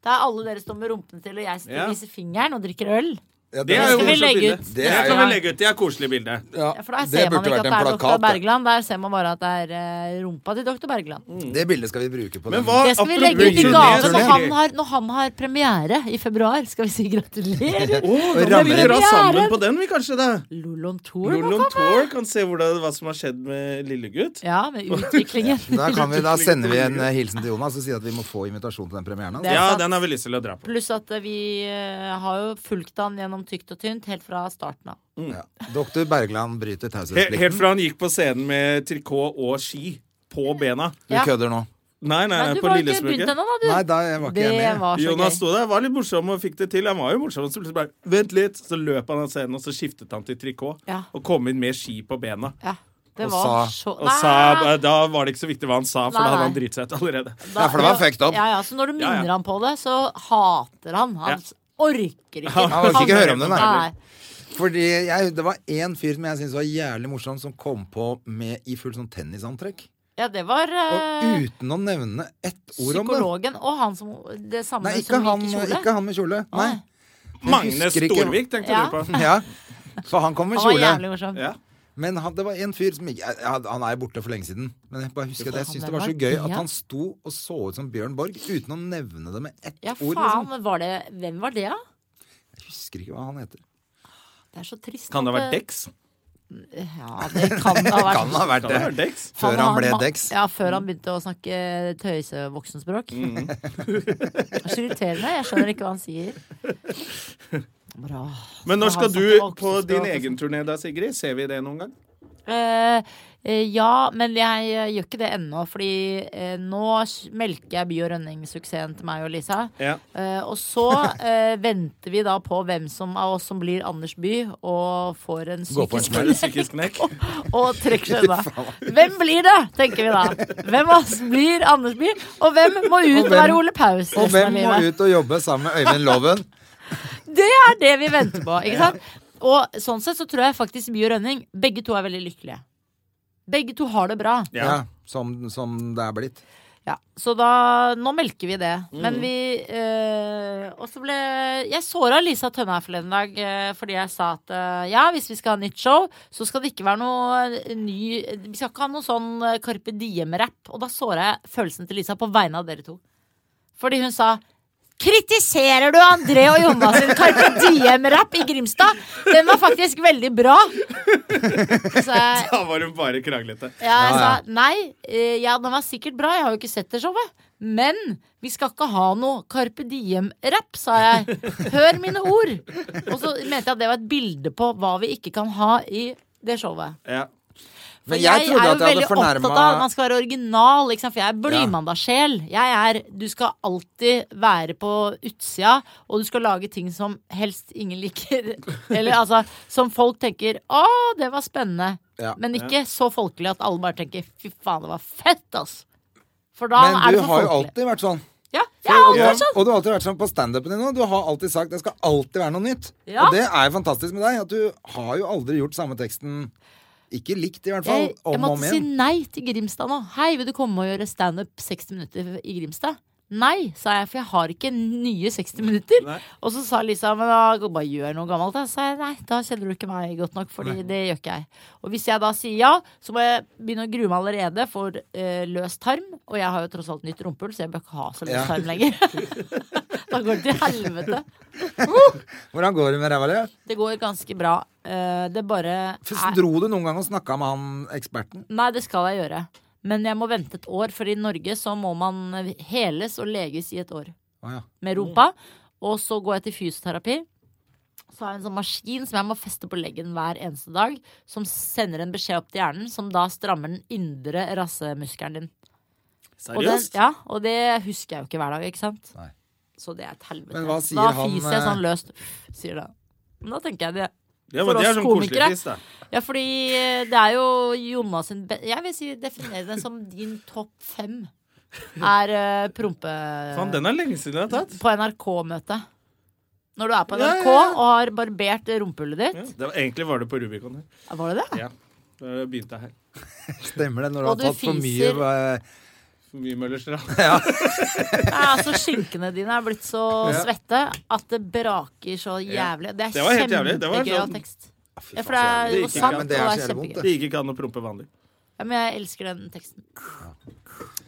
[SPEAKER 4] Der alle dere står med rumpene til, og jeg står
[SPEAKER 1] Ja.
[SPEAKER 4] og viser fingeren og drikker øl.
[SPEAKER 2] Ja,
[SPEAKER 1] Det er jo
[SPEAKER 4] skal vi
[SPEAKER 1] morsomt
[SPEAKER 4] legge
[SPEAKER 1] bilde.
[SPEAKER 4] ut.
[SPEAKER 1] Det
[SPEAKER 2] Det er
[SPEAKER 1] kan
[SPEAKER 4] jo-
[SPEAKER 1] vi legge ut. Det er koselig bilde.
[SPEAKER 2] ja,
[SPEAKER 4] Ja, for der
[SPEAKER 2] det
[SPEAKER 4] ser man
[SPEAKER 2] burde vært
[SPEAKER 4] ikke at
[SPEAKER 2] en
[SPEAKER 4] det er
[SPEAKER 2] plakat.
[SPEAKER 4] dr.
[SPEAKER 2] det.
[SPEAKER 4] Bergland. Der ser man bare at det er eh, rumpa til dr. Bergland.
[SPEAKER 2] Det bildet skal vi bruke på
[SPEAKER 1] Men
[SPEAKER 2] den.
[SPEAKER 1] hva
[SPEAKER 4] Det skal vi
[SPEAKER 1] apropos
[SPEAKER 4] legge ut i
[SPEAKER 1] turné,
[SPEAKER 4] gave når
[SPEAKER 1] turné.
[SPEAKER 4] han, har, når han har premiere i februar. Skal vi si gratulerer?
[SPEAKER 1] Å,
[SPEAKER 2] Og
[SPEAKER 1] da må vi
[SPEAKER 2] rammer-
[SPEAKER 1] dra sammen
[SPEAKER 4] Premieren.
[SPEAKER 1] på den, vi, kanskje, da.
[SPEAKER 4] Lolon Tour må
[SPEAKER 1] Lolon
[SPEAKER 4] komme.
[SPEAKER 1] Tour kan se hvordan, hva som har skjedd med lillegutt.
[SPEAKER 4] Ja, med utviklingen.
[SPEAKER 2] Da, kan vi, da sender vi en eh, hilsen til Jonas og sier at vi må få invitasjon til den premieren. hans.
[SPEAKER 4] Det er
[SPEAKER 1] Ja,
[SPEAKER 4] sant.
[SPEAKER 1] den har vi lyst til å dra på.
[SPEAKER 4] Pluss at eh, vi eh, har jo fulgt han gjennom tykt og tynt helt fra starten av.
[SPEAKER 2] Ja. Doktor Bergland bryter
[SPEAKER 1] Mm. He-
[SPEAKER 2] taushetsplikten.
[SPEAKER 1] Helt fra han gikk på scenen med trikot og ski på bena.
[SPEAKER 2] Du
[SPEAKER 4] Ja.
[SPEAKER 2] kødder nå.
[SPEAKER 1] Nei, nei,
[SPEAKER 4] Nei,
[SPEAKER 1] nei
[SPEAKER 4] du
[SPEAKER 1] på
[SPEAKER 4] var ikke begynt
[SPEAKER 1] Lillesmugget.
[SPEAKER 4] ennå, da, du.
[SPEAKER 2] Nei, da jeg var ikke
[SPEAKER 4] det
[SPEAKER 2] jeg med.
[SPEAKER 4] var så
[SPEAKER 1] Jonas
[SPEAKER 4] gøy.
[SPEAKER 1] sto der, var litt morsom og fikk det til. Han var jo morsom, så plutselig bare Vent litt! Så løp han av scenen, og så skiftet han til trikot.
[SPEAKER 4] Ja.
[SPEAKER 1] Og kom inn med ski på bena.
[SPEAKER 4] Ja, det
[SPEAKER 2] Og
[SPEAKER 4] var
[SPEAKER 2] sa-
[SPEAKER 4] så
[SPEAKER 1] Og sa, eh, da var det ikke så viktig hva han sa, for
[SPEAKER 4] Nei,
[SPEAKER 1] da hadde
[SPEAKER 4] nei.
[SPEAKER 1] han driti seg ut allerede.
[SPEAKER 4] Da-
[SPEAKER 2] Ja, for det var fucked up.
[SPEAKER 4] Ja, ja, så når du
[SPEAKER 1] Ja,
[SPEAKER 4] minner
[SPEAKER 1] ja.
[SPEAKER 4] han på det, så hater han. Han
[SPEAKER 1] Ja.
[SPEAKER 4] s- orker ikke.
[SPEAKER 1] Han
[SPEAKER 2] orker ikke høre om det, nei.
[SPEAKER 4] nei.
[SPEAKER 2] Fordi jeg, det var én fyr som jeg syntes var jævlig morsom, som kom på med i fullt sånn tennisantrekk.
[SPEAKER 4] Ja, det var eh,
[SPEAKER 2] Og uten å nevne ett ord om det.
[SPEAKER 4] psykologen og han som Det samme
[SPEAKER 2] Nei, ikke
[SPEAKER 4] som
[SPEAKER 2] han,
[SPEAKER 4] gikk i kjole.
[SPEAKER 2] ikke han med kjole. Nei.
[SPEAKER 4] Nei.
[SPEAKER 2] Jeg
[SPEAKER 1] Magne
[SPEAKER 2] husker ikke-
[SPEAKER 1] Storvik, tenkte
[SPEAKER 4] Ja.
[SPEAKER 1] du på.
[SPEAKER 2] Ja. For han kom med
[SPEAKER 4] han var
[SPEAKER 2] kjole.
[SPEAKER 4] jævlig morsom.
[SPEAKER 1] Ja.
[SPEAKER 2] Men han, det var en fyr som ikke jeg- jeg- Han er borte for lenge siden. Men jeg bare husker at jeg
[SPEAKER 4] Han
[SPEAKER 2] syntes
[SPEAKER 4] der
[SPEAKER 2] det var så
[SPEAKER 4] var-
[SPEAKER 2] gøy at
[SPEAKER 4] ja.
[SPEAKER 2] han sto og så ut som Bjørn Borg uten å nevne det med ett
[SPEAKER 4] Ja,
[SPEAKER 2] ord.
[SPEAKER 4] faen,
[SPEAKER 2] Liksom.
[SPEAKER 4] men var det Hvem var det, da?
[SPEAKER 2] Jeg husker ikke hva han heter.
[SPEAKER 4] Det er så trist.
[SPEAKER 1] Kan det ha
[SPEAKER 4] at
[SPEAKER 1] vært
[SPEAKER 4] eh,
[SPEAKER 1] Dex?
[SPEAKER 4] Ja, det kan det ha vært.
[SPEAKER 2] Kan ha vært
[SPEAKER 1] Kan det være
[SPEAKER 2] det.
[SPEAKER 1] Dex?
[SPEAKER 2] Før han ble
[SPEAKER 4] ma-
[SPEAKER 2] Dex.
[SPEAKER 4] Ja, før han begynte å snakke tøysevoksenspråk.
[SPEAKER 2] Mhm.
[SPEAKER 4] Det er så irriterende. Jeg skjønner ikke hva han sier. Bra.
[SPEAKER 1] Men når
[SPEAKER 4] Så
[SPEAKER 1] skal
[SPEAKER 4] han
[SPEAKER 1] du
[SPEAKER 4] snakker
[SPEAKER 1] på din
[SPEAKER 4] voksenspråk.
[SPEAKER 1] egen turné da, Sigrid? Ser vi det noen gang?
[SPEAKER 4] Eh, eh, ja, men jeg eh, gjør ikke det ennå, fordi eh, nå s- melker jeg By og Rønning-suksessen til meg og Lisa.
[SPEAKER 1] Ja.
[SPEAKER 4] Eh, og så eh, venter vi da på hvem som av oss som blir Anders By og får en
[SPEAKER 2] Gå på en
[SPEAKER 4] psykisk
[SPEAKER 2] smell.
[SPEAKER 1] Er det psykisk knekk?
[SPEAKER 4] og trekker seg unna. Hvem blir det, tenker vi da. Hvem av oss blir Anders By, og hvem må
[SPEAKER 2] Og
[SPEAKER 4] ut
[SPEAKER 2] hvem-
[SPEAKER 4] og være Ole Paus
[SPEAKER 2] Og
[SPEAKER 4] resten
[SPEAKER 2] hvem
[SPEAKER 4] av
[SPEAKER 2] må
[SPEAKER 4] livet?
[SPEAKER 2] ut og jobbe sammen med Øyvind Loven?
[SPEAKER 4] Det er det vi venter på, ikke sant? Og sånn sett så tror jeg faktisk By og Rønning, begge to er veldig lykkelige. Begge to har det bra.
[SPEAKER 2] Ja. som, som det er blitt.
[SPEAKER 4] Ja, så da, nå melker vi det. Men vi eh, Og så ble Jeg såra Lisa Tønne her forleden dag eh, fordi jeg sa at eh, ja, hvis vi skal ha nytt show, så skal det ikke være noe eh, ny Vi skal ikke ha noe sånn eh, Carpe Diem-rapp. Og da såra jeg følelsen til Lisa på vegne av dere to. Fordi hun sa Kritiserer du André og Jonas sin Carpe Diem-rapp i Grimstad? Den var faktisk veldig bra. Så jeg,
[SPEAKER 1] Da var hun bare kranglete.
[SPEAKER 4] ja, jeg
[SPEAKER 2] Ja, ja.
[SPEAKER 4] sa nei, eh, ja, den var sikkert bra, jeg har jo ikke sett det showet. Men vi skal ikke ha noe Carpe Diem-rapp, sa jeg. Hør mine ord! Og så mente jeg at det var et bilde på hva vi ikke kan ha i det showet.
[SPEAKER 1] Ja.
[SPEAKER 4] For
[SPEAKER 2] Men jeg trodde
[SPEAKER 4] er jo
[SPEAKER 2] at jeg hadde
[SPEAKER 4] veldig
[SPEAKER 2] fornærma
[SPEAKER 4] opptatt av at man skal være original, ikke sant? for jeg er blymandagssjel. Jeg er Du skal alltid være på utsida, og du skal lage ting som helst ingen liker. Eller altså Som folk tenker 'Å, det var spennende'.
[SPEAKER 2] Ja.
[SPEAKER 4] Men ikke så folkelig at alle bare tenker 'Fy faen, det var fett', altså. For da
[SPEAKER 2] Men
[SPEAKER 4] er
[SPEAKER 2] du
[SPEAKER 4] det for
[SPEAKER 2] har jo
[SPEAKER 4] folkelig.
[SPEAKER 2] alltid vært sånn.
[SPEAKER 4] Ja, jeg har alltid
[SPEAKER 2] Ja,
[SPEAKER 4] vært sånn.
[SPEAKER 2] Og du har alltid vært sånn på standupen din nå. Du har alltid sagt det skal alltid være noe nytt.
[SPEAKER 4] Ja.
[SPEAKER 2] Og det er jo fantastisk med deg, at du har jo aldri gjort samme teksten ikke likt, i hvert fall.
[SPEAKER 4] Jeg, jeg
[SPEAKER 2] Om og om
[SPEAKER 4] måtte si
[SPEAKER 2] igjen.
[SPEAKER 4] nei til Grimstad nå. Hei, vil du komme og gjøre standup 60 minutter i Grimstad? Nei, sa jeg, for jeg har ikke nye 60 minutter.
[SPEAKER 1] Nei.
[SPEAKER 4] Og så sa Lisa men da bare gjør noe gammelt. Da sa jeg nei, da kjenner du ikke meg godt nok, Fordi det gjør ikke jeg. Og hvis jeg da sier ja, så må jeg begynne å grue meg allerede for eh, løs tarm. Og jeg har jo tross alt nytt rumpehull, så jeg bør ikke ha så løs
[SPEAKER 2] Ja.
[SPEAKER 4] tarm lenger. da går det til helvete.
[SPEAKER 2] Hvordan går det med ræva di?
[SPEAKER 4] Det går ganske bra. Eh, det bare er-
[SPEAKER 2] Dro du noen gang og snakka med han eksperten?
[SPEAKER 4] Nei, det skal jeg gjøre. Men jeg må vente et år, for i Norge så må man heles og leges i et år
[SPEAKER 2] Å ja.
[SPEAKER 4] med rumpa. Og så går jeg til fysioterapi. Så har jeg en sånn maskin som jeg må feste på leggen hver eneste dag, som sender en beskjed opp til hjernen, som da strammer den indre rassemuskelen din. Og, den,
[SPEAKER 1] Seriøst?
[SPEAKER 4] ja, og det husker jeg jo ikke hver dag, ikke sant?
[SPEAKER 2] Nei.
[SPEAKER 4] Så det er et helvete.
[SPEAKER 2] Men hva sier
[SPEAKER 4] da
[SPEAKER 2] han,
[SPEAKER 4] fiser jeg
[SPEAKER 2] eh,
[SPEAKER 4] sånn løst. Sier det. Men da tenker jeg det.
[SPEAKER 1] Ja,
[SPEAKER 4] for
[SPEAKER 1] men det er
[SPEAKER 4] oss
[SPEAKER 1] sånn koselig
[SPEAKER 4] komikere.
[SPEAKER 1] fis, da.
[SPEAKER 4] Ja, fordi eh, det er jo Jonas sin be Jeg vil si definere den som din topp fem. Er eh, prompe
[SPEAKER 1] Faen, den er lenge siden jeg har tatt.
[SPEAKER 4] på NRK-møte. Når du er på
[SPEAKER 1] Ja,
[SPEAKER 4] NRK
[SPEAKER 1] ja, ja.
[SPEAKER 4] og har barbert rumpehullet ditt.
[SPEAKER 1] Ja, det var, egentlig var det på Rubicon her.
[SPEAKER 4] Var det det?
[SPEAKER 1] Ja. Da begynte jeg her.
[SPEAKER 2] Stemmer det, når du
[SPEAKER 4] Og
[SPEAKER 2] har
[SPEAKER 4] du
[SPEAKER 2] tatt for mye
[SPEAKER 4] fiser.
[SPEAKER 2] eh,
[SPEAKER 1] For mye Møllerstrand.
[SPEAKER 4] Nei, altså Skinkene dine er blitt så svette at det braker så jævlig. Det er
[SPEAKER 1] Det var helt jævlig. Det var
[SPEAKER 4] kjempegøy
[SPEAKER 1] sånn-
[SPEAKER 4] av tekst. Ja, for det er
[SPEAKER 1] Det
[SPEAKER 4] jo
[SPEAKER 1] gikk ikke an.
[SPEAKER 4] sant,
[SPEAKER 2] Men
[SPEAKER 4] og
[SPEAKER 2] det
[SPEAKER 4] det
[SPEAKER 2] er
[SPEAKER 4] er
[SPEAKER 2] så jævlig vondt,
[SPEAKER 4] kjempegøy.
[SPEAKER 1] Det gikk ikke an å prompe vanlig.
[SPEAKER 4] Ja, men jeg elsker den teksten.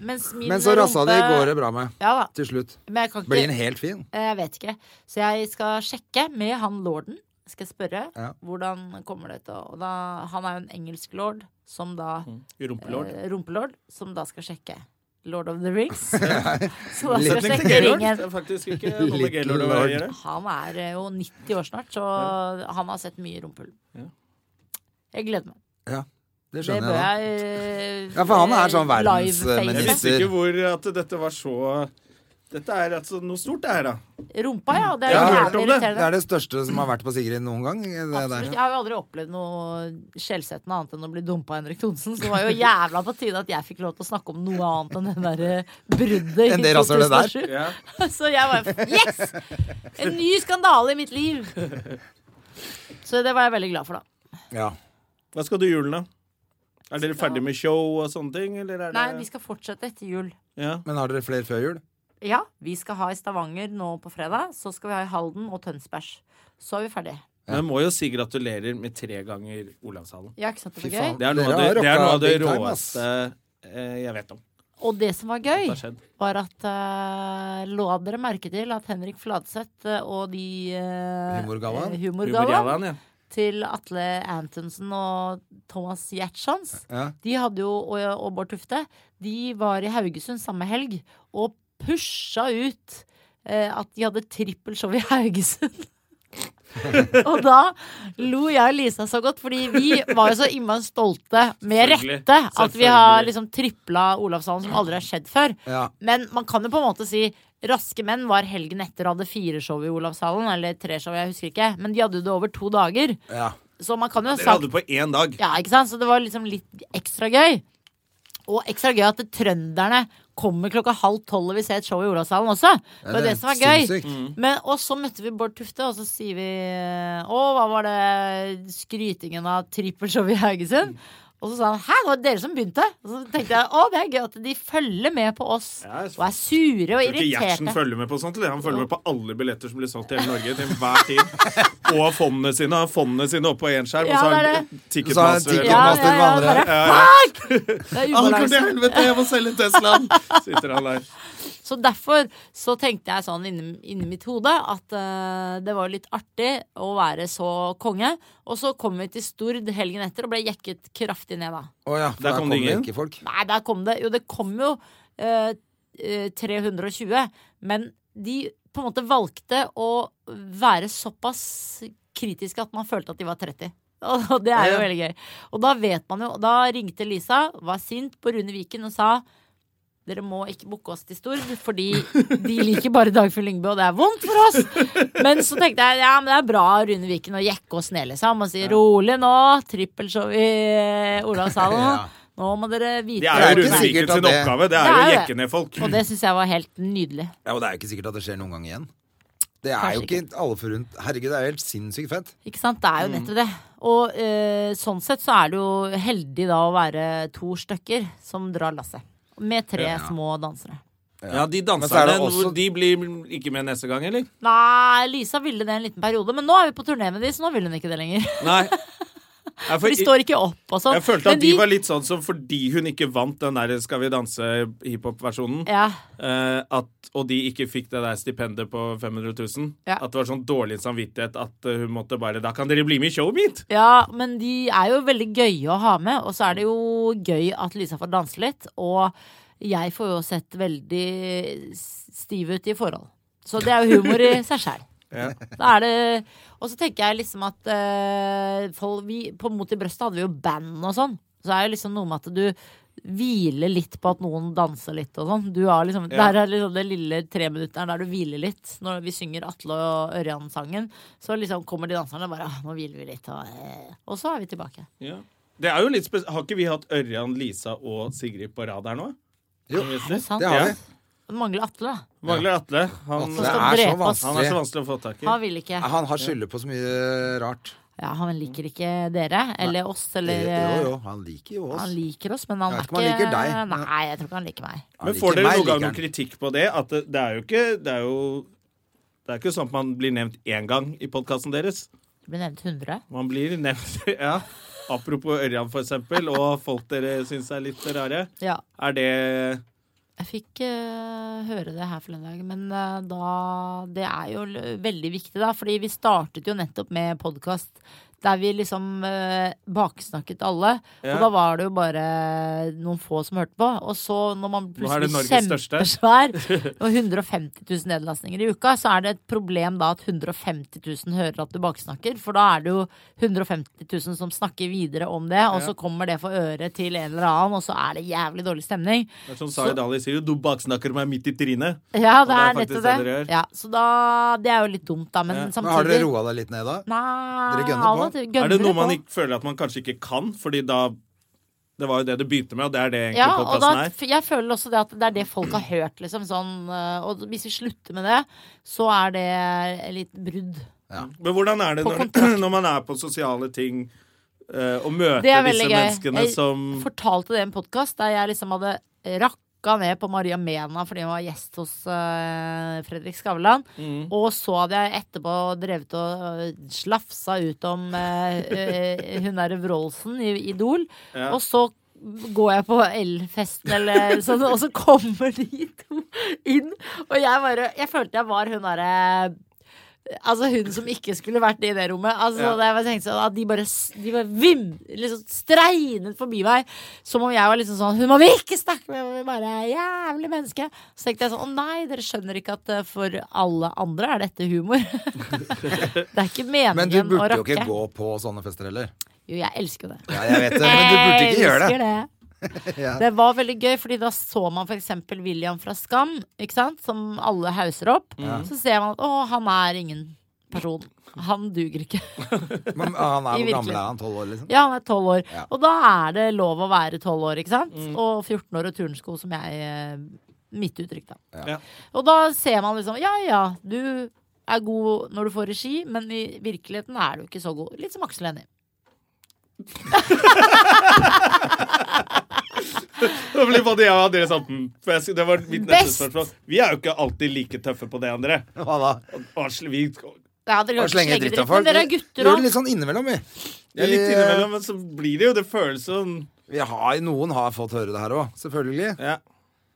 [SPEAKER 4] Mens min
[SPEAKER 2] Men så rassa di
[SPEAKER 4] rumpe-
[SPEAKER 2] går det bra med.
[SPEAKER 4] Ja da.
[SPEAKER 2] Til slutt.
[SPEAKER 4] Men jeg kan ikke
[SPEAKER 2] Blir den helt fin?
[SPEAKER 4] Eh, Jeg vet ikke. Så jeg skal sjekke med han lorden. Skal jeg spørre
[SPEAKER 2] Ja.
[SPEAKER 4] hvordan kommer det til å og da, Han er jo en engelsk lord, som da
[SPEAKER 1] Rumpelord.
[SPEAKER 4] eh, Rumpelord, som da skal sjekke. Lord of the Rings. så da skal
[SPEAKER 1] Setning til
[SPEAKER 4] jeg sjekke
[SPEAKER 1] Gaylord. Det
[SPEAKER 4] ringen.
[SPEAKER 1] er faktisk ikke noe med
[SPEAKER 2] Little
[SPEAKER 1] Gaylord å
[SPEAKER 2] Lord.
[SPEAKER 1] gjøre.
[SPEAKER 4] Han er eh, jo 90 år snart, så han har sett mye rumpehull.
[SPEAKER 1] Ja.
[SPEAKER 4] Jeg gleder meg.
[SPEAKER 2] Ja. Det
[SPEAKER 4] Det
[SPEAKER 2] skjønner
[SPEAKER 4] bør
[SPEAKER 2] jeg. da.
[SPEAKER 4] jeg eh,
[SPEAKER 2] Ja, for han er sånn
[SPEAKER 4] eh,
[SPEAKER 2] verdens, eh,
[SPEAKER 4] liveface.
[SPEAKER 1] Jeg
[SPEAKER 2] minister.
[SPEAKER 1] visste ikke hvor at dette var så Dette er altså noe stort, det her, da.
[SPEAKER 4] Rumpa, ja. Det er
[SPEAKER 1] Jeg
[SPEAKER 4] jo
[SPEAKER 1] har hørt
[SPEAKER 4] jævlig
[SPEAKER 1] om det.
[SPEAKER 4] irriterende.
[SPEAKER 2] Det er det største som har vært på Sigrid noen gang. Det der.
[SPEAKER 4] Absolutt. Jeg har jo aldri opplevd noe skjellsettende annet enn å bli dumpa av Henrik Thonsen. Så det var jo jævla på tide at jeg fikk lov til å snakke om noe annet enn det derre bruddet
[SPEAKER 2] Enn
[SPEAKER 4] i
[SPEAKER 2] det rasshølet der.
[SPEAKER 4] 2007.
[SPEAKER 1] Ja.
[SPEAKER 4] Så jeg bare Yes! En ny skandale i mitt liv! Så det var jeg veldig glad for, da.
[SPEAKER 2] Ja.
[SPEAKER 1] Hva skal du i julen, da? Er dere ferdig med show og sånne ting, eller er det
[SPEAKER 4] Nei, vi skal fortsette etter jul.
[SPEAKER 1] ja.
[SPEAKER 2] Men har dere flere før jul?
[SPEAKER 4] Ja, vi skal ha i Stavanger nå på fredag. Så skal vi ha i Halden og Tønsberg. Så er vi ferdig.
[SPEAKER 1] Men jeg må jo si gratulerer med tre ganger Olavshallen.
[SPEAKER 4] Ja, ikke sant det
[SPEAKER 2] Fy
[SPEAKER 4] var gøy?
[SPEAKER 2] faen.
[SPEAKER 1] Det er noe
[SPEAKER 2] Dere har
[SPEAKER 1] av det, det, er noe
[SPEAKER 2] rocka
[SPEAKER 1] av det
[SPEAKER 2] big time, ass.
[SPEAKER 1] råeste eh, jeg vet om.
[SPEAKER 4] Og det som var gøy,
[SPEAKER 1] Det har skjedd.
[SPEAKER 4] var at eh, Lå dere merke til at Henrik Fladseth eh, og de eh,
[SPEAKER 2] Humorgallaen?
[SPEAKER 4] eh, humorgallaen,
[SPEAKER 1] Humorgallaen, ja.
[SPEAKER 4] til Atle Antonsen og Thomas Giertschans.
[SPEAKER 2] Ja.
[SPEAKER 4] De hadde jo, og, og Bård Tufte, de var i Haugesund samme helg og pusha ut eh, at de hadde trippelshow i Haugesund. og da lo jeg og Lisa så godt, fordi vi var jo så innmari stolte, med
[SPEAKER 1] Selvfølgelig.
[SPEAKER 4] rette, at vi har
[SPEAKER 1] Selvfølgelig.
[SPEAKER 4] liksom tripla Olavshallen som aldri har skjedd før.
[SPEAKER 2] Ja.
[SPEAKER 4] Men man kan jo på en måte si Raske menn var helgen etter og hadde fire show i Olavshallen. Eller tre show, jeg husker ikke. Men de hadde jo det over to dager.
[SPEAKER 2] ja.
[SPEAKER 4] Så man kan jo ha
[SPEAKER 1] Dere
[SPEAKER 4] sagt
[SPEAKER 1] hadde på én dag.
[SPEAKER 4] ja, ikke sant? Så det var liksom litt ekstra gøy. Og ekstra gøy at trønderne kommer klokka halv tolv og vil se et show i Olavshallen også. Det var det som var gøy.
[SPEAKER 2] Sinnssykt.
[SPEAKER 1] Mm.
[SPEAKER 4] Men, og så møtte vi Bård Tufte, og så sier vi Å, hva var det skrytingen av trippelshowet i Haugesund? Og så sa han hæ, det var dere som begynte. Og så tenkte jeg å, det er gøy at de følger med på oss
[SPEAKER 1] Ja, jeg-
[SPEAKER 4] og er sure og
[SPEAKER 1] Tror ikke Gjertsen
[SPEAKER 4] irriterte.
[SPEAKER 1] følger med på sånt. eller? Han følger med på alle billetter som blir solgt i hele Norge til enhver tid. Og fondene sine. Han har fondene sine oppe på én skjerm, og
[SPEAKER 4] Ja,
[SPEAKER 1] så har
[SPEAKER 4] det er
[SPEAKER 2] Så
[SPEAKER 1] han
[SPEAKER 2] har han
[SPEAKER 1] ticketmaster.
[SPEAKER 4] Ja,
[SPEAKER 2] Ticketmaster
[SPEAKER 4] ja, ja,
[SPEAKER 2] med andre.
[SPEAKER 4] bare fuck! Det er
[SPEAKER 1] Anker
[SPEAKER 4] ubalanse.
[SPEAKER 1] til helvete, jeg må selge Teslaen! Sitter han der.
[SPEAKER 4] Så derfor så tenkte jeg sånn inni, inni mitt hode at eh, det var litt artig å være så konge. Og så kom vi til Stord helgen etter og ble jekket kraftig ned, da.
[SPEAKER 2] Å ja, for
[SPEAKER 1] Der
[SPEAKER 2] der
[SPEAKER 1] kom
[SPEAKER 2] kom
[SPEAKER 1] det
[SPEAKER 2] det
[SPEAKER 1] ingen.
[SPEAKER 2] ikke folk.
[SPEAKER 4] Nei, der kom det Jo, det kom jo eh, eh, 320, men de på en måte valgte å være såpass kritiske at man følte at de var 30. Og det er jo veldig gøy. Og da vet man jo Da ringte Lisa, var sint på Rune Viken og sa dere må ikke booke oss til Stord, fordi de liker bare Dagfinn Lyngbø, og det er vondt for oss. Men så tenkte jeg ja, men det er bra Rune Viken å jekke oss ned, liksom. Og si rolig nå, trippelshow i eh, Olavshallen.
[SPEAKER 2] Ja.
[SPEAKER 4] Nå må dere vite
[SPEAKER 1] Det
[SPEAKER 2] Det er
[SPEAKER 1] er jo
[SPEAKER 2] ikke
[SPEAKER 1] Rune
[SPEAKER 2] sikkert
[SPEAKER 1] Viken
[SPEAKER 2] at
[SPEAKER 1] sin
[SPEAKER 2] det-
[SPEAKER 1] oppgave. Det er
[SPEAKER 4] Det
[SPEAKER 1] jo
[SPEAKER 4] er
[SPEAKER 1] å
[SPEAKER 4] jo
[SPEAKER 1] jekke ned folk.
[SPEAKER 4] Og det syns jeg var helt nydelig.
[SPEAKER 2] Ja, og det er jo ikke sikkert at det skjer noen gang igjen. Det er
[SPEAKER 4] Kanskje
[SPEAKER 2] jo ikke alle forunt. Herregud, det er jo helt sinnssykt fett.
[SPEAKER 4] Ikke sant? Det er
[SPEAKER 1] Mm.
[SPEAKER 4] jo nettopp det. Og eh, sånn sett så er det jo heldig da å være to stykker som drar lasset. Med tre små dansere.
[SPEAKER 1] Ja, de
[SPEAKER 2] Men så er det
[SPEAKER 1] danserne
[SPEAKER 2] også-
[SPEAKER 1] hvor- de blir ikke med neste gang, eller?
[SPEAKER 4] Nei, Lisa ville det en liten periode, men nå er vi på turné med de, så nå vil hun ikke det lenger.
[SPEAKER 1] Nei. Jeg,
[SPEAKER 4] For de står ikke opp og sånn.
[SPEAKER 1] jeg følte
[SPEAKER 4] Men
[SPEAKER 1] at de var litt sånn som fordi hun ikke vant den der Skal vi danse-hiphop-versjonen,
[SPEAKER 4] ja,
[SPEAKER 1] eh, at, og de ikke fikk det der stipendet på 500 000,
[SPEAKER 4] Ja.
[SPEAKER 1] at det var sånn dårlig samvittighet at eh, hun måtte bare Da kan dere bli med i showet mitt!
[SPEAKER 4] ja, men de er jo veldig gøye å ha med, og så er det jo gøy at Lisa får danse litt. Og jeg får jo sett veldig stiv ut i forhold. Så det er jo humor i seg sjæl. Da er det Og så tenker jeg liksom at eh, folk, vi, På Mot i brøstet hadde vi jo band og sånn. Så er det liksom noe med at du hviler litt på at noen danser litt og sånn. Du har liksom,
[SPEAKER 1] Ja.
[SPEAKER 4] Der er liksom det lille treminutteren der du hviler litt. Når vi synger Atle og Ørjan-sangen, så liksom kommer de danserne og bare ah, 'Nå hviler vi litt', og, eh, og så er vi tilbake.
[SPEAKER 1] Ja. Det er jo litt spes Har ikke vi hatt Ørjan, Lisa og Sigrid på rad her nå?
[SPEAKER 2] Jo,
[SPEAKER 4] Er det sant?
[SPEAKER 2] det har
[SPEAKER 1] Ja.
[SPEAKER 2] vi.
[SPEAKER 4] Det Mangler Atle, da.
[SPEAKER 1] Mangler Atle. Han,
[SPEAKER 2] Det
[SPEAKER 4] skal
[SPEAKER 2] er så
[SPEAKER 4] drepe oss.
[SPEAKER 1] han er så
[SPEAKER 2] vanskelig.
[SPEAKER 1] vanskelig å få tak i.
[SPEAKER 4] Han vil ikke.
[SPEAKER 2] Han har skylder på så mye rart.
[SPEAKER 4] Ja, han liker ikke dere eller oss eller eh,
[SPEAKER 2] Jo, jo, han liker jo oss.
[SPEAKER 4] Han liker oss, men han
[SPEAKER 2] Jeg
[SPEAKER 4] er
[SPEAKER 2] vet
[SPEAKER 4] ikke
[SPEAKER 2] ikke om han liker deg.
[SPEAKER 4] Nei, jeg tror ikke han liker meg.
[SPEAKER 2] Han
[SPEAKER 1] Men
[SPEAKER 2] liker
[SPEAKER 1] får dere
[SPEAKER 2] meg,
[SPEAKER 1] noen
[SPEAKER 2] liker
[SPEAKER 1] gang noen
[SPEAKER 2] han.
[SPEAKER 1] kritikk på det? At det, det er jo ikke Det er jo det er ikke sånn at man blir nevnt én gang i podkasten deres.
[SPEAKER 4] Du blir nevnt 100.
[SPEAKER 1] Man blir nevnt ja. Apropos Ørjan, for eksempel, og folk dere syns er litt rare.
[SPEAKER 4] Ja.
[SPEAKER 1] Er det
[SPEAKER 4] Jeg fikk eh, høre det her forleden dag, men eh, da Det er jo l- veldig viktig, da, fordi vi startet jo nettopp med podkast. Der vi liksom eh, baksnakket alle.
[SPEAKER 1] Ja.
[SPEAKER 4] Og da var det jo bare noen få som hørte på. Og så når man
[SPEAKER 1] Nå er det
[SPEAKER 4] plutselig
[SPEAKER 1] Norges største.
[SPEAKER 4] kjempesvær og 150 000 nedlastninger i uka, så er det et problem da at 150 000 hører at du baksnakker. For da er det jo 150 000 som snakker videre om det, og så kommer det for øret til en eller annen, og så er det jævlig dårlig stemning.
[SPEAKER 1] det er som Zaid Ali sier jo, du baksnakker meg midt i trynet.
[SPEAKER 4] Ja,
[SPEAKER 1] det er
[SPEAKER 4] det er
[SPEAKER 1] faktisk det
[SPEAKER 4] nettopp det.
[SPEAKER 1] dere gjør.
[SPEAKER 4] Ja, så da, det er jo litt dumt, da. Men
[SPEAKER 1] Ja.
[SPEAKER 2] Men har dere
[SPEAKER 4] samtidig
[SPEAKER 2] roa deg litt ned da?
[SPEAKER 4] Nei,
[SPEAKER 2] Dere gønner
[SPEAKER 4] av
[SPEAKER 2] på?
[SPEAKER 4] og til gønner
[SPEAKER 1] Er det noe
[SPEAKER 4] vi
[SPEAKER 1] man
[SPEAKER 4] på.
[SPEAKER 1] ikke føler at man kanskje ikke kan? Fordi da Det var jo det det begynte med, og det er det egentlig
[SPEAKER 4] ja, og da,
[SPEAKER 1] podkasten er.
[SPEAKER 4] f- Jeg føler også det at det er det folk har hørt, liksom. Sånn, øh, og hvis vi slutter med det, så er det litt brudd.
[SPEAKER 1] Men hvordan er det
[SPEAKER 4] På
[SPEAKER 1] når,
[SPEAKER 4] kontrakt.
[SPEAKER 1] når man er på sosiale ting eh, og møter
[SPEAKER 4] Det er
[SPEAKER 1] disse
[SPEAKER 4] veldig gøy.
[SPEAKER 1] menneskene
[SPEAKER 4] Jeg
[SPEAKER 1] som
[SPEAKER 4] fortalte det i en podkast der jeg liksom hadde rakka ned på Maria Mena fordi hun var gjest hos øh, Fredrik Skavlan.
[SPEAKER 1] Mm.
[SPEAKER 4] Og så hadde jeg etterpå drevet og øh, slafsa ut om øh, øh, hun derre Wroldsen i Idol.
[SPEAKER 1] Ja.
[SPEAKER 4] Og så går jeg på elfesten, eller sånn, og så kommer de to inn. Og jeg bare Jeg følte jeg var hun derre Altså hun som ikke skulle vært i det rommet. Altså
[SPEAKER 1] Ja.
[SPEAKER 4] da jeg bare tenkte sånn At de bare, s- de bare vim, liksom streinet forbi meg. Som om jeg var liksom sånn Hun må vi ikke snakke med! Hun er bare er jævlig menneske. Så tenkte jeg sånn Å nei, dere skjønner ikke at eh, for alle andre er dette humor. det er ikke
[SPEAKER 2] Men du
[SPEAKER 4] meningen å
[SPEAKER 2] burde jo
[SPEAKER 4] rakke.
[SPEAKER 2] ikke gå på sånne fester heller.
[SPEAKER 4] Jo, jeg elsker jo det.
[SPEAKER 2] Ja, jeg vet det, men du burde ikke gjøre det.
[SPEAKER 4] Elsker det. Det var veldig gøy, Fordi da så man f.eks. William fra Skam, ikke sant? som alle hauser opp. Så ser man at å, han er ingen person. Han duger ikke.
[SPEAKER 2] Men ah, han er hvor
[SPEAKER 4] I
[SPEAKER 2] gammel
[SPEAKER 4] virkelig-
[SPEAKER 2] er han? Tolv år, liksom?
[SPEAKER 4] Ja, han er tolv år.
[SPEAKER 2] Ja. Mm.
[SPEAKER 4] Og da er det lov å være tolv år, ikke sant? Og 14 år og turnsko, som jeg eh, Mitt uttrykk, da.
[SPEAKER 1] Ja.
[SPEAKER 4] Og da ser man liksom Ja ja, du er god når du får regi, men i virkeligheten er du ikke så god. Litt som Aksel Hennie.
[SPEAKER 1] Det blir både jeg og André Santen. For jeg, sk- det var mitt neste
[SPEAKER 4] Best.
[SPEAKER 1] spørsmål. Vi er jo ikke alltid like tøffe på det, André.
[SPEAKER 2] Hva da?
[SPEAKER 1] Og sl- Vi,
[SPEAKER 4] Ja, dere kan
[SPEAKER 2] Og
[SPEAKER 4] ikke
[SPEAKER 2] slenge
[SPEAKER 4] slenge
[SPEAKER 2] dritt
[SPEAKER 4] dritt,
[SPEAKER 2] om folk?
[SPEAKER 4] Men dere er
[SPEAKER 2] Vi
[SPEAKER 4] gutter
[SPEAKER 2] gjør
[SPEAKER 4] òg.
[SPEAKER 2] det litt sånn innimellom, vi.
[SPEAKER 1] ja, litt
[SPEAKER 2] Vi,
[SPEAKER 1] innimellom, men så blir det jo det føles sånn. som
[SPEAKER 2] Vi har, noen har fått høre det her òg, selvfølgelig.
[SPEAKER 1] ja.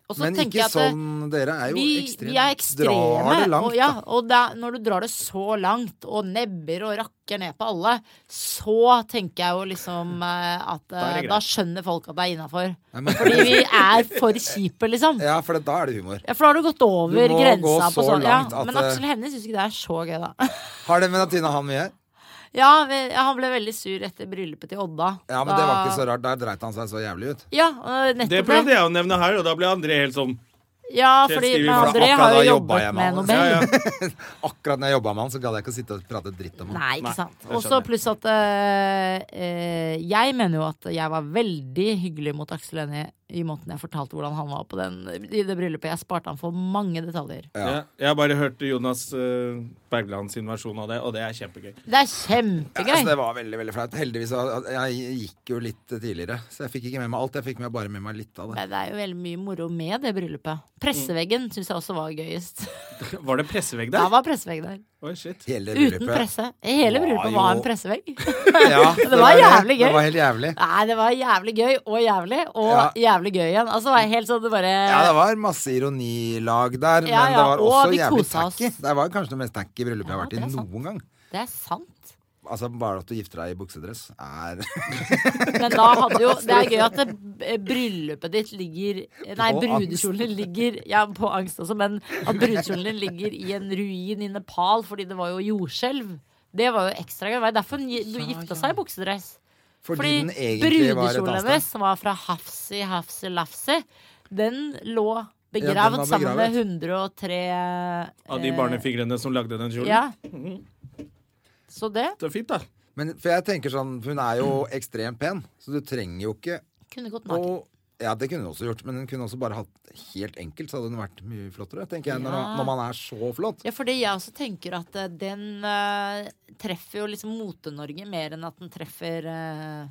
[SPEAKER 4] Og så
[SPEAKER 2] Men
[SPEAKER 4] tenker
[SPEAKER 2] ikke
[SPEAKER 4] jeg at det-
[SPEAKER 2] sånn Dere er jo
[SPEAKER 4] vi,
[SPEAKER 2] ekstreme.
[SPEAKER 4] vi er ekstreme.
[SPEAKER 2] Drar det langt,
[SPEAKER 4] og, ja,
[SPEAKER 2] da.
[SPEAKER 4] og da, når du drar det så langt, og nebber og rakker ned på alle, så tenker jeg jo liksom eh, at
[SPEAKER 1] Da er
[SPEAKER 4] eh,
[SPEAKER 1] det greit.
[SPEAKER 4] da skjønner folk at det er innafor.
[SPEAKER 2] Ja, men-
[SPEAKER 4] Fordi vi er for kjipe, liksom.
[SPEAKER 2] Ja, for da er det humor.
[SPEAKER 4] Ja, For da har du gått over
[SPEAKER 2] Du må gå
[SPEAKER 4] grensa
[SPEAKER 2] så
[SPEAKER 4] på sånn. Ja,
[SPEAKER 2] langt at,
[SPEAKER 4] men
[SPEAKER 2] eh,
[SPEAKER 4] Aksel Hennie syns ikke det er så gøy, da.
[SPEAKER 2] Har det med Tina han mye?
[SPEAKER 4] Ja, vi, han ble veldig sur etter bryllupet til Odda.
[SPEAKER 2] Ja, men det var ikke så rart. Der dreit han seg så jævlig ut.
[SPEAKER 4] Ja, eh,
[SPEAKER 1] Det
[SPEAKER 4] nettopp
[SPEAKER 1] prøvde
[SPEAKER 4] det.
[SPEAKER 1] jeg å nevne her, og da ble André helt sånn
[SPEAKER 4] Ja,
[SPEAKER 1] Helt
[SPEAKER 4] fordi
[SPEAKER 1] skriver
[SPEAKER 4] men
[SPEAKER 1] fra.
[SPEAKER 4] André
[SPEAKER 2] Akkurat
[SPEAKER 4] har
[SPEAKER 2] da
[SPEAKER 4] jo
[SPEAKER 2] jobbet jeg med
[SPEAKER 4] jobbet med
[SPEAKER 2] han,
[SPEAKER 4] Nobel.
[SPEAKER 1] ja, ja.
[SPEAKER 2] Akkurat når jeg jobba med han, så gadd jeg ikke å sitte og prate dritt om han.
[SPEAKER 4] Nei, ikke
[SPEAKER 1] Nei,
[SPEAKER 4] sant.
[SPEAKER 1] jeg
[SPEAKER 4] Og så
[SPEAKER 1] skjønner.
[SPEAKER 4] pluss at eh, eh, Jeg mener jo at jeg var veldig hyggelig mot Aksel Hennie i måten jeg fortalte hvordan han var på den, i det bryllupet. Jeg sparte han for mange detaljer.
[SPEAKER 1] ja. Jeg har bare hørt Jonas eh, Bergland sin versjon av det, og det er kjempegøy.
[SPEAKER 4] Det
[SPEAKER 2] Ja,
[SPEAKER 4] er
[SPEAKER 2] så
[SPEAKER 4] kjempegøy!
[SPEAKER 2] det var veldig veldig flaut. Heldigvis jeg, jeg gikk jo litt tidligere, så jeg fikk ikke med meg alt. Jeg fikk med, bare med meg litt av det.
[SPEAKER 4] Men det er jo veldig mye moro med det bryllupet. Presseveggen syns jeg også var gøyest.
[SPEAKER 1] Var det pressevegg
[SPEAKER 4] Da
[SPEAKER 1] der?
[SPEAKER 4] var pressevegg der.
[SPEAKER 1] Oi, shit.
[SPEAKER 2] Hele
[SPEAKER 4] Uten
[SPEAKER 2] bryllupet.
[SPEAKER 4] presse. Hele
[SPEAKER 2] var
[SPEAKER 4] bryllupet var
[SPEAKER 2] jo-
[SPEAKER 4] en pressevegg.
[SPEAKER 2] Ja,
[SPEAKER 4] Det var jævlig gøy.
[SPEAKER 2] Det var helt jævlig.
[SPEAKER 4] Nei, det var jævlig gøy og jævlig, og
[SPEAKER 2] Ja.
[SPEAKER 4] jævlig gøy igjen. Altså, det var helt sånn det bare
[SPEAKER 2] Ja, det var masse ironilag der,
[SPEAKER 4] Ja,
[SPEAKER 2] men
[SPEAKER 4] ja,
[SPEAKER 2] det var
[SPEAKER 4] og
[SPEAKER 2] også
[SPEAKER 4] vi
[SPEAKER 2] jævlig
[SPEAKER 4] kosa oss.
[SPEAKER 2] tacky. Det var kanskje det mest tacky bryllupet jeg har vært
[SPEAKER 4] det er
[SPEAKER 2] i
[SPEAKER 4] sant.
[SPEAKER 2] noen gang.
[SPEAKER 4] det er sant.
[SPEAKER 2] Altså, bare at du gifter deg i buksedress er
[SPEAKER 4] Men da hadde jo Det er gøy at det, eh, bryllupet ditt ligger Nei,
[SPEAKER 2] På
[SPEAKER 4] brudekjolen din ligger Ja, på angst også, men at brudekjolen din ligger i en ruin i Nepal fordi det var jo jordskjelv. Det var jo ekstra gøy. Det var jo derfor hun gi- du gifta seg i buksedress.
[SPEAKER 2] Fordi, den
[SPEAKER 4] Fordi
[SPEAKER 2] egentlig var et
[SPEAKER 4] brudekjolen
[SPEAKER 2] annet
[SPEAKER 4] hennes,
[SPEAKER 2] sted.
[SPEAKER 4] som var fra Hafsi Hafsi Lafsi, den lå
[SPEAKER 2] den
[SPEAKER 4] begravd,
[SPEAKER 2] var
[SPEAKER 4] sammen med
[SPEAKER 2] begravet.
[SPEAKER 4] 103
[SPEAKER 1] Av de Mhm. barnefingrene som lagde den kjolen.
[SPEAKER 4] Eh, Ja. Så det
[SPEAKER 1] Det er fint, da.
[SPEAKER 2] Men for jeg tenker sånn, hun er jo ekstremt pen, så du trenger jo ikke
[SPEAKER 4] kunne gått naken.
[SPEAKER 2] å ja, det kunne hun også gjort, men hun kunne også bare hatt helt enkelt, så hadde hun vært mye flottere, tenker jeg, når, man, når man er så flott.
[SPEAKER 4] Ja, fordi jeg også tenker at eh, den eh, treffer jo liksom Mote-Norge mer enn at den treffer eh,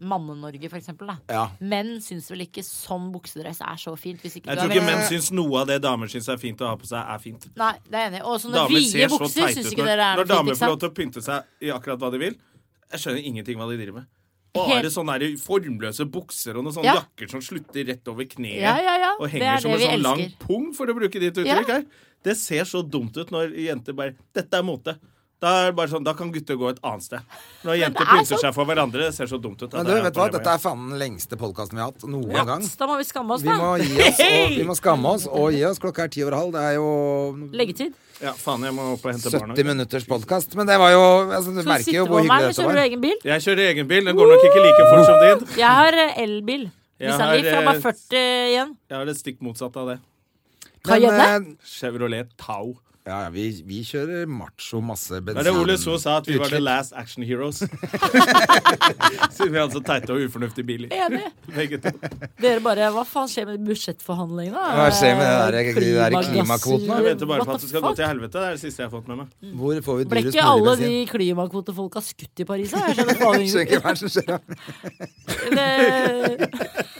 [SPEAKER 4] Manne-Norge, for eksempel. Da.
[SPEAKER 2] Ja.
[SPEAKER 4] Menn syns vel ikke sånn buksedress er så fint. Hvis ikke
[SPEAKER 1] Jeg
[SPEAKER 4] du
[SPEAKER 1] tror ikke
[SPEAKER 4] er veldig- sånn-
[SPEAKER 1] menn syns noe av det damer syns er fint å ha på seg, er fint.
[SPEAKER 4] Nei, det er jeg enig. i. Og sånne
[SPEAKER 1] Damer
[SPEAKER 4] vide
[SPEAKER 1] ser så
[SPEAKER 4] bukser
[SPEAKER 1] teite
[SPEAKER 4] syns
[SPEAKER 1] ut når,
[SPEAKER 4] ikke dere
[SPEAKER 1] når
[SPEAKER 4] er liksom. fint,
[SPEAKER 1] damer
[SPEAKER 4] ikke
[SPEAKER 1] får lov
[SPEAKER 4] sant?
[SPEAKER 1] til å pynte seg i akkurat hva de vil. Jeg skjønner ingenting hva de driver med. Bare
[SPEAKER 4] Helt-
[SPEAKER 1] sånne der formløse bukser og noen sånne
[SPEAKER 4] Ja.
[SPEAKER 1] jakker som slutter rett over kneet.
[SPEAKER 4] Ja, ja, ja.
[SPEAKER 1] Og
[SPEAKER 4] Det
[SPEAKER 1] henger
[SPEAKER 4] er
[SPEAKER 1] som
[SPEAKER 4] det
[SPEAKER 1] en
[SPEAKER 4] vi
[SPEAKER 1] sånn lang
[SPEAKER 4] elsker.
[SPEAKER 1] pung, for å bruke ditt uttrykk
[SPEAKER 4] Ja.
[SPEAKER 1] her. Det ser så dumt ut når jenter bare Dette er mote. Da, er det bare sånn, da kan gutter gå et annet sted. Når jenter
[SPEAKER 4] er
[SPEAKER 1] pynter
[SPEAKER 4] sånn.
[SPEAKER 1] seg for hverandre, det ser så dumt ut.
[SPEAKER 2] Men du, vet du hva, dette er faen den lengste podkasten vi har hatt noen gang.
[SPEAKER 4] Da må vi skamme oss,
[SPEAKER 2] Vi må,
[SPEAKER 4] da.
[SPEAKER 2] gi oss, og, vi må skamme oss og gi oss. Klokka er ti over halv. Det er jo
[SPEAKER 4] Leggetid.
[SPEAKER 1] Ja, faen, jeg må opp og hente
[SPEAKER 2] 70
[SPEAKER 1] barna.
[SPEAKER 2] minutters podkast. Men det var jo altså, Du
[SPEAKER 4] Skal du
[SPEAKER 2] merker
[SPEAKER 4] sitte
[SPEAKER 2] jo hvor
[SPEAKER 4] på meg, eller
[SPEAKER 2] hyggelig dette
[SPEAKER 4] kjører du
[SPEAKER 2] var.
[SPEAKER 4] egen bil?
[SPEAKER 1] Jeg kjører egen bil. Den går nok ikke like fort som din.
[SPEAKER 4] Jeg har eh, elbil.
[SPEAKER 1] Jeg
[SPEAKER 4] Nissan Leaf.
[SPEAKER 1] har,
[SPEAKER 4] Jeg har bare
[SPEAKER 1] eh,
[SPEAKER 4] 40 igjen.
[SPEAKER 1] Jeg har det stikk motsatte av det.
[SPEAKER 2] Men,
[SPEAKER 4] Cayenne?
[SPEAKER 2] eh,
[SPEAKER 1] Chevrolet Tau.
[SPEAKER 2] ja, ja, vi, vi kjører macho masse
[SPEAKER 1] Da
[SPEAKER 2] bensin.
[SPEAKER 1] er det Ole So sa at vi var the
[SPEAKER 2] Utslipp.
[SPEAKER 1] last action heroes. Siden vi hadde så teite og ufornuftige biler.
[SPEAKER 4] Enig.
[SPEAKER 1] Begge to.
[SPEAKER 4] Dere bare Hva faen skjer med budsjettforhandlingene?
[SPEAKER 2] Hva skjer med det der- de der klimakvotene?
[SPEAKER 1] Jeg venter bare for
[SPEAKER 4] What
[SPEAKER 1] at
[SPEAKER 4] the
[SPEAKER 1] det skal gå
[SPEAKER 4] fuck?
[SPEAKER 1] til helvete. Det er det siste jeg har fått med meg.
[SPEAKER 2] Hvor får vi
[SPEAKER 4] Ble
[SPEAKER 2] dyrest
[SPEAKER 4] ikke alle
[SPEAKER 2] mulig
[SPEAKER 4] de
[SPEAKER 2] bensin?
[SPEAKER 4] klimakvotefolka skutt i Paris? da? Jeg skjønner faen
[SPEAKER 2] Jeg Skjønner ikke
[SPEAKER 4] ingenting.
[SPEAKER 2] hva som skjer. da.
[SPEAKER 4] Det-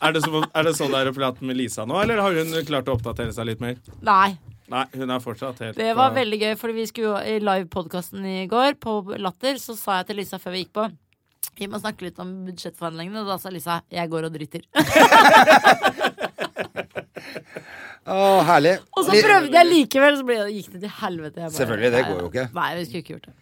[SPEAKER 1] Er det, som, er det sånn det er å prate med Lisa nå, eller har hun klart å oppdatere seg litt mer?
[SPEAKER 4] Nei.
[SPEAKER 1] Nei, hun er fortsatt helt
[SPEAKER 4] Det var
[SPEAKER 1] på-
[SPEAKER 4] veldig gøy, fordi vi skulle jo i livepodkasten i går, på Latter, så sa jeg til Lisa før vi gikk på vi må snakke litt om budsjettforhandlingene. og Da sa Lisa jeg går og driter.
[SPEAKER 2] Å, herlig.
[SPEAKER 4] Og så
[SPEAKER 2] Vi-
[SPEAKER 4] prøvde jeg likevel, så ble, gikk det til helvete. Jeg bare,
[SPEAKER 2] Selvfølgelig, det
[SPEAKER 4] nei,
[SPEAKER 2] går jo ikke.
[SPEAKER 4] Nei, vi skulle ikke gjort det.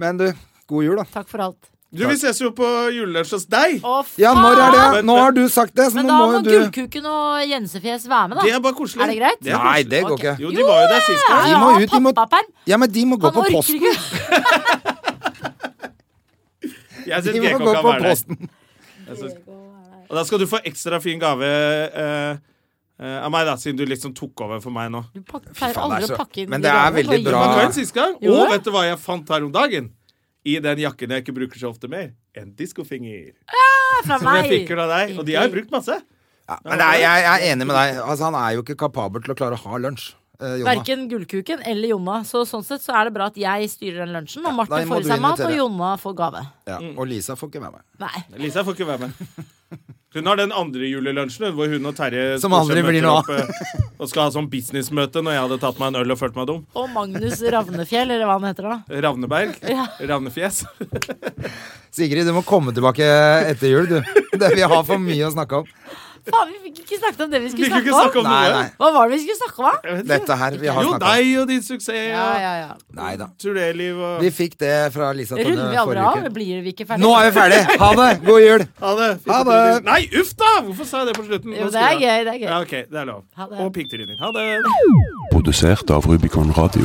[SPEAKER 2] Men du, god jul, da.
[SPEAKER 4] Takk for alt.
[SPEAKER 1] Du, vi ses jo på julelunsj hos deg!
[SPEAKER 4] Å,
[SPEAKER 2] Ja, når er det?
[SPEAKER 1] Faen!
[SPEAKER 2] Nå har du sagt det, så nå
[SPEAKER 4] Men da må,
[SPEAKER 2] må jo du
[SPEAKER 4] Gullkuken og Jensefjes være med, da.
[SPEAKER 1] Det er bare koselig.
[SPEAKER 4] Er det greit?
[SPEAKER 1] er
[SPEAKER 2] Nei,
[SPEAKER 1] koselig.
[SPEAKER 2] det går
[SPEAKER 4] Ok.
[SPEAKER 2] ikke.
[SPEAKER 1] Jo, de var jo der sist
[SPEAKER 2] De
[SPEAKER 1] gang.
[SPEAKER 2] må ut, de må-
[SPEAKER 4] Pappaperm.
[SPEAKER 2] Ja, men de må gå
[SPEAKER 4] Han
[SPEAKER 2] på
[SPEAKER 4] orker
[SPEAKER 2] posten.
[SPEAKER 4] ikke.
[SPEAKER 1] Jeg syns
[SPEAKER 2] De må
[SPEAKER 1] Gekko
[SPEAKER 2] gå
[SPEAKER 1] kan
[SPEAKER 2] på
[SPEAKER 1] være der.
[SPEAKER 2] posten.
[SPEAKER 1] Jeg synes- Og da skal du få ekstra fin gave eh, eh, av meg, da, siden du liksom tok over for meg nå.
[SPEAKER 4] Du pak-
[SPEAKER 2] faen,
[SPEAKER 4] pleier
[SPEAKER 2] det er
[SPEAKER 4] aldri
[SPEAKER 2] så-
[SPEAKER 4] å pakke inn
[SPEAKER 2] Men
[SPEAKER 4] de
[SPEAKER 2] det er
[SPEAKER 4] gavene,
[SPEAKER 2] veldig
[SPEAKER 4] bare gi
[SPEAKER 2] bra.
[SPEAKER 4] dem.
[SPEAKER 1] Pakka inn sist gang.
[SPEAKER 4] Ah. Gjorde
[SPEAKER 1] Og
[SPEAKER 4] det?
[SPEAKER 1] vet du hva jeg fant her om dagen? I den jakken jeg ikke bruker så ofte mer. En diskofinger.
[SPEAKER 4] Det er Fra
[SPEAKER 1] Som jeg
[SPEAKER 4] meg.
[SPEAKER 1] fikk av deg. Og de har jeg brukt masse.
[SPEAKER 2] Ja, men det er, jeg, jeg er enig med deg. Altså, han er jo ikke kapabel til å klare å ha lunsj. Eh, Jonna.
[SPEAKER 4] Verken Gullkuken eller Jonna. Så sånn sett så er det bra at jeg styrer den lunsjen, og
[SPEAKER 2] da
[SPEAKER 4] Martin
[SPEAKER 2] må
[SPEAKER 4] får i
[SPEAKER 2] du
[SPEAKER 4] seg mat, og
[SPEAKER 2] invitere.
[SPEAKER 4] Jonna får gave.
[SPEAKER 2] Ja, og Lisa får ikke være med.
[SPEAKER 4] Nei.
[SPEAKER 1] Lisa får ikke være med. Hun har den andre julelunsjen hun, hvor hun og Terje
[SPEAKER 2] Som
[SPEAKER 1] stort sett
[SPEAKER 2] aldri blir
[SPEAKER 1] møter
[SPEAKER 2] noe
[SPEAKER 1] opp, eh, og skal ha sånn businessmøte når jeg hadde tatt meg en øl og følt meg dum.
[SPEAKER 4] Og Magnus Ravnefjell, eller hva han heter da.
[SPEAKER 1] Ravneberg.
[SPEAKER 4] Ja.
[SPEAKER 1] Ravnefjes.
[SPEAKER 2] Sigrid, du må komme tilbake etter jul, du. Det, vi har for mye å snakke om.
[SPEAKER 4] Faen, vi fikk ikke snakket om det vi
[SPEAKER 1] Vi
[SPEAKER 4] skulle
[SPEAKER 1] kunne ikke
[SPEAKER 4] snakke
[SPEAKER 1] snakke
[SPEAKER 4] om.
[SPEAKER 1] om
[SPEAKER 2] Nei,
[SPEAKER 1] noe.
[SPEAKER 2] nei.
[SPEAKER 4] Hva var det vi skulle snakke om, da?
[SPEAKER 1] Jeg vet ikke.
[SPEAKER 2] Dette her vi har
[SPEAKER 1] Jo,
[SPEAKER 2] snakka om.
[SPEAKER 1] deg og din suksess
[SPEAKER 4] Ja,
[SPEAKER 1] og
[SPEAKER 4] ja, ja.
[SPEAKER 2] Nei da.
[SPEAKER 1] turnéliv og
[SPEAKER 2] Vi fikk det fra Lisa Tønne
[SPEAKER 4] Runder vi aldri av?
[SPEAKER 2] forrige uke.
[SPEAKER 4] Blir vi ikke ferdige?
[SPEAKER 2] Nå er vi ferdige! Ha det! God jul!
[SPEAKER 1] Ha det. Fint
[SPEAKER 2] Ha
[SPEAKER 1] at du-
[SPEAKER 2] det.
[SPEAKER 1] Nei, uff da! Hvorfor sa jeg det på slutten?
[SPEAKER 4] Jo,
[SPEAKER 1] Nå
[SPEAKER 4] det
[SPEAKER 1] skulle
[SPEAKER 4] er
[SPEAKER 1] jeg-
[SPEAKER 4] gøy, det er gøy.
[SPEAKER 1] Ja, ok, det er lov.
[SPEAKER 4] Ha det.
[SPEAKER 1] Og piggetryner. Ha det.
[SPEAKER 5] Produsert av Rubicon Radio.